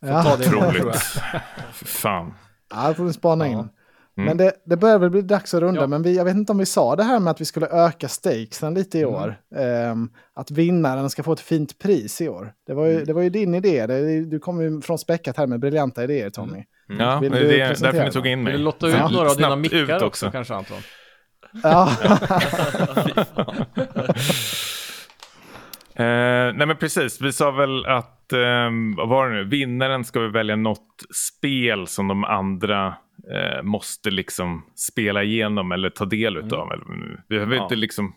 Speaker 1: Ja,
Speaker 4: Otroligt. Fy Fan.
Speaker 1: ja det får vi spana in.
Speaker 2: Ja.
Speaker 4: Mm.
Speaker 1: Men det, det börjar väl bli dags att runda,
Speaker 2: Ja.
Speaker 1: men vi, jag vet inte om vi sa det här med att vi skulle öka stakesen lite
Speaker 4: Mm.
Speaker 1: i år. Ehm, att vinnaren ska få ett fint pris i år. Det var ju,
Speaker 4: Mm.
Speaker 1: det var ju din idé, det, du kom ju från späckat här med briljanta idéer Tommy.
Speaker 4: Mm. Ja,
Speaker 1: Vill
Speaker 4: det
Speaker 1: du
Speaker 4: är
Speaker 1: presentera
Speaker 4: därför
Speaker 1: den?
Speaker 4: ni tog in
Speaker 2: Mm. Vill
Speaker 4: mig.
Speaker 2: du lotta
Speaker 4: Sen
Speaker 2: ut några av dina
Speaker 4: snabbt
Speaker 2: mickar
Speaker 4: ut
Speaker 2: också. kanske Anton?
Speaker 1: Ja,
Speaker 4: Eh, nej men precis, vi sa väl att, ehm, vad var det nu, vinnaren ska väl välja något spel som de andra eh, måste liksom spela igenom eller ta del utav. Eller, vi har väl
Speaker 5: Mm. Ja.
Speaker 4: inte liksom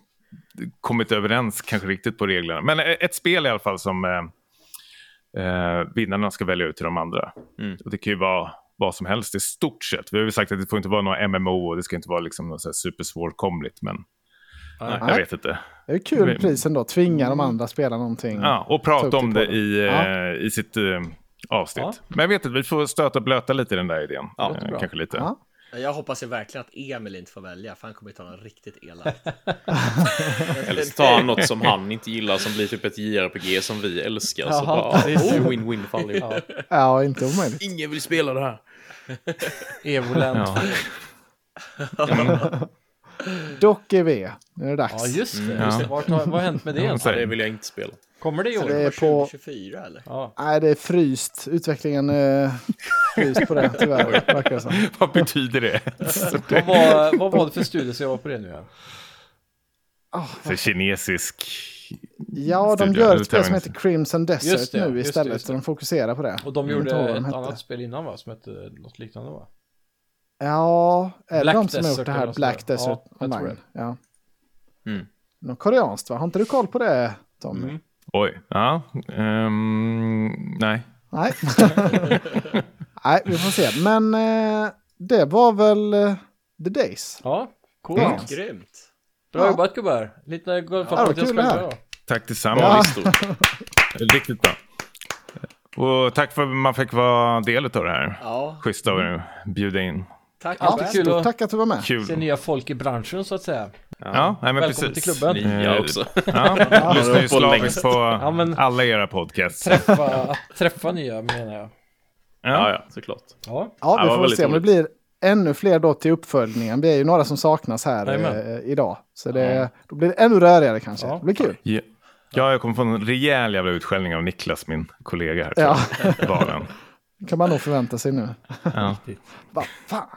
Speaker 4: kommit överens kanske riktigt på reglerna. Men eh, ett spel i alla fall som eh, eh, vinnarna ska välja ut till de andra.
Speaker 5: Mm.
Speaker 4: Och det kan ju vara vad som helst i stort sett. Vi har ju sagt att det får inte vara några MMO och det ska inte vara liksom något så här supersvårkomligt. Men
Speaker 5: Nej.
Speaker 4: jag vet inte.
Speaker 1: det är ju kul pris ändå, tvinga de andra att spela någonting.
Speaker 4: Mm. Ja, och
Speaker 1: Ta upp
Speaker 4: prata om
Speaker 1: det
Speaker 4: det
Speaker 1: Mm. på
Speaker 4: i,
Speaker 1: Ja.
Speaker 4: eh, i sitt eh, avsnitt.
Speaker 5: Ja.
Speaker 4: Men jag vet inte, vi får stöta och blöta lite i den där idén.
Speaker 5: Ja,
Speaker 4: Eh,
Speaker 5: låter bra.
Speaker 4: kanske lite.
Speaker 1: Ja.
Speaker 3: Jag hoppas ju verkligen att Emil inte får välja, för han kommer ju ta något riktigt elakt.
Speaker 5: Eller så tar han något som han inte gillar som blir typ ett JRPG som vi älskar. Så
Speaker 2: Jaha,
Speaker 4: Alltså,
Speaker 5: bara,
Speaker 2: det är så.
Speaker 5: oh, win-win för allihopa.
Speaker 1: Ja, inte omöjligt.
Speaker 5: Ingen vill spela det här.
Speaker 2: Evoland.
Speaker 4: Ja.
Speaker 2: Ja,
Speaker 1: Dock är vi, nu är det dags.
Speaker 2: just det.
Speaker 4: Mm,
Speaker 2: Just
Speaker 4: ja.
Speaker 2: det. Vart har, vad har hänt med det?
Speaker 4: Ja,
Speaker 2: ens?
Speaker 5: Ja, det vill jag inte spela.
Speaker 2: Kommer det i
Speaker 1: det
Speaker 2: år?
Speaker 1: är på...
Speaker 3: 2024 eller?
Speaker 2: Ja.
Speaker 1: Nej, det är fryst. Utvecklingen är fryst på det, tyvärr. verkar det som.
Speaker 4: Vad betyder det?
Speaker 2: Vad, var, vad var det för studie som jag var på det nu? igen?
Speaker 4: Så kinesisk...
Speaker 1: Ja, de
Speaker 4: Studio,
Speaker 1: gör
Speaker 4: eller
Speaker 1: ett spel som
Speaker 4: Terminus.
Speaker 1: heter Crimson Desert
Speaker 2: Just det,
Speaker 1: nu
Speaker 2: just det,
Speaker 1: istället.
Speaker 2: just det.
Speaker 1: Så de fokuserar på det.
Speaker 2: Och de
Speaker 1: Jag kommer
Speaker 2: gjorde
Speaker 1: inte ihåg vad de
Speaker 2: ett
Speaker 1: hette.
Speaker 2: annat spel innan va? Som hette något liknande va?
Speaker 1: Ja, är det
Speaker 2: Black
Speaker 1: de som har
Speaker 2: Desert
Speaker 1: gjort det
Speaker 2: eller
Speaker 1: här
Speaker 2: något
Speaker 1: Black
Speaker 2: sånt där.
Speaker 1: Desert
Speaker 2: Ja, jag tror
Speaker 1: Online? Ja.
Speaker 5: Mm.
Speaker 1: Något koreanskt va? Har inte du koll på det Tommy?
Speaker 4: Oj. Ja. ehm, nej.
Speaker 1: Nej. Nej, vi får se. Men eh, det var väl eh, The Days.
Speaker 2: Ja, coolt.
Speaker 1: Ja.
Speaker 3: Grymt!
Speaker 2: Bra
Speaker 1: Ja.
Speaker 2: jobbat gubbar. Lite
Speaker 1: Ja,
Speaker 2: golfapplåd
Speaker 1: vad
Speaker 2: till oss
Speaker 1: kul det här.
Speaker 2: själva.
Speaker 4: Tack
Speaker 5: Bra
Speaker 4: detsamma.
Speaker 5: listor.
Speaker 4: Riktigt bra. Och tack för att man fick vara del av det här.
Speaker 3: Ja,
Speaker 4: Schysst av er att bjuda in.
Speaker 3: tack
Speaker 2: Ja,
Speaker 3: själv.
Speaker 2: kul
Speaker 1: Stort
Speaker 2: att-
Speaker 1: tack att du var med.
Speaker 4: Kul.
Speaker 2: Se nya folk i branschen så att säga.
Speaker 4: Ja, nej,
Speaker 2: Välkommen
Speaker 4: men precis. Eh,
Speaker 2: till klubben.
Speaker 5: Nya också.
Speaker 4: Ja, jag lyssnar ju
Speaker 5: På
Speaker 4: slaviskt
Speaker 5: längst.
Speaker 4: på
Speaker 2: men-
Speaker 4: alla era podcasts.
Speaker 2: Träffa, att träffa nya menar jag.
Speaker 5: Ja,
Speaker 4: Ja.
Speaker 5: ja, såklart.
Speaker 2: Ja,
Speaker 1: Ja,
Speaker 5: Ja,
Speaker 1: vi
Speaker 5: vad
Speaker 1: får väl
Speaker 5: väldigt
Speaker 1: se om det blir ännu fler då till uppföljningen. Vi är ju några som saknas här
Speaker 2: Jajamän.
Speaker 1: eh, idag. Så det, då blir det ännu rörigare kanske.
Speaker 2: Ja.
Speaker 1: Det blir kul.
Speaker 4: Ja, Ja, jag kommer få en rejäl jävla utskällning av Niklas, min kollega här.
Speaker 1: Ja.
Speaker 4: Valen.
Speaker 1: Det kan man nog förvänta sig nu.
Speaker 4: Ja.
Speaker 1: Vad fan.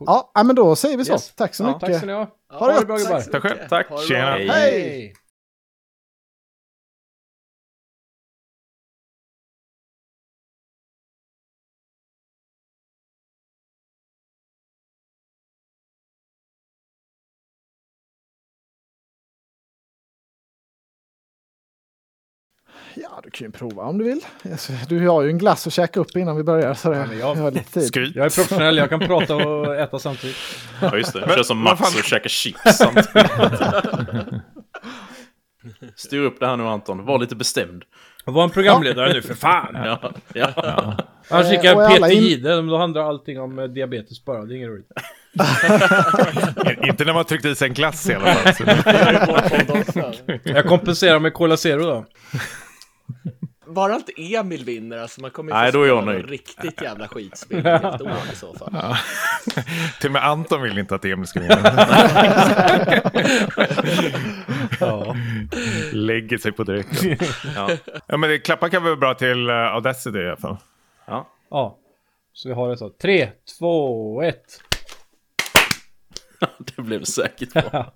Speaker 1: Ja, ja, men då säger vi så.
Speaker 2: Yes.
Speaker 1: Tack så
Speaker 2: tack
Speaker 1: mycket.
Speaker 2: ska ni ha.
Speaker 3: Ja,
Speaker 1: Ha det gott.
Speaker 2: bra
Speaker 3: så
Speaker 2: gubbar.
Speaker 4: Tack
Speaker 3: mycket.
Speaker 4: själv. Tack.
Speaker 3: Ha det bra.
Speaker 4: Tjena.
Speaker 5: Hej.
Speaker 1: Hej! Ja, du kan ju prova om du vill. Alltså, Du har ju en glass att käka upp innan vi börjar, så det
Speaker 2: men jag-
Speaker 1: vi har lite tid.
Speaker 4: Skryt.
Speaker 2: Jag är professionell, jag kan prata och äta samtidigt.
Speaker 5: Ja, just det. Kör som Max
Speaker 4: vad fan-
Speaker 5: och käkar chips samtidigt. Styr upp det här nu Anton, var lite bestämd.
Speaker 2: Var en programledare nu för fan!
Speaker 5: Ja, ja.
Speaker 2: Annars
Speaker 1: Eh,
Speaker 2: gick
Speaker 1: och
Speaker 2: jag
Speaker 1: alla
Speaker 2: Peter
Speaker 1: in-
Speaker 2: Jihde, då handlar allting om eh, diabetes bara, det är inget roligt.
Speaker 4: Inte när man tryckte i sig en glass i alla fall. Så-
Speaker 2: Jag kompenserar med Cola Zero då.
Speaker 3: Bara inte Emil vinner, alltså man kommer ju
Speaker 5: Nej,
Speaker 3: få
Speaker 5: då är jag
Speaker 3: spela
Speaker 5: nöjd.
Speaker 3: något riktigt jävla skitspel i ett helt år i så fall.
Speaker 4: Till och med Anton vill inte att Emil ska vinna. Lägger sig på direkten.
Speaker 5: Ja.
Speaker 4: Ja, men det klappar kan väl bra till eh, Audacity i alla fall.
Speaker 2: Ja. Så vi har det så. Tre, två, ett.
Speaker 5: Det blev säkert bra.